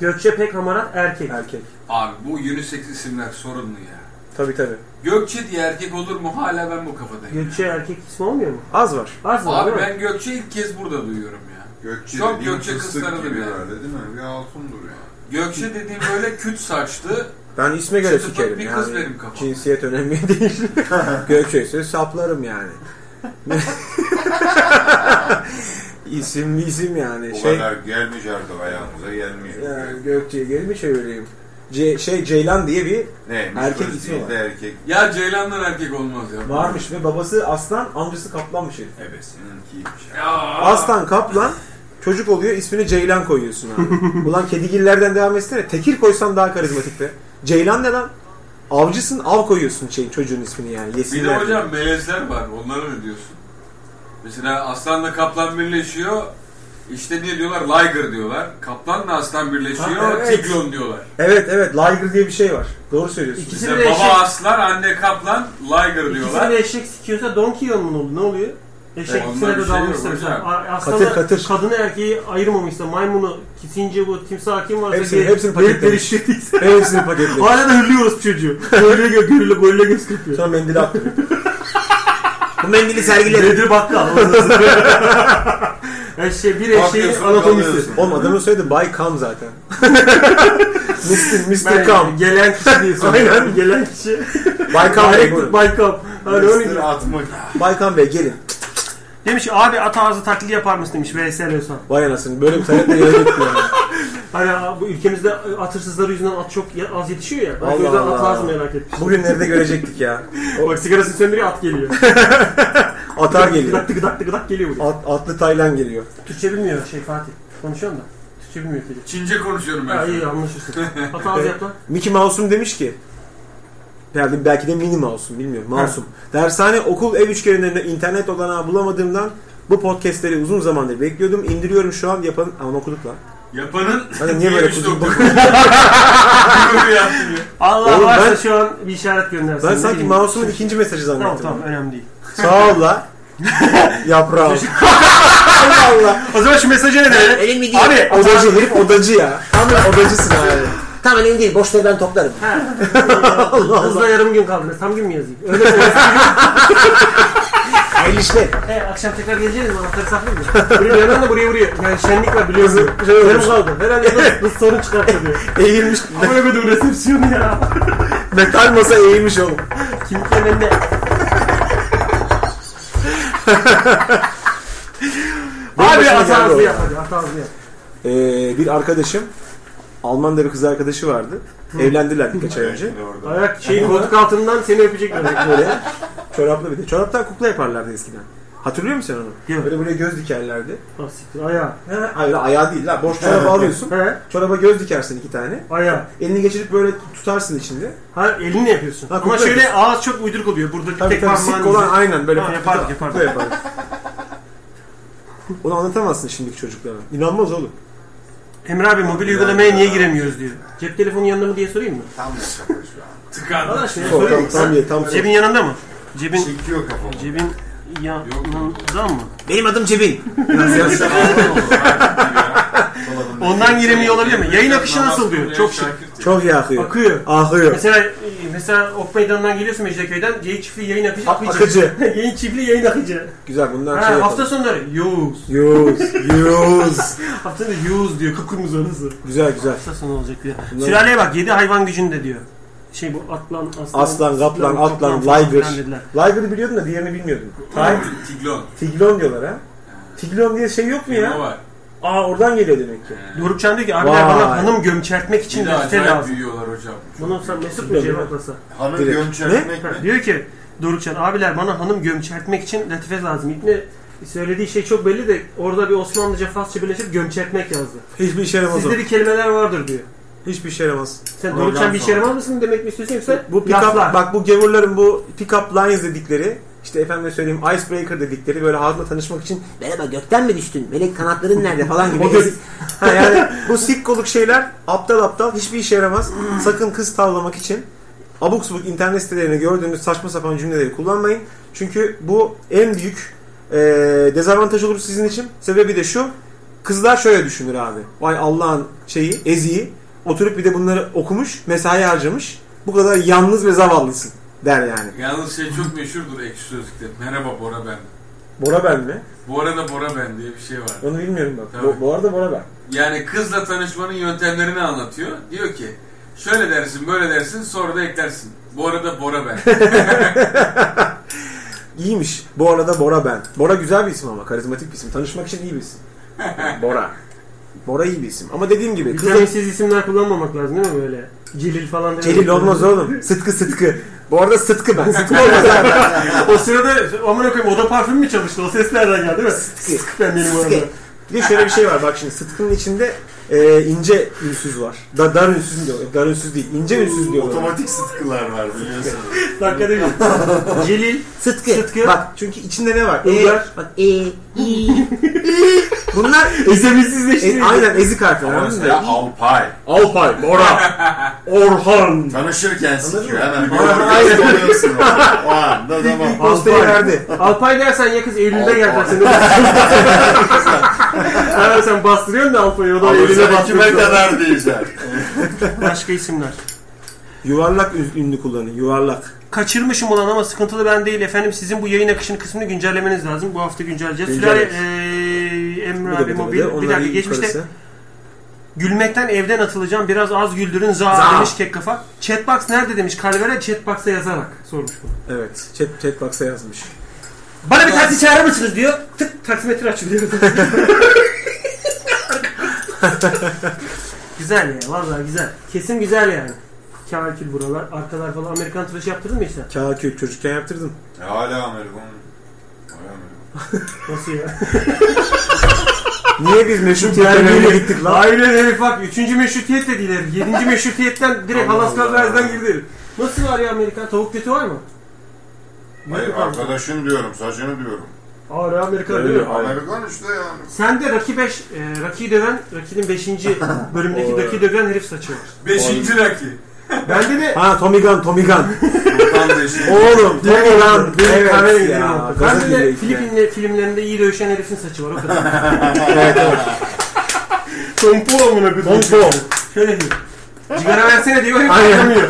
Gökçe pek hamarat erkek. Erkek. Abi bu unisex isimler sorunlu ya. Tabi tabi. Gökçe diye erkek olur mu? Hala ben bu kafadayım. Gökçe erkek ismi olmuyor mu? Az var. Az var Abi değil mi? ben Gökçe ilk kez burada duyuyorum ya. Gökçe Çok dediğin Gökçe fıstık kızlarıdır gibi yani. herhalde değil mi? Bir altındır yani. Gökçe dediğim böyle küt saçlı. Ben isme göre Çıtı pıt sikerim bir yani. kız benim kafam. Cinsiyet önemli değil. Gökçe'yse saplarım yani. isim isim yani. O şey, kadar gelmiş artık ayağımıza gelmiyor. yani Gökçe'ye geri mi çevireyim? Ce- şey Ceylan diye bir Neymiş? Erkek Kız ismi değil var. de erkek. Ya Ceylan'dan erkek olmaz ya. varmış ve babası aslan, amcası kaplanmış herif. Ebesinin kiymiş. Ya. Aslan kaplan çocuk oluyor ismini Ceylan koyuyorsun abi. Ulan kedigillerden devam etsene. Tekir koysan daha karizmatik be. Ceylan ne lan? Avcısın av koyuyorsun şeyin çocuğun ismini yani. Bir Yesinler de diye. hocam melezler var. Onlara ne diyorsun? Mesela aslanla kaplan birleşiyor. İşte ne diyorlar? Liger diyorlar. Kaplanla aslan birleşiyor. Ha, evet. Tiglon diyorlar. Evet evet Liger diye bir şey var. Doğru söylüyorsun. İkisi Mesela de baba eşek. aslan, anne kaplan, liger İkisini diyorlar. de eşek sikiyorsa Donkey Kong mu oldu? Ne oluyor? Eşek Ondan ikisine bir de şey yok dalmışsa hocam. Katır Aslında katır. kadını erkeği ayırmamışsa maymunu kisince bu timsah kim varsa Hepsini, hepsini Beyitleri paketlemiş. şişirdiyse. Hepsini paketlemiş. Hala da hırlıyoruz çocuğu. Böyle gö görüle böyle göz kırpıyor. Sonra mendili attı. Bu mendili sergiledim. Bedri Bakkal. orası. Eşeği bir Şey, eşeğin Bakıyorsun, anatomisi. kalıyorsun. Oğlum adamın soyadı Bay Kam zaten. Mr. Mr. Ben Kam. gelen kişi diyorsun. Aynen. Gelen kişi. Bay Kam Bey. buyurun. Direkt Baykal. Hani onun gibi. Mr. Atmak. Bay Kam Bey gelin. Demiş abi at ağzı taklidi yapar mısın demiş VSL Özhan. Vay anasını böyle bir talepte yere gitti yani. Hani bu ülkemizde at hırsızları yüzünden at çok ya- az yetişiyor ya. Allah Belki o yüzden at Allah. lazım merak etmiş. Bugünleri de görecektik ya. Bak sigarasını söndürüyor at geliyor. Atar geliyor. Gıdak gıdak gıdak geliyor buraya. At, atlı Taylan geliyor. Türkçe bilmiyor şey Fatih. Konuşuyorum da. Türkçe bilmiyor Filiz. Çince konuşuyorum ben. Ha şu an. iyi anlaşılsın. At ağzı yap lan. Mickey Mouse'um demiş ki yani belki de mini mouse'um bilmiyorum. Mouse'um. Dershane, okul, ev üçgenlerinde internet olanağı bulamadığımdan bu podcastleri uzun zamandır bekliyordum. İndiriyorum şu an yapan... Aman okuduk lan. Yapanın Hani niye böyle Yemiş kuzum doktor. Böyle yaptın ya. Allah Oğlum varsa ben- şu an bir işaret göndersin. Ben Ne sanki bileyim. mouse'umun ikinci mesajı zannettim. Tamam tamam önemli değil. Sağ ol la. Yaprağı. Allah Allah. O zaman şu mesajı ne verelim? Elin mi değil? Abi Odacı herif odacı ya. Tam bir odacısın abi. Tamam önemli değil. Boşları ben toplarım. hızla yarım gün kaldı. Tam gün mü yazayım? Öyle söyleyeyim. Hayırlı işler. e, akşam tekrar geleceğiz mi? Anahtarı saklayayım mı? Buraya yandan da buraya vuruyor. Yani şenlik var biliyorsun. şey Yarım olmuş. kaldı. Herhalde bu- bu sorun çıkarttı diyor. Eğilmiş. Ama öyle bir resepsiyon ya. Metal masa eğilmiş oğlum. Kim kenende? Abi başına at geldi o ağzı ya. yap hadi at ağzı yap. Ee, bir arkadaşım Alman'da bir kız arkadaşı vardı. Evlendiler birkaç ay önce. Ayak şey şeyin Şey, koltuk altından seni öpecekler. Böyle çoraplı bir de. Çoraptan kukla yaparlardı eskiden. Hatırlıyor musun sen onu? Yok. Böyle buraya göz dikerlerdi. Ah, siktir, Ayağı. Ha, Hayır ayağı değil la. Boş çorap alıyorsun. He? Çoraba göz dikersin iki tane. Ayağı. Elini geçirip böyle tutarsın içinde. Ha elinle yapıyorsun. Ha, Ama kukla şöyle yapıyorsun. ağız çok uyduruk oluyor. Burada Tabii tek tabii parmağın sik olan izi. aynen böyle. Ha, pat- yapardık, pat- yapardık. pat yapardık. Onu anlatamazsın şimdiki çocuklara. İnanmaz oğlum. Emre abi mobil uygulamaya niye giremiyoruz diyor. Cep telefonu yanında mı diye sorayım mı? Tam da şaka şu an. Tıkandı. Valla şimdi Tam, sorayım. tam, tam ye tam Cebin yanında mı? Cebin Çekiyor kafamı. cebin yanında mı? Benim adım Cebin. Ondan giremiyor olabilir mi? Yayın akışı nasıl diyor? Çok şey. Çok iyi akıyor. Akıyor. Akıyor. Mesela mesela Ok Meydanı'ndan geliyorsun Mecidiyeköy'den. Geyik çiftliği yayın akıcı. A- akıcı. yayın çiftliği yayın akıcı. Güzel bundan şey Ha, hafta yapalım. sonları Yavuz. Yuz. Yuz. Hafta sonu Yavuz diyor. Kıpkırmızı orası. Güzel güzel. Hafta sonu olacak diyor. Sülaleye bak 7 hayvan gücünde diyor. Şey bu atlan, aslan, Aslan, kaplan, kaplan, atlan, falan liger. filan dediler. Liger'ı biliyordun da diğerini bilmiyordun. Tay- Tiglon. Tiglon diyorlar ha. Tiglon diye şey yok mu Ne ya? var? Aa oradan geliyor demek ki. Dorukcan diyor ki abiler Vay. bana hanım gömçertmek için Bir de reçete acayip lazım. büyüyorlar hocam. Bunu sen Mesut Değil mu mi? cevaplasa? Hanım Direkt. gömçertmek mi? Diyor ki Dorukcan abiler bana hanım gömçertmek için latife lazım. İbni söylediği şey çok belli de orada bir Osmanlıca Farsça birleşip gömçertmek yazdı. Hiçbir işe yaramaz o. Sizde bir kelimeler vardır diyor. Hiçbir işe yaramaz. Sen Dorukcan bir işe yaramaz mısın demek mi istiyorsun yoksa Bu pick up, laflar. bak bu gavurların bu pick up lines dedikleri işte efendim söyleyeyim icebreaker dedikleri böyle halkla tanışmak için Merhaba gökten mi düştün? Melek kanatların nerede falan gibi. O göz- ha yani bu sikkoluk şeyler aptal aptal hiçbir işe yaramaz. Sakın kız tavlamak için abuk subuk internet sitelerinde gördüğünüz saçma sapan cümleleri kullanmayın. Çünkü bu en büyük e, dezavantaj olur sizin için. Sebebi de şu. Kızlar şöyle düşünür abi. Vay Allah'ın şeyi, eziği. Oturup bir de bunları okumuş, mesai harcamış. Bu kadar yalnız ve zavallısın der yani. Yalnız şey çok meşhurdur ekşi sözlükte. Merhaba Bora ben. Bora ben mi? Bu arada Bora ben diye bir şey var. Onu bilmiyorum bak. Tabii. Bu, bu arada Bora ben. Yani kızla tanışmanın yöntemlerini anlatıyor. Diyor ki şöyle dersin böyle dersin sonra da eklersin. Bu arada Bora ben. İyiymiş. Bu arada Bora ben. Bora güzel bir isim ama. Karizmatik bir isim. Tanışmak için iyi bir isim. Bora. Bora iyi bir isim. Ama dediğim gibi. Kız Vitaminsiz isimler kullanmamak lazım değil mi böyle? Celil falan. demek Celil lazım. olmaz oğlum. Sıtkı Sıtkı. Bu arada Sıtkı ben. Sıtkı olmaz abi. o sırada amına koyayım oda parfüm mü çalıştı? O ses nereden geldi değil mi? Sık ben benim Sık. orada. Bir de şöyle bir şey var. Bak şimdi Sıtkı'nın içinde e, ince ünsüz var. Da, dar ünsüz diyor. Dar ünsüz değil. İnce ünsüz diyorlar. Otomatik sıtkılar var biliyorsun. Dakikada bir. Celil. Sıtkı. Sıtkı. Bak çünkü içinde ne var? E, Uygar. Bak e, i, i. bunlar Esemizsizleştiriyor. e, aynen ezik harfler. anladın mı? Mesela Alpay. Alpay, Bora, Orhan. Tanışırken sikiyor hemen. Aynen. Bir oluyorsun. O anda tamam. Postayı verdi. Alpay dersen ya kız Eylül'de gel dersen. Hayır sen bastırıyorsun da Alpay'ı o da Eylül'e Alırsan kime bastırıyor. kadar diyeceksin. Başka isimler. Yuvarlak ün- ünlü kullanın. Yuvarlak. Kaçırmışım olan ama sıkıntılı ben değil efendim. Sizin bu yayın akışını kısmını güncellemeniz lazım. Bu hafta güncelleyeceğiz. Sülale Güncelleriz. eee Bu Emre da abi bir de mobil. böyle. Bir Onların dakika geçmişte yukarısı. Gülmekten evden atılacağım. Biraz az güldürün za, demiş kek kafa. Chatbox nerede demiş Kalver'e chatbox'a yazarak sormuş bunu. Evet. Chat, chatbox'a yazmış. Bana bir taksi çağırır mısınız diyor. Tık taksimetre açılıyor. güzel ya vallahi güzel. Kesin güzel yani. Kâkül buralar, arkalar falan. Amerikan tıraşı yaptırdın mı işte? Kağıt çocukken yaptırdın. E, Hala Amerikan. Hala Amerikan. Nasıl ya? Niye biz meşhur Geliyor. tiyatroya gittik lan? Aynen herif bak. Üçüncü meşrutiyet de değil herif. Yedinci meşrutiyetten direkt Halas Kazver'den girdi herif. Nasıl var ya Amerikan? Tavuk kötü var mı? Hayır Yok abi. arkadaşın diyorum, saçını diyorum. Ağır Amerikan değil mi? Amerikan işte yani. Sen de Rocky 5, e, Rocky'yi döven, Rocky'nin 5. bölümdeki Rocky döven herif saçı var. Beşinci rakip. Bende de Ha Tommy Gun, Tommy Gun. Buradan da işin. Oğlum Tommy Gun. Evet Kahve ya. yediğim nokta. gaza Bende de geliyor işte. Filipinli filmlerinde iyi dövüşen herifin saçı var o kadar. Evet evet. Pompo amına kızım. Pompo. Şöyle diyor. Cigara versene diyor. Hep Aynen. vermiyor.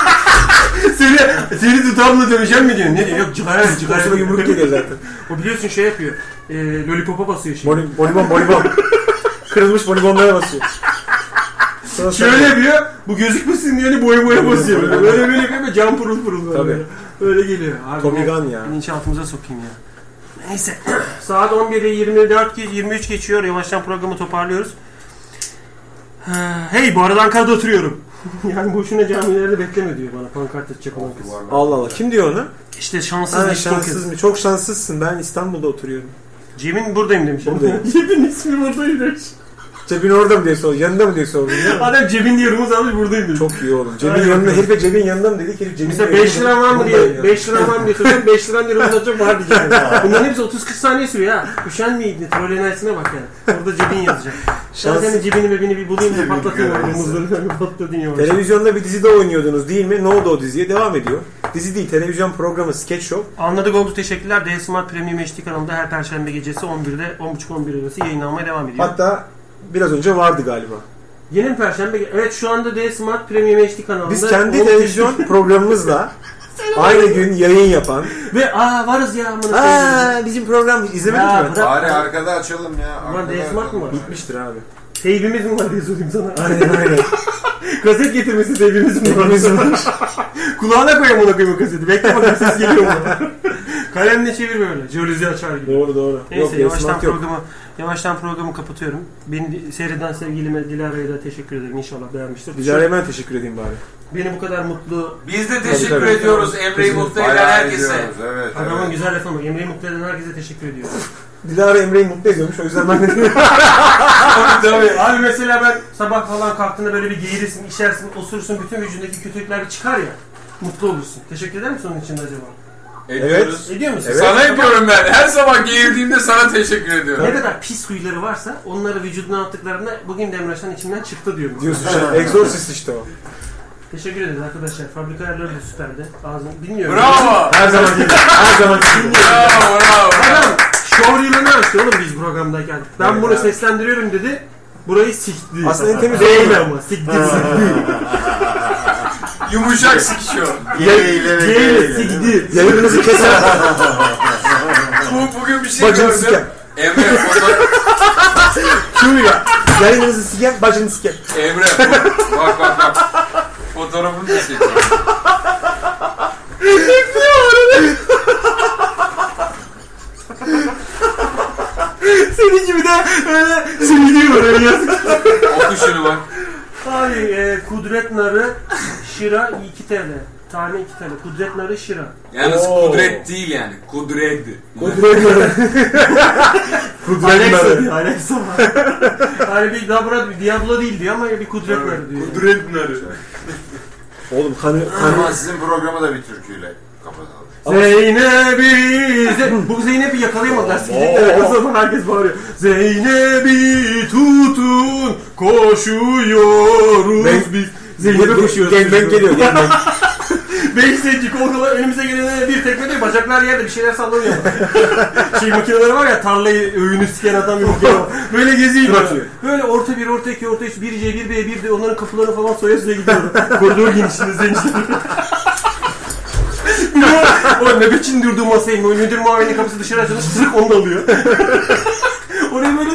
seni, seni tutamla döveceğim mi diyor. Ne diyor? Yok cigara ver cigara. Karşıma ver. yumruk geliyor zaten. O biliyorsun şey yapıyor. E, Lollipop'a basıyor şimdi. Boni- Bonibon, bonibon. Kırılmış bonibonlara basıyor. Sonra Şöyle yapıyor. Bu gözükmesin diye hani boya boya basıyor. Böyle böyle böyle yapıyor. böyle Cam pırıl pırıl böyle. Tabii. Öyle geliyor. Abi, Tommy bu- Gun ya. Bilinçaltımıza sokayım ya. Neyse. Saat 11'e 24 ge- 23 geçiyor. Yavaştan programı toparlıyoruz. Ha, Hey bu arada Ankara'da oturuyorum. yani boşuna camilerde bekleme diyor bana pankart atacak olan kız. Allah Allah. Kim diyor onu? İşte şanssız Ha, yetişkin şanssız kız. mı? Çok şanssızsın. Ben İstanbul'da oturuyorum. Cem'in buradayım demiş. Buradayım. Cem'in ismi buradayım demiş. Cebin orada mı diye sordun. Yanında mı diye sordun. değil mi? Adam Cem'in diye yorumuz almış buradayım demiş. Çok iyi oğlum. Cebin Aynen. yanında. Herife cebin yanında mı dedik. Herif cebin Mesela 5 yanında. lira var mı Buradayım ya. diye 5 lira var mı diye soruyorum 5 liran diye uzatacak var diyeceğim. Bunların hepsi 30-40 saniye sürüyor ha. Üşenmeyin diye troll enerjisine bak yani. Orada cebin yazacak. Ben Şans- senin cebini bebini bir bulayım da patlatayım orada muzları. Patladın yavaş. Televizyonda bir dizide oynuyordunuz değil mi? Ne oldu o diziye? Devam ediyor. Dizi değil, televizyon programı, sketch show. Anladık oldu teşekkürler. D Smart Premium HD kanalında her perşembe gecesi 11'de 10.30-11 arası yayınlanmaya devam ediyor. Hatta biraz önce vardı galiba. Yeni mi perşembe? ge- Evet şu anda D Smart Premium HD kanalında. Biz kendi 10.30 televizyon programımızla aynı gün yayın yapan. Ve aa varız ya amına koyayım. Aa bizim program Ya, izlemediniz mi? bırak. Bari arkada açalım ya. Ulan arkada DS Mark açalım. mı var? Bitmiştir abi. Teybimiz mi var diye sorayım sana. Aynen aynen. Kaset getirmesi teybimiz mi var? Hepimiz var. Kulağına koyayım ona koyayım o kaseti. Bekle bakayım ses geliyor mu? Kalemle çevir böyle. Jeolizi açar gibi. doğru doğru. Neyse yok, yavaştan resmat yok. programı yavaştan programı kapatıyorum. Beni seyreden sevgilime Dilara'ya da teşekkür ederim. İnşallah beğenmiştir. Dilara'ya ben teşekkür edeyim bari. Beni bu kadar mutlu, Biz de teşekkür tabii. ediyoruz Emre'yi mutlu eden Bayağı herkese. ediyoruz, Evet, adamın evet. güzel lafı mı? Emre'yi mutlu eden herkese teşekkür ediyorum. Dilara Emre'yi mutlu ediyormuş o yüzden ben de Tabii. Abi mesela ben sabah falan kalktığında böyle bir geğirirsin, işersin, osursun. Bütün vücudundaki kötülükler bir çıkar ya. Mutlu olursun. Teşekkür eder misin onun için de acaba? Ediyoruz. Ediyor musun? Evet. Sana yapıyorum ben. Her sabah giyirdiğimde sana teşekkür ediyorum. Ne kadar pis huyları varsa onları vücuduna attıklarında bugün Demirhaş'tan içimden çıktı diyorum. diyorsun işte. Exorcist işte o. Teşekkür ederiz arkadaşlar. Fabrika ayarları da süperdi. Ağzını bilmiyorum. Bravo. Her zaman gibi. Her zaman gibi. Bravo bravo. Adam şov yılını açtı oğlum biz programdayken. Ben bunu seslendiriyorum dedi. Burayı sikti. Aslında en temiz Değil oldu. ama sikti. sikti. Yumuşak sikişiyor. Geyiğiyle ve Değil geyiğiyle. sikti. Yayınınızı keser. Bu, bugün bir şey Bacını gördüm. siker. Emre, foto- Şuyla. Yayınınızı siker, bacını siker. Emre, bu- bak bak bak. Fotoğrafını da çekiyor. Senin gibi de öyle sevgili var öyle yazık. Oku şunu bak. Abi e, Kudret Narı Şira 2 TL. Tane 2 TL. Kudret Narı Şira. Yalnız Oo. kudret değil yani. Kudret. Kudret Alexa narı. diyor. Alexa var. hani bir Dabra, bir Diablo değil diyor ama bir Kudret Narı diyor. Kudret narı. Oğlum kanı, kanı. Ama sizin programı da bir türküyle kapatalım. Zeynep'i Ze- bu Zeynep'i yakalayamadılar. Sikecekler. O zaman herkes bağırıyor. Zeynep'i tutun koşuyoruz Ben- biz. Zeynep'e koşuyoruz. Gengen geliyor. Gengen. Beş zencik kolkolar önümüze gelene bir tekme diyor. Bacaklar yerde bir şeyler sallanıyor. şey makineleri var ya tarlayı övünü siken atan bir makine var. Böyle geziyor. Bırakıyor. Böyle orta bir, orta iki, orta üç, bir C, bir B, bir D onların kapılarını falan soya soya gidiyor. Koridor genişliğinde zenciler. o nöbetçinin durduğu masayı mı? Müdür muavenin kapısı dışarı açılmış sırık onu da alıyor. Oraya böyle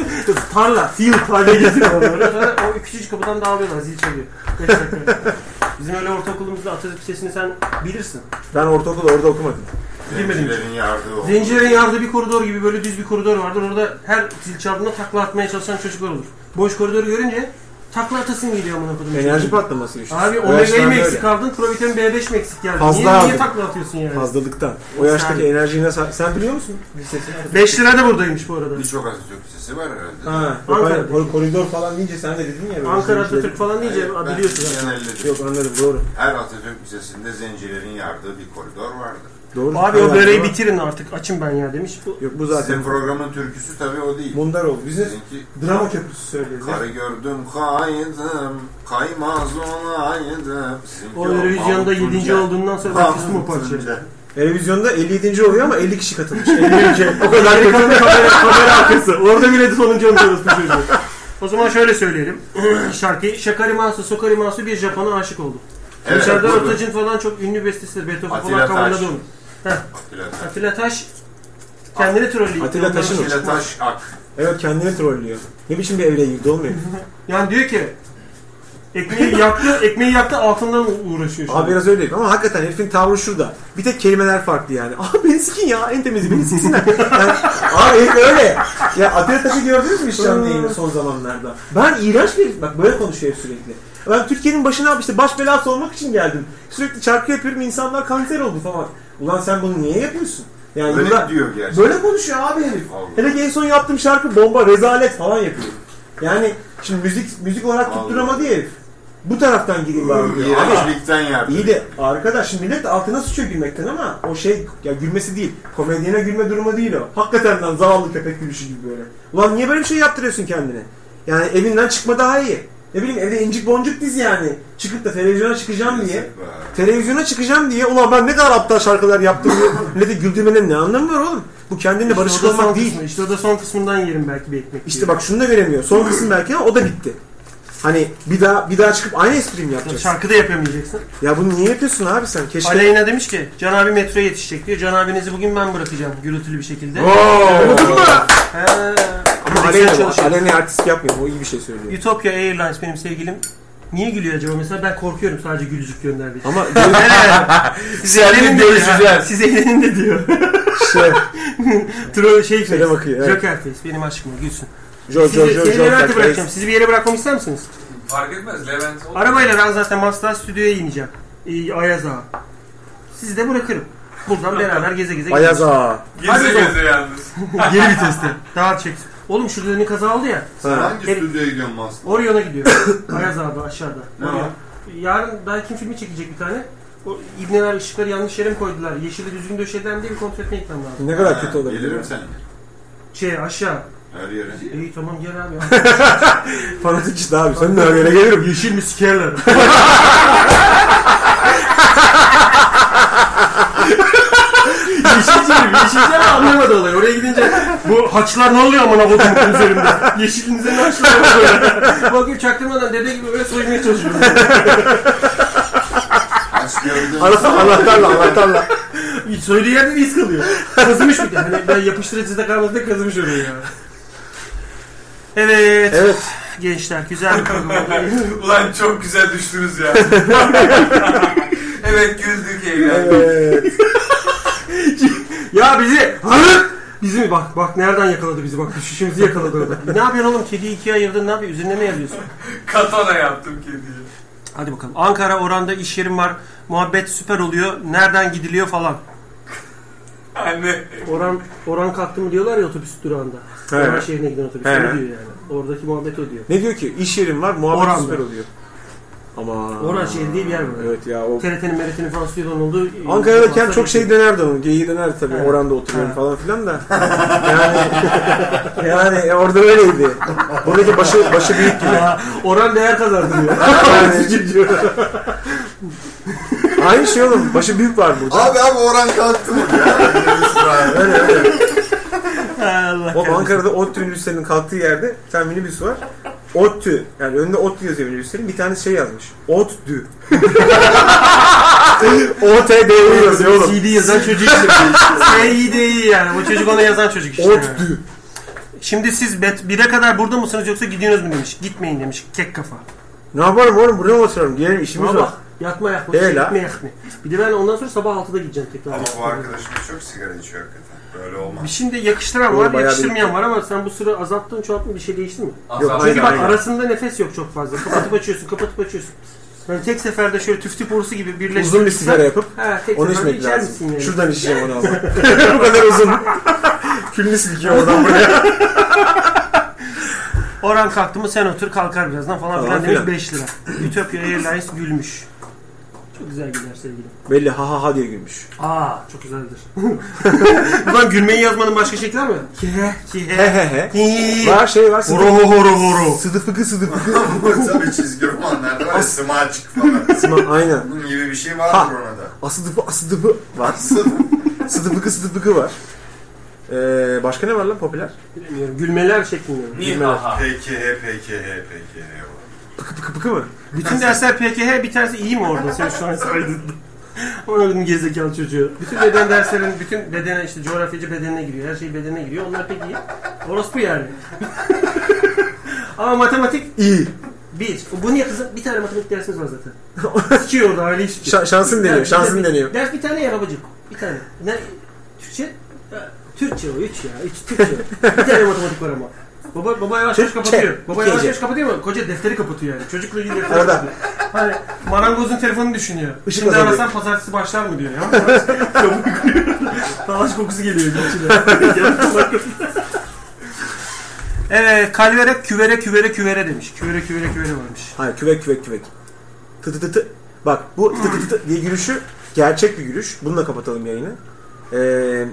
tarla, field haline getiriyor onları. Sonra o küçücük kapıdan dağılıyorlar, zil çalıyor. Kaç dakika. Bizim öyle ortaokulumuzda Atatürk Lisesi'ni sen bilirsin. Ben ortaokul orada okumadım. Bilmedim. Zencilerin yardığı oldu. Zencilerin yardığı bir koridor gibi böyle düz bir koridor vardır. Orada her zil çaldığında takla atmaya çalışan çocuklar olur. Boş koridoru görünce takla atasın geliyor amına kodum. Enerji patlaması işte. Abi O omega'yı yaşlarda mı öyle. eksik aldın, provitemin B5 mi eksik geldi? Fazla niye, niye abi. takla atıyorsun yani? Fazlalıktan. O yaştaki Sen- enerjiyi nasıl... Sen biliyor musun? 5 lira da buradaymış bu arada. Birçok Atatürk lisesi var herhalde. Ha. Yok, Ankara'da. hayır, kor- koridor falan deyince sen de dedin ya. böyle Ankara zencilerin- Atatürk falan deyince Ben biliyorsun. zaten. genelledim. Yok anladım doğru. Her Atatürk lisesinde zencilerin yardığı bir koridor vardır. Doğru. Abi o Hayvan böreği değil mi? bitirin artık açım ben ya demiş. Bu- Yok bu Sizin zaten. programın türküsü tabii o değil. Bunlar oldu. Biz ne? Sizinki Drama köprüsü söylüyoruz. ya. karı gördüm kaydım, kaymaz olaydım. Sizinki O Eurovision'da Mahmut 7. Tuncer. olduğundan sonra ben küstüm o parçaya. Televizyonda 57. oluyor ama 50 kişi katılmış. 50 ülke. O kadar bir kamera, kamera arkası. Orada bile sonuncu oluyoruz bu çocuğu. O zaman şöyle söyleyelim. Şarkıyı Şakari Masu, Sokari Masu bir Japon'a aşık oldu. Evet, Serdar budur. Ortaç'ın falan çok ünlü bestesidir. Beethoven Atilla falan coverladı Taş. onu. Atilla Taş. Atilla Taş kendini trollüyor. Atilla Taş'ın o. Atilla Taş Ak. Evet kendini trollüyor. Ne biçim bir evre girdi olmuyor. Yani diyor ki ekmeği yaktı, ekmeği yaktı altından uğraşıyor. şu an. Abi biraz öyle değil. ama hakikaten herifin tavrı şurada. Bir tek kelimeler farklı yani. Abi beni sikin ya en temizi beni siksinler. Yani, abi herif öyle. Ya Atilla Taş'ı gördünüz mü İşcan Bey'in son zamanlarda? Ben iğrenç bir Bak böyle konuşuyor herif sürekli. Ben Türkiye'nin başına abi işte baş belası olmak için geldim. Sürekli şarkı yapıyorum insanlar kanser oldu falan. Ulan sen bunu niye yapıyorsun? Yani Öyle yıllar- diyor gerçekten. Böyle konuşuyor abi herif. Allah. Hele ki en son yaptığım şarkı bomba, rezalet falan yapıyor. Yani şimdi müzik müzik olarak Allah. Hmm, tutturamadı ya herif. Bu taraftan gireyim bari diyor. Ama İğrençlikten yardım. iyi de arkadaş şimdi millet de altına sıçıyor gülmekten ama o şey ya gülmesi değil. Komedyene gülme durumu değil o. Hakikaten lan zavallı köpek gülüşü gibi böyle. Ulan niye böyle bir şey yaptırıyorsun kendine? Yani evinden çıkma daha iyi. Ne bileyim evde incik boncuk diz yani. Çıkıp da televizyona çıkacağım diye. Yazık be. Televizyona çıkacağım diye ulan ben ne kadar aptal şarkılar yaptım diye milleti güldürmenin ne anlamı var oğlum? Bu kendinle İşte o da barışık son olmak değil. Kısmı, işte o da son kısmından yerim belki bir ekmek. İşte diye. bak şunu da veremiyor. Son kısım belki ama o da bitti. Hani bir daha bir daha çıkıp aynı espriyi mi yapacağız? Şarkı da yapamayacaksın. Ya bunu niye yapıyorsun abi sen? Keşke... Aleyna demiş ki Can abi metroya yetişecek diyor. Can abinizi bugün ben bırakacağım gürültülü bir şekilde. Anladın mı? He. Ama Prodüksiyon Aleyna, çalışıyor. Aleyna artist yapmıyor. O iyi bir şey söylüyor. Utopia Airlines benim sevgilim. Niye gülüyor acaba? Mesela ben korkuyorum sadece gülücük gönderdiği için. Ama Siz eğlenin de diyor. Siz eğlenin de diyor. şey, Troll şey Şöyle face. bakıyor, evet. Joker face. Benim aşkıma gülsün. jo, jo, Sizi, jo, seni jo, Levent'e jo, bırakacağım. Sizi bir yere bırakmamı ister misiniz? Fark etmez Levent. olur. Arabayla ben zaten Mazda stüdyoya ineceğim. Ee, Ayaz Ağa. Sizi de bırakırım. Buradan beraber geze geze Ayaz ağa. Geze geze yalnız. gideriz. Geri viteste. Daha çek. Oğlum şurada ne kaza oldu ya. Sen Ha. hangi stüdyoya gidiyorsun Mansur? Orion'a gidiyor. Ayaz abi aşağıda. Ne Orion. var? Yarın daha kim filmi çekecek bir tane. O ibneler ışıkları yanlış yere mi koydular? Yeşili düzgün döşeden diye bir kontrol etmeye gitmem lazım. Ne kadar kötü olabilir. Gelirim Gelirim sen. Şey aşağı. Her yere. İyi tamam gel abi. Fanatik işte abi. Sen de öyle gelirim. Yeşil mi sikerler? Yeşilciğim, yeşilciğim anlamadı olayı. Oraya gidince bu haçlar ne oluyor amına kodumun üzerinde? Yeşilinize ne haçlar oluyor? Bakayım çaktırmadan dede gibi böyle soymaya çalışıyorum. Aç gördüm. Arası anahtarla anahtarla. Söylediği yerde iz kalıyor. Kazımış bir de. Hani ben yapıştırıcıda kalmadı da kazımış orayı ya. Evet, Evet. gençler güzel bir program. oldu. Ulan çok güzel düştünüz ya. evet güldük eğlendik. Evet. ya bizi Hı? bizi mi? bak bak nereden yakaladı bizi bak düşüşümüzü yakaladı orada. ne yapıyorsun oğlum kediyi ikiye ayırdın ne yapıyorsun üzerine ne yazıyorsun? Katana yaptım kediyi. Hadi bakalım Ankara oranda iş yerim var muhabbet süper oluyor nereden gidiliyor falan. Anne. Oran Oran kalktı mı diyorlar ya otobüs durağında. He. Oran şehrine giden otobüs. He. Ne diyor yani? Oradaki muhabbet o diyor. Ne diyor ki? İş yerim var. Muhabbet Oranda. süper oluyor. Ama. Oran şehri diye bir yer var. Evet ya o TRT'nin, meretinin falan stüdyonun olduğu... e, Ankara'da Varsa kent çok şey bekliyorum. dönerdi onun. Geyiği dönerdi tabii. Evet. Oranda oturuyorum Evet. falan filan da. Yani yani orada öyleydi. Buradaki başı başı büyük gibi. Aa, Oran değer kazandı diyor. Yani, aynı şey oğlum. Başı büyük var burada. Abi abi Orhan kalktı mı ya? Allah Oğlum Ankara'da ODTÜ Üniversitesi'nin kalktığı yerde bir tane minibüs var. ODTÜ. Yani önünde ODTÜ yazıyor minibüslerin. Bir tane şey yazmış. ODTÜ. OTDÜ yazıyor oğlum. CD yazan çocuk işte. iyi yani. O çocuk onu yazan çocuk işte. ODTÜ. Şimdi siz bet 1'e kadar burada mısınız yoksa gidiyorsunuz mu demiş. Gitmeyin demiş. Kek kafa. Ne yaparım oğlum? Buraya mı oturalım? Gelelim işimiz var. Baba yatma yakma. Şey, Hele. Gitme yakma. Bir de ben ondan sonra sabah 6'da gideceğim tekrar. Ama bu arkadaşımız çok sigara içiyor hakikaten. Böyle olmaz. Şimdi yakıştıran Oğlum, var, bayağı yakıştırmayan var ama sen bu sıra azalttın, çoğalttın bir şey değişti mi? Aslan. hayır. Çünkü bak Aynen. arasında nefes yok çok fazla. Kapatıp açıyorsun, kapatıp açıyorsun. Yani tek seferde şöyle tüf tüf borusu gibi birleştirip... Uzun bir sigara yapıp Ha, tek Onu seferde içmek içer lazım. misin yani? Şuradan içeceğim onu ama. Bu kadar uzun. Külünü silkiyor oradan buraya. Orhan kalktı mı sen otur kalkar birazdan falan Falan filan demiş filan. 5 lira. Ütopya Airlines gülmüş. Çok güzel gider sevgili. Belli ha ha ha diye gülmüş. Aa çok güzeldir. Ulan gülmeyi yazmanın başka şekli var mı? Kihe He kihe. he he. Hii. Var şey var. Sıdık, Horo horo horo. sıdıklıkı sıdıklıkı. Tabii çizgi romanlarda var ya smaçık falan. Sıma- Aynen. Bunun gibi bir şey vardır Ha. ona da. Asıdıpı asıdıpı var. sıdıpıkı sıdıpıkı var. Ee, başka ne var lan popüler? Bilmiyorum. Gülmeler şeklinde. Niye daha? PKH, PKH, PKH. Pıkı pıkı pıkı mı? Bütün dersler PKH bir tanesi iyi mi orada sen şu an saydın? Oğlum gerizekalı çocuğu. Bütün beden derslerin, bütün bedene işte coğrafyacı bedenine giriyor. Her şey bedenine giriyor. Onlar pek iyi. Orospu yani. Ama matematik İyi. bir. Bu niye kızım? Bir tane matematik dersimiz var zaten. Sikiyor orada aile işi. Şa- şansın deniyor, şansın deniyor. Ders bir tane ya babacık. Bir tane. Ne? Türkçe? Ha, Türkçe o. Üç ya. Üç Türkçe. bir tane matematik var ama. Baba, baba yavaş yavaş Türkçe. kapatıyor. Baba yavaş İkinci. yavaş kapatıyor ama koca defteri kapatıyor yani. Çocukla ilgili defteri Arada. kapatıyor. Hani marangozun telefonunu düşünüyor. Işık Şimdi azalıyor. arasan pazartesi başlar mı diyor ya. Kapıyı kırıyor. Talaş kokusu geliyor içine. evet kalvere küvere küvere küvere demiş. Küvere küvere küvere varmış. Hayır küvek küvek küvek. Tı tı tı tı. Bak bu tı tı tı tı diye gülüşü gerçek bir gülüş. Bununla kapatalım yayını. Ee,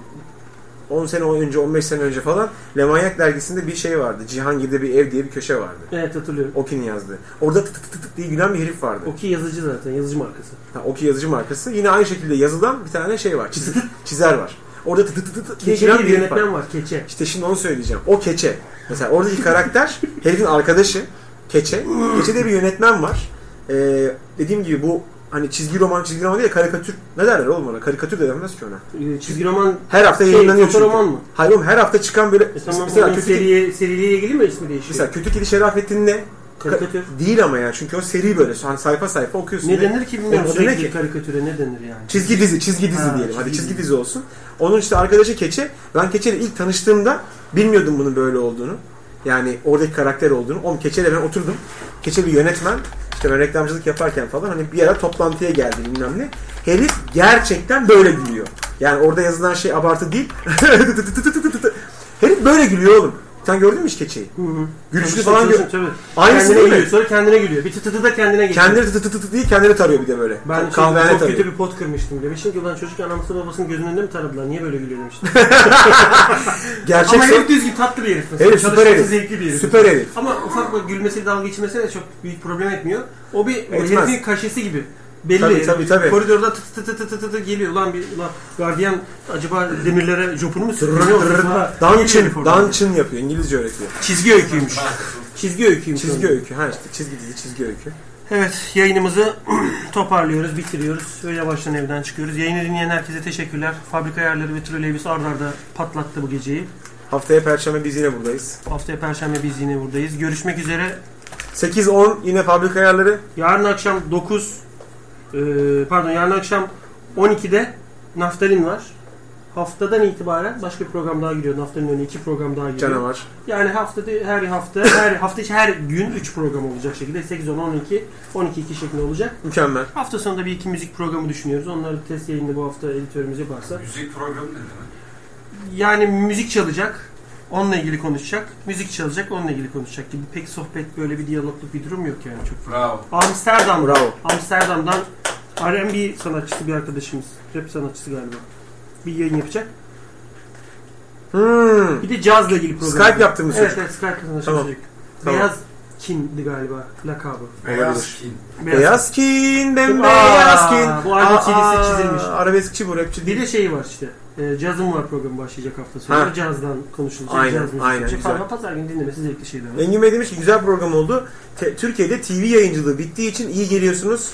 10 sene önce 15 sene önce falan Lemanyak dergisinde bir şey vardı. Cihangir'de bir ev diye bir köşe vardı. Evet hatırlıyorum. Okin yazdı. Orada tı tı tı tı tı diye gülen bir herif vardı. Oki yazıcı zaten. Yazıcı markası. Ha, Oki yazıcı markası. Yine aynı şekilde yazılan bir tane şey var. Çiz, çizer var. Orada tı tı tı tı diye Keçe gülen diye bir bir herif var. yönetmen var. Keçe. İşte şimdi onu söyleyeceğim. O keçe. Mesela oradaki karakter herifin arkadaşı keçe. Keçede bir yönetmen var. Ee, dediğim gibi bu hani çizgi roman çizgi roman değil de karikatür. Ne derler oğlum ona? Karikatür de denmez ki ona. Ee, Çizgi roman Her hafta Şey, yayınlanıyor çünkü. fotoroman mı? Hayır oğlum her hafta çıkan böyle E tamam mesela onun kötü seriye, seriliğe ilgili mi ismi değişiyor? mesela kötü kedi şerafettin ne? Karikatür. Ka- Değil ama ya çünkü o seri böyle hani sayfa sayfa okuyorsun. ne Ve- denir ki bilmiyorum. Onun adı ne Sürekli ki? karikatüre ne denir yani? Çizgi dizi, çizgi dizi Ha, diyelim. çizgi Hadi çizgi dizi. dizi olsun. Onun işte arkadaşı Keçe. Ben Keçe'yle ilk tanıştığımda bilmiyordum bunun böyle olduğunu. Yani oradaki karakter olduğunu. Oğlum Keçe'yle ben oturdum. Keçe bir yönetmen. İşte ben reklamcılık yaparken falan hani bir ara toplantıya geldim bilmem ne. Herif gerçekten böyle gülüyor. Yani orada yazılan şey abartı değil. Herif böyle gülüyor oğlum. Sen gördün mü hiç Keçe'yi? Gülüşünü Tabii, falan tabii, gör. tabii. Aynısı kendine değil mi? gülüyor. Sonra kendine gülüyor. Bir tı tı tı da kendine geliyor. Kendini tı tı tı tı diye kendini tarıyor bir de böyle. ben Kahvehane şimdi çok tarıyor. kötü bir pot kırmıştım. Demiştim ki ulan çocuk anamsı babasının gözünün önünde mi taradılar? Niye böyle gülüyor demiştim. Gerçek Ama sen- herif düzgün tatlı bir herif. mesela. Herif süper Çalışması herif. zevkli bir herif. Süper herif. Ama ufak bir gülmesi dalga geçmesi de çok büyük problem etmiyor. O bir Etmez. herifin kaşesi gibi. Belli. Tabii, tabii, tabii. Koridorda tı tı tı tı tı tı tı geliyor. Lan bir lan gardiyan acaba demirlere jopunu mu sürüyor? Dungeon, Dungeon yapıyor. İngilizce öğretiyor. Çizgi öyküymüş. Çizgi öyküymüş. Çizgi onun. öykü. Ha işte çizgi dizi, çizgi öykü. Evet yayınımızı toparlıyoruz, bitiriyoruz ve yavaştan evden çıkıyoruz. Yayını dinleyen herkese teşekkürler. Fabrika ayarları ve trolleybüs ardarda arda patlattı bu geceyi. Haftaya perşembe biz yine buradayız. Haftaya perşembe biz yine buradayız. Görüşmek üzere. 8-10 yine fabrika ayarları. Yarın akşam 9 e, pardon yarın akşam 12'de Naftalin var. Haftadan itibaren başka bir program daha giriyor. Naftalin önüne iki program daha giriyor. Canavar. Yani haftada her hafta her hafta içi her gün 3 program olacak şekilde 8 10 12 12 2 şeklinde olacak. Mükemmel. Hafta sonunda bir iki müzik programı düşünüyoruz. Onları test yayını bu hafta editörümüz yaparsa. Müzik programı ne demek? Yani müzik çalacak. Onunla ilgili konuşacak. Müzik çalacak. Onunla ilgili konuşacak gibi. Pek sohbet böyle bir diyaloglu bir durum yok yani çok. Bravo. Amsterdam. Bravo. Amsterdam'dan R&B sanatçısı bir arkadaşımız. Rap sanatçısı galiba. Bir yayın yapacak. Hmm. Bir de cazla ilgili program. Skype yaptığımız Evet çocuk. evet Skype sanatçısı. Tamam. çocuk. Tamam. Beyaz Kin'di galiba lakabı. Beyaz kin. Beyaz kin, Aa, bembeyaz kin. bu albüm CD'si Aa, çizilmiş. Arabeskçi bu, rapçi Bir değil. de şey var işte. E, cazım var programı başlayacak hafta sonra. Ha. Cazdan konuşulacak. Aynen, caz müziği aynen, olacak güzel. Falan. Pazar günü dinlemesi zevkli şeyler. var. Engin Bey demiş ki güzel program oldu. Te- Türkiye'de TV yayıncılığı bittiği için iyi geliyorsunuz.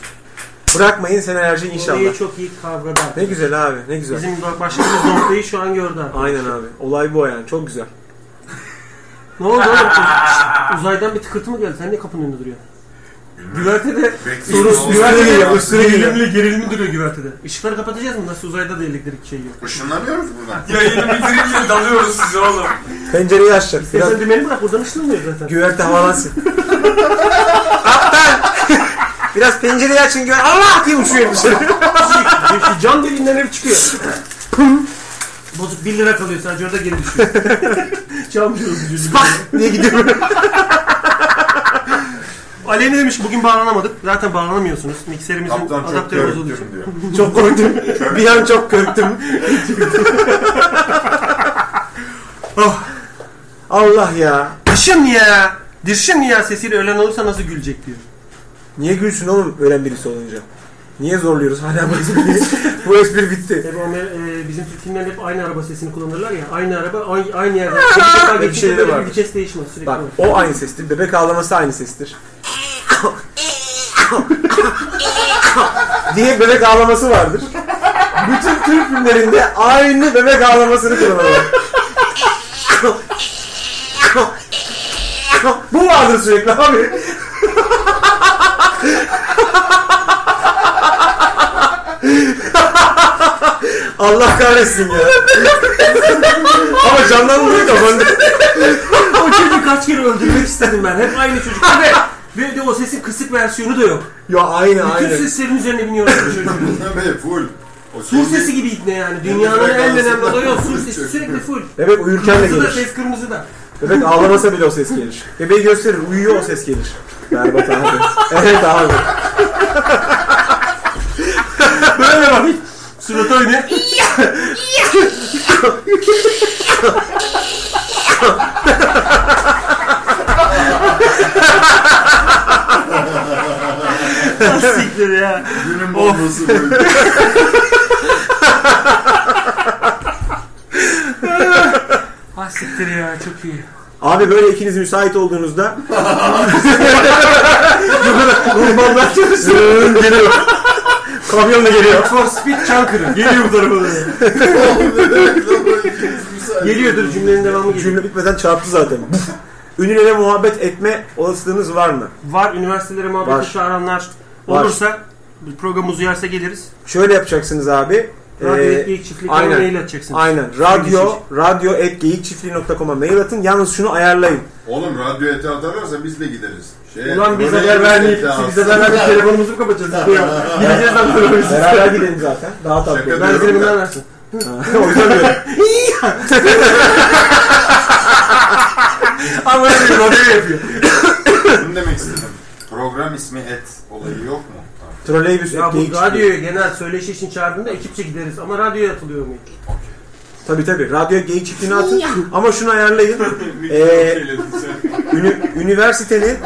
Bırakmayın senelerce Orayı inşallah. çok iyi kavradı. Ne güzel abi, ne güzel. Bizim başladığımız noktayı şu an gördü arkadaşlar. Aynen abi. Olay bu yani. Çok güzel. Ne oldu oğlum? Şşt, Uzaydan bir tıkırtı mı geldi? Sen niye kapının önünde duruyorsun? Güvertede Bekliyorum. Üstüne geliyor, üstüne geliyor. gerilimli, gerilimli duruyor güvertede. Işıkları kapatacağız mı? Nasıl uzayda da elektrik şey yok? Işınlanıyoruz buradan. Yayını bitirince dalıyoruz size oğlum. Pencereyi açacak. Biraz Sen dümeni bırak buradan ışınlanıyor zaten. güverte havalansın. Aptal! Biraz pencereyi açın güver. Allah diye uçuyor dışarı. Çünkü cam deliğinden hep çıkıyor. Bozuk 1 lira kalıyor sadece orada geri düşüyor. Cam diyoruz. Bak diye gidiyor. Aleyna demiş bugün bağlanamadık. Zaten bağlanamıyorsunuz. Mikserimizin Kaptan çok adaptörü bozuldu. görüntüm diyor. Çok korktum. bir an çok korktum. Oh. Allah ya. Dışın ya. Dışın ya sesiyle ölen olursa nasıl gülecek diyor. Niye gülsün oğlum ölen birisi olunca? Niye zorluyoruz hala bu espriyi? bu espri bitti. Tabii onlar, e, bizim Türk filmlerinde hep aynı araba sesini kullanırlar ya. Aynı araba aynı, aynı yerden. Bir şey defa Hep geçince şeyleri böyle vardır. bir vites değişmez sürekli. Bak olur. o aynı sestir. Bebek ağlaması aynı sestir. diye bebek ağlaması vardır. Bütün Türk filmlerinde aynı bebek ağlamasını kullanırlar. Bu vardır sürekli abi. Allah kahretsin ya. Ama canlandırıyor kafanda. o çocuğu kaç kere öldürmek istedim ben. Hep aynı çocuk. Ve bir de o sesin kısık versiyonu da yok. Ya aynı Bütün aynı. seslerin üzerine biniyorlar bu çocuğun. Tabii full. O Sur şeyi- sesi gibi itne yani. Dünyanın en önemli olayı o. Sur sesi sürekli full. Bebek uyurken de Kırmızı da gelir. ses kırmızı da. Bebek ağlamasa bile o ses gelir. Bebeği gösterir, uyuyor o ses gelir. Berbat abi. Evet abi. Böyle bak. Suratı oynuyor. Siktir ya. Günün bombası böyle. Ah siktir ya çok iyi. Abi böyle ikiniz müsait olduğunuzda Urbanlar çalışıyor. geliyor. Kamyon da geliyor. For Speed Çankırı. Geliyor bu tarafa. Geliyordur cümlenin devamı geliyor. Cümle bitmeden çarptı zaten. Ünlülere muhabbet etme olasılığınız var mı? Var üniversitelere Var. muhabbeti çağıranlar olursa programımız uyarsa geliriz. Şöyle yapacaksınız abi. Radyo Ee, Etkilik Çiftlik'e aynen. mail atacaksınız. Aynen. Radyo, radyo etgeyikçiftliği.com'a mail atın. Yalnız şunu ayarlayın. Oğlum radyo eti atarlarsa biz de gideriz. Şeye, Ulan biz Radyo haber eti vermeyip atsın. siz haber vermeyip telefonumuzu mu kapatacağız? şey Gideceğiz lan telefonumuzu. Beraber gidelim zaten. Daha tatlı. Şaka Ben Ben şey diyorum. seni bundan versin. o yüzden böyle. Ama öyle bir radyo yapıyor. Şunu demek istedim. Program ismi et olayı yok mu? Troleybüs Ya bu etgeyikçiftliği. radyoyu genel söyleşi için çağırdığında ekipçe gideriz ama radyoya atılıyor mu? Tabii tabii. Radyo geyik çiftliğini atın. Ama şunu ayarlayın. Eee ünü- üniversitenin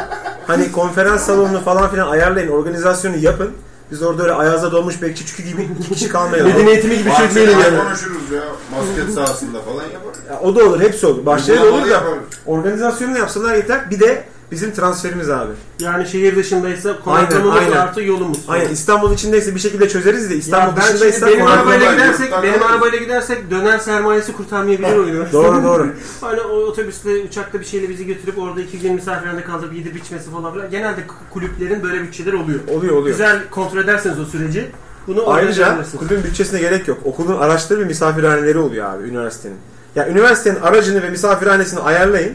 hani konferans salonunu falan filan ayarlayın. Organizasyonu yapın. Biz orada öyle ayaza dolmuş bekçi çükü gibi iki kişi kalmayalım. eğitimi gibi Bahçede çözmeyelim şey yani. konuşuruz ya. Basket sahasında falan yaparız. Ya, o da olur. Hepsi olur. Şey Bahçede de olur Uygulamalı da. yaparız. Organizasyonunu yapsalar yeter. Bir de bizim transferimiz abi. Yani şehir dışındaysa konaklamamız aynen. artı yolumuz. Aynen İstanbul içindeyse bir şekilde çözeriz de Ya İstanbul ben şimdi dışındaysa benim konaklama- arabayla arabayla gidersek, yurttan benim alırız. arabayla gidersek döner sermayesi kurtarmayabilir oyunu. Doğru doğru. Hani o otobüsle, uçakla bir şeyle bizi götürüp orada iki gün misafirhanede kaldırıp yedip içmesi falan filan. Genelde kulüplerin böyle bütçeler oluyor. Oluyor oluyor. Güzel kontrol ederseniz o süreci bunu Ayrıca organize edersiniz. kulübün bütçesine gerek yok. Okulun araçları ve misafirhaneleri oluyor abi üniversitenin. Ya üniversitenin aracını ve misafirhanesini ayarlayın.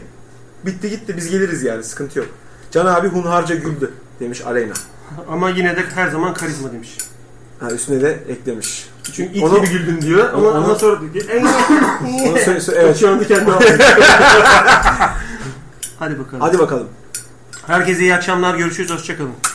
Bitti gitti biz geliriz yani sıkıntı yok. Can abi hunharca güldü demiş Aleyna. Ama yine de her zaman karizma demiş. Ha, üstüne de eklemiş. Çünkü it Onu- gibi güldün diyor ama Onu- ona sonra diyor ki en Onu sö- sö- evet. şu anda kendi ağzını. Hadi bakalım. Hadi bakalım. Herkese iyi akşamlar. Görüşürüz. Hoşçakalın.